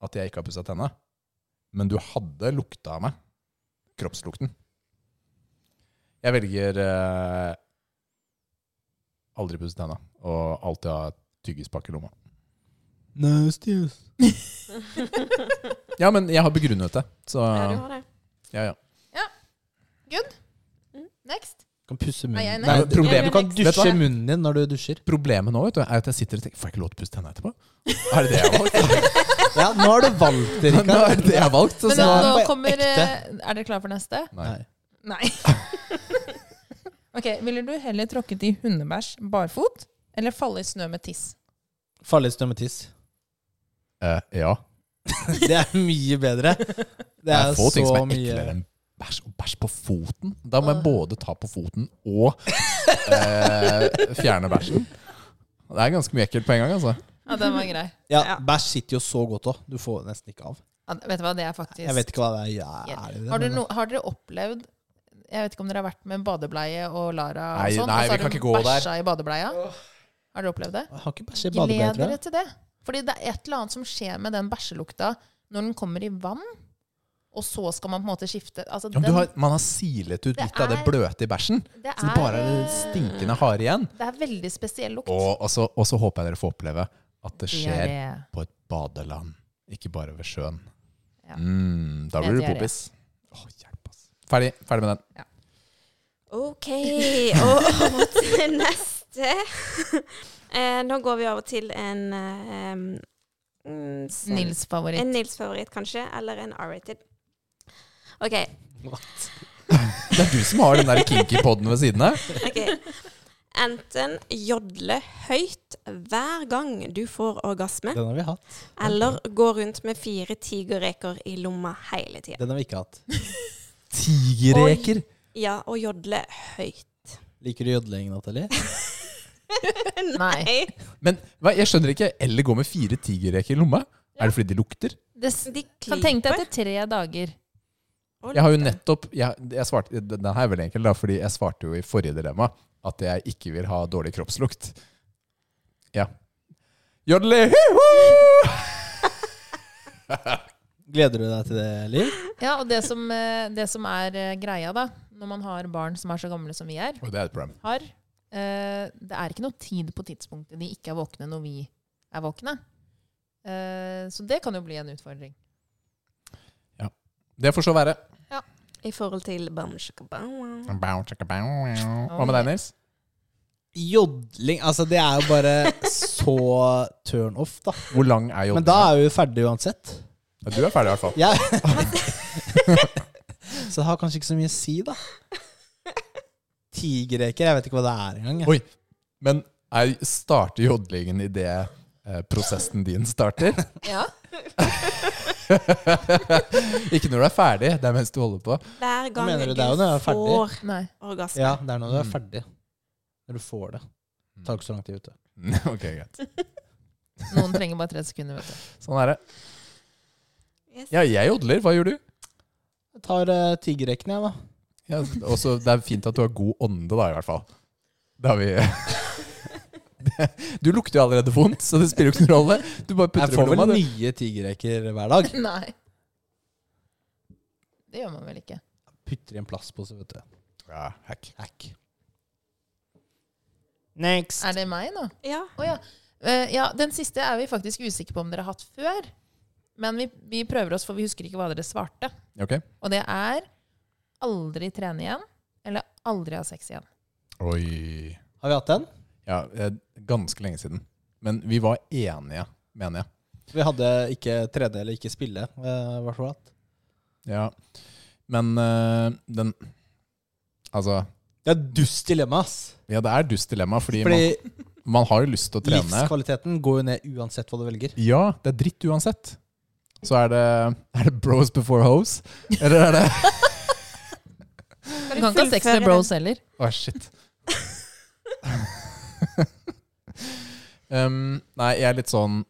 Speaker 3: at jeg ikke har pussa tenna. Men du hadde lukta av meg. Kroppslukten. Jeg velger eh, aldri pusse tenna og alltid ha tyggispakke i lomma.
Speaker 4: Nasty, ass.
Speaker 3: Ja, men jeg har begrunnet det, så
Speaker 1: Ja, du har det.
Speaker 3: ja, ja.
Speaker 2: Next.
Speaker 4: Kan pusse munnen.
Speaker 2: Nei, jeg er
Speaker 4: Nei,
Speaker 3: next.
Speaker 4: du-
Speaker 3: Problemet-
Speaker 4: du kan
Speaker 1: Vet
Speaker 3: du hva?
Speaker 4: dusje munnen din når du dusjer.
Speaker 3: Problemet nå vet du, er at jeg sitter og tenker Får jeg ikke lov til å pusse tenna etterpå? Er det det jeg har valgt?
Speaker 4: Ja, nå har du valgt det,
Speaker 3: Nå er det det jeg har valgt så
Speaker 2: Men
Speaker 3: så-
Speaker 2: nå,
Speaker 4: er det
Speaker 2: nå
Speaker 4: bare
Speaker 2: kommer
Speaker 4: ekte.
Speaker 2: eh, Er dere klare for neste?
Speaker 3: Nei.
Speaker 2: Nei. ok, Ville du heller tråkket i hundebæsj barfot eller falle i snø med tiss?
Speaker 4: Farlig stømme tiss.
Speaker 3: Eh, ja.
Speaker 4: Det er mye bedre. Det
Speaker 3: Det
Speaker 4: er,
Speaker 3: er få ting
Speaker 4: så
Speaker 3: som er
Speaker 4: mye
Speaker 3: eklere enn bæsj. Og bæsj på foten. Da må jeg både ta på foten og eh, fjerne bæsjen. Det er ganske mye ekkelt på en gang, altså.
Speaker 2: Ja, den var grei.
Speaker 4: Ja,
Speaker 1: Ja.
Speaker 4: bæsj sitter jo så godt òg. Du får nesten ikke av.
Speaker 2: Ja, vet du hva, det er faktisk
Speaker 4: Jeg vet ikke hva det er. Ja, er det det,
Speaker 2: har, du
Speaker 4: men-
Speaker 2: no, har dere opplevd Jeg vet ikke om dere har vært med en badebleie og Lara
Speaker 3: Nei,
Speaker 2: og sånn, og så
Speaker 3: nei, vi
Speaker 2: har
Speaker 3: kan
Speaker 2: du
Speaker 3: ikke gå der.
Speaker 2: bæsja i badebleia? Har dere opplevd det?
Speaker 4: Jeg har ikke bæsj i badebleie,
Speaker 2: Gled
Speaker 4: tror
Speaker 2: dere
Speaker 4: jeg.
Speaker 2: til det. Fordi det er et eller annet som skjer med den bæsjelukta når den kommer i vann, og så skal man på en måte skifte altså,
Speaker 3: Ja, men
Speaker 2: den,
Speaker 3: du har, man har silet ut
Speaker 2: Det
Speaker 3: litt av det
Speaker 2: er-
Speaker 3: bløte i bæsjen.
Speaker 2: det,
Speaker 3: Så det
Speaker 2: er,
Speaker 3: bare er stinkende hare igjen.
Speaker 2: det er veldig spesiell lukt.
Speaker 3: Og, og, så, og så håper jeg dere får oppleve at det skjer
Speaker 2: Diaré.
Speaker 3: på et badeland, ikke bare ved sjøen.
Speaker 2: Ja.
Speaker 3: Mm, da
Speaker 2: Det er
Speaker 3: blir du
Speaker 2: diaré.
Speaker 3: popis. Å, hjelp, ass. Ferdig, ferdig med den.
Speaker 1: OK, og over til neste. Eh, Nå går vi over til en eh, em, mm, s-
Speaker 2: Nils favoritt.
Speaker 1: En Nils-favoritt, kanskje, eller en R-rated. OK.
Speaker 3: Det er du som har den der kinky podden ved siden av.
Speaker 1: ok. Enten jodle høyt hver gang du får orgasme,
Speaker 4: Den har vi hatt.
Speaker 1: eller gå rundt med fire tigerreker i lomma hele tida.
Speaker 4: Den har vi ikke hatt.
Speaker 3: Tigerreker.
Speaker 1: Ja, og jodle høyt.
Speaker 4: Liker du jodling, Nathalie?
Speaker 2: Nei.
Speaker 3: Men hva, jeg skjønner ikke. Eller gå med fire tigerreker i lomma. Er det fordi de lukter?
Speaker 2: Det, s-
Speaker 1: De
Speaker 2: kan tenke deg
Speaker 1: klyper
Speaker 2: etter tre dager.
Speaker 1: og
Speaker 3: Jeg har jo
Speaker 1: lukter.
Speaker 3: nettopp jeg, jeg svarte, Den her er veldig enkel, da, fordi jeg svarte jo i forrige dilemma at jeg ikke vil ha dårlig kroppslukt. Ja. Jodle!
Speaker 4: Gleder du deg til det, Liv?
Speaker 2: Ja, og det som, eh, det som er eh, greia, da, når man har barn som er så gamle som vi er,
Speaker 3: Og det er et problem.
Speaker 2: har eh, Det er ikke noe tid på tidspunktet de ikke er våkne når vi er våkne. Eh, så det kan jo bli en utfordring.
Speaker 3: Det får så være.
Speaker 1: I forhold til bam, shakabawa.
Speaker 3: Bow, chaka, bow, wow. Hva med deg, Nils?
Speaker 4: Jodling Altså, det er jo bare så turn off, da.
Speaker 3: Hvor lang er
Speaker 4: Men
Speaker 3: jodlinga?
Speaker 4: da er vi jo ferdig uansett.
Speaker 3: Ja, Du er ferdig, i hvert fall.
Speaker 4: Jeg så det har kanskje ikke så mye å si, da. Tigerreker, jeg vet ikke hva det er engang. jeg.
Speaker 3: Oi. Men er, starter jodlingen idet eh, prosessen din starter?
Speaker 2: Ja.
Speaker 3: Ikke når du er ferdig, det er mens du holder på.
Speaker 1: Hver gang
Speaker 4: mener
Speaker 1: du,
Speaker 4: du det er jo når jeg er ferdig?
Speaker 1: får
Speaker 2: Nei.
Speaker 1: orgasme.
Speaker 4: Ja, det er når du er
Speaker 3: Mm.
Speaker 4: ferdig. Når du får det. Det tar ikke så lang tid, vet du.
Speaker 3: ok, greit.
Speaker 2: Noen trenger bare 30 sekunder, vet du.
Speaker 3: Sånn er det.
Speaker 1: Yes.
Speaker 3: Ja, jeg jodler. Hva gjør du?
Speaker 4: Jeg tar uh, tigerrekene, jeg, da.
Speaker 3: Ja, også, det er fint at du har god ånde, da, i hvert fall. Da har vi Du lukter jo allerede vondt, så det spiller jo ikke noen rolle. Du bare putter
Speaker 4: Jeg
Speaker 3: det i
Speaker 4: får
Speaker 3: lomma.
Speaker 4: vel
Speaker 3: du.
Speaker 4: nye tigerreker hver dag.
Speaker 2: Nei. Det gjør man vel ikke.
Speaker 4: Putter i en plastpose, vet du.
Speaker 3: Ja, hack.
Speaker 4: Hack. Next.
Speaker 2: Er det meg nå?
Speaker 1: Ja.
Speaker 2: Å ja. Eh, ja. Den siste er vi faktisk usikre på om dere har hatt før. Men vi, vi prøver oss, for vi husker ikke hva dere svarte.
Speaker 3: Ok.
Speaker 2: Og det er aldri trene igjen, eller aldri ha sex igjen.
Speaker 3: Oi.
Speaker 4: Har vi hatt den?
Speaker 3: Ja, eh, ganske lenge siden. Men vi var enige, mener jeg.
Speaker 4: Vi hadde ikke 3D eller ikke spille. eh, Hva for hatt?
Speaker 3: Ja. Men eh, den Altså,
Speaker 4: Det er et dust dilemma, ass.
Speaker 3: ja, det er dust dilemma, fordi,
Speaker 4: Fordi
Speaker 3: man, man har jo lyst til å trene.
Speaker 4: livskvaliteten går jo ned uansett hva du velger.
Speaker 3: Ja, det er dritt uansett. Så er det, er det bros before hoes? Eller er det
Speaker 2: Du kan ikke ha sex med bros heller.
Speaker 3: Åh, shit. um, nei, jeg er litt sånn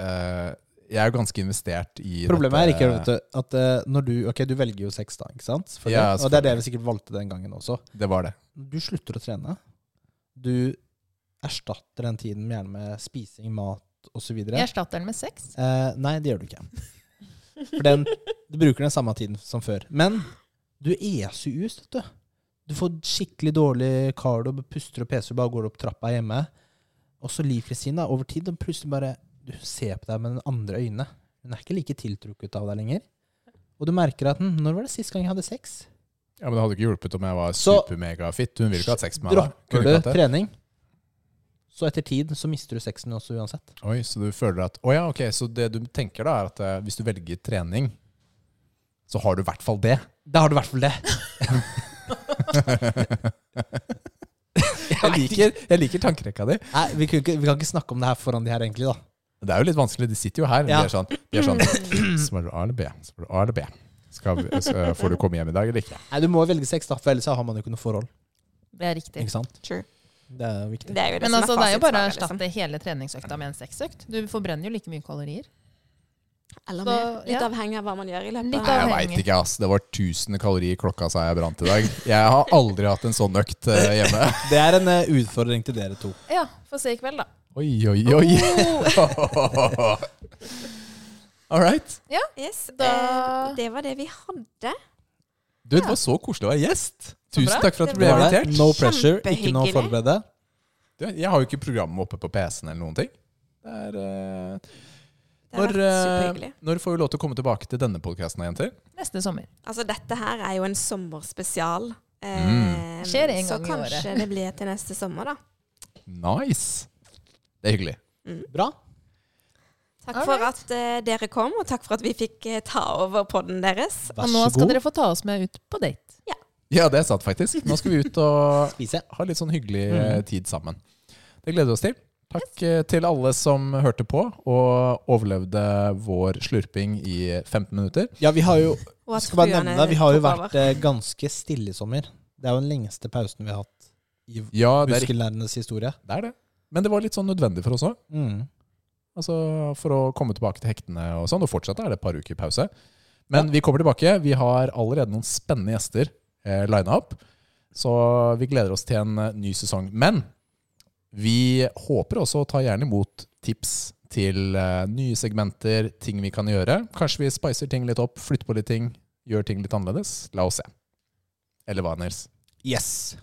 Speaker 3: eh, Jeg er jo ganske investert i
Speaker 4: Problemet er
Speaker 3: dette-
Speaker 4: ikke vet du, at eh, når du Ok, du velger jo sex, da. ikke sant? Selvfølgelig.
Speaker 3: Ja,
Speaker 4: Og det er det vi sikkert valgte den gangen også.
Speaker 3: Det var det.
Speaker 4: Du slutter å trene. Du erstatter den tiden gjerne med spising, mat osv.
Speaker 2: Jeg erstatter den med sex.
Speaker 4: Eh, nei, det gjør du ikke. For den, du bruker den samme tiden som før. Men du eser jo ut, vet du. Du får skikkelig dårlig cardio, puster og peser, bare går opp trappa hjemme. Også Liv Kristin, da, over tid, den plutselig bare Du ser på deg med den andre øynene. Hun er ikke like tiltrukket av deg lenger. Og du merker at hm, Når var det sist gang jeg hadde sex?
Speaker 3: Ja, Men det hadde ikke hjulpet om jeg var
Speaker 4: Så-
Speaker 3: supermegafit. Hun ville ikke hatt sex med meg. da. Kunne
Speaker 4: Dropper du
Speaker 3: ikke hatt det.
Speaker 4: trening, så etter tid så mister du sexen også uansett.
Speaker 3: Oi, Så du føler at Å ja, ok. Så det du tenker da, er at eh, hvis du velger trening, så har du i hvert fall det.
Speaker 4: Da har du i hvert fall det.
Speaker 3: Jeg liker, jeg liker tankerekka di.
Speaker 4: Nei, vi, kunne ikke, vi kan ikke snakke om det her foran de her, egentlig, da.
Speaker 3: Det er jo litt vanskelig, de sitter jo her. men
Speaker 4: Ja.
Speaker 3: De er sånn, de er sånn Spør du A eller B? Spør du A eller B? Skal vi, skal, får du komme hjem i dag eller ikke?
Speaker 4: Nei, du må velge sex, da, for ellers har man jo ikke noe forhold.
Speaker 2: Det er riktig.
Speaker 4: Ikke sant?
Speaker 1: True.
Speaker 4: Det er jo viktig.
Speaker 1: Det er liksom. jo det
Speaker 2: Men
Speaker 1: som
Speaker 2: altså, det er jo bare å
Speaker 1: fasitsvaret,
Speaker 2: erstatte hele treningsøkta med en sexøkt. Du forbrenner jo like mye kalorier.
Speaker 1: Liksom. Eller
Speaker 2: Så,
Speaker 1: mer. Litt
Speaker 2: ja.
Speaker 1: avhengig av hva man gjør i
Speaker 2: Litt
Speaker 1: løpet
Speaker 3: Nei,
Speaker 1: av
Speaker 3: jeg
Speaker 2: Avhengig.
Speaker 3: veit ikke, ass. Det var 1000 kalorier klokka sa jeg brant i dag. Jeg har aldri hatt en sånn økt eh, hjemme.
Speaker 4: Det er en eh, utfordring til dere to.
Speaker 2: Ja, få se i kveld, da.
Speaker 3: Oi, oi, oi. All right.
Speaker 1: Yes,
Speaker 2: Da-
Speaker 1: eh, Det var det vi hadde.
Speaker 3: Du, det var så koselig å være gjest.
Speaker 2: Så
Speaker 3: Tusen
Speaker 2: bra.
Speaker 3: takk for at du ble
Speaker 4: Det var det.
Speaker 3: invitert.
Speaker 4: No pressure, ikke noe å
Speaker 1: Kjempehyggelig.
Speaker 4: forberede.
Speaker 3: Du, Jeg har jo ikke programmet oppe på PC-en eller noen ting. Det er, eh,
Speaker 1: Det har
Speaker 3: når,
Speaker 1: vært
Speaker 3: eh,
Speaker 1: superhyggelig.
Speaker 3: når får vi lov til å komme tilbake til denne podkasten, jenter?
Speaker 2: Neste sommer.
Speaker 1: Altså, dette her er jo en sommerspesial. Eh,
Speaker 3: Mm.
Speaker 2: Skjer en
Speaker 1: så
Speaker 2: gang i året.
Speaker 1: kanskje det blir til neste sommer, da.
Speaker 3: Nice. Det er hyggelig.
Speaker 4: Bra.
Speaker 1: Takk for
Speaker 2: Alright.
Speaker 1: at eh, dere kom, og takk for at vi fikk eh, ta over podden deres.
Speaker 4: Vær
Speaker 2: Og nå
Speaker 4: så
Speaker 2: skal
Speaker 4: god.
Speaker 2: dere få ta oss med ut på date.
Speaker 3: Ja, det er sant, faktisk. Nå skal vi ut og
Speaker 4: Spise.
Speaker 3: ha litt sånn hyggelig eh, tid sammen. Det gleder vi oss til. Takk eh, til alle som hørte på og overlevde vår slurping i 15 minutter.
Speaker 4: Ja, vi har jo
Speaker 1: Og at
Speaker 4: skal bare
Speaker 1: fruene
Speaker 4: nevne det, vi har jo
Speaker 1: tok
Speaker 4: vært eh, ganske stille i sommer. Det er jo den lengste pausen vi har hatt i
Speaker 3: Ja, det er, ikke-
Speaker 4: muskelnerdenes historie.
Speaker 3: det er det. Men det var litt sånn nødvendig for oss òg.
Speaker 4: Mm.
Speaker 3: Altså For å komme tilbake til hektene og sånn. Og fortsatt er det et par uker pause. Men vi kommer tilbake. Vi har allerede noen spennende gjester eh, lina opp. Så vi gleder oss til en eh, ny sesong. Men vi håper også å ta gjerne imot tips til eh, nye segmenter, ting vi kan gjøre. Kanskje vi spicer ting litt opp, flytter på litt ting, gjør ting litt annerledes. La oss se. Eller hva, Nils?
Speaker 4: Yes.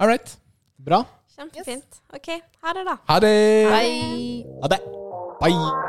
Speaker 3: All right.
Speaker 4: Bra.
Speaker 1: Kjempefint. OK, ha det, da.
Speaker 3: Ha det!
Speaker 2: Hei!
Speaker 4: Ha det. Bye.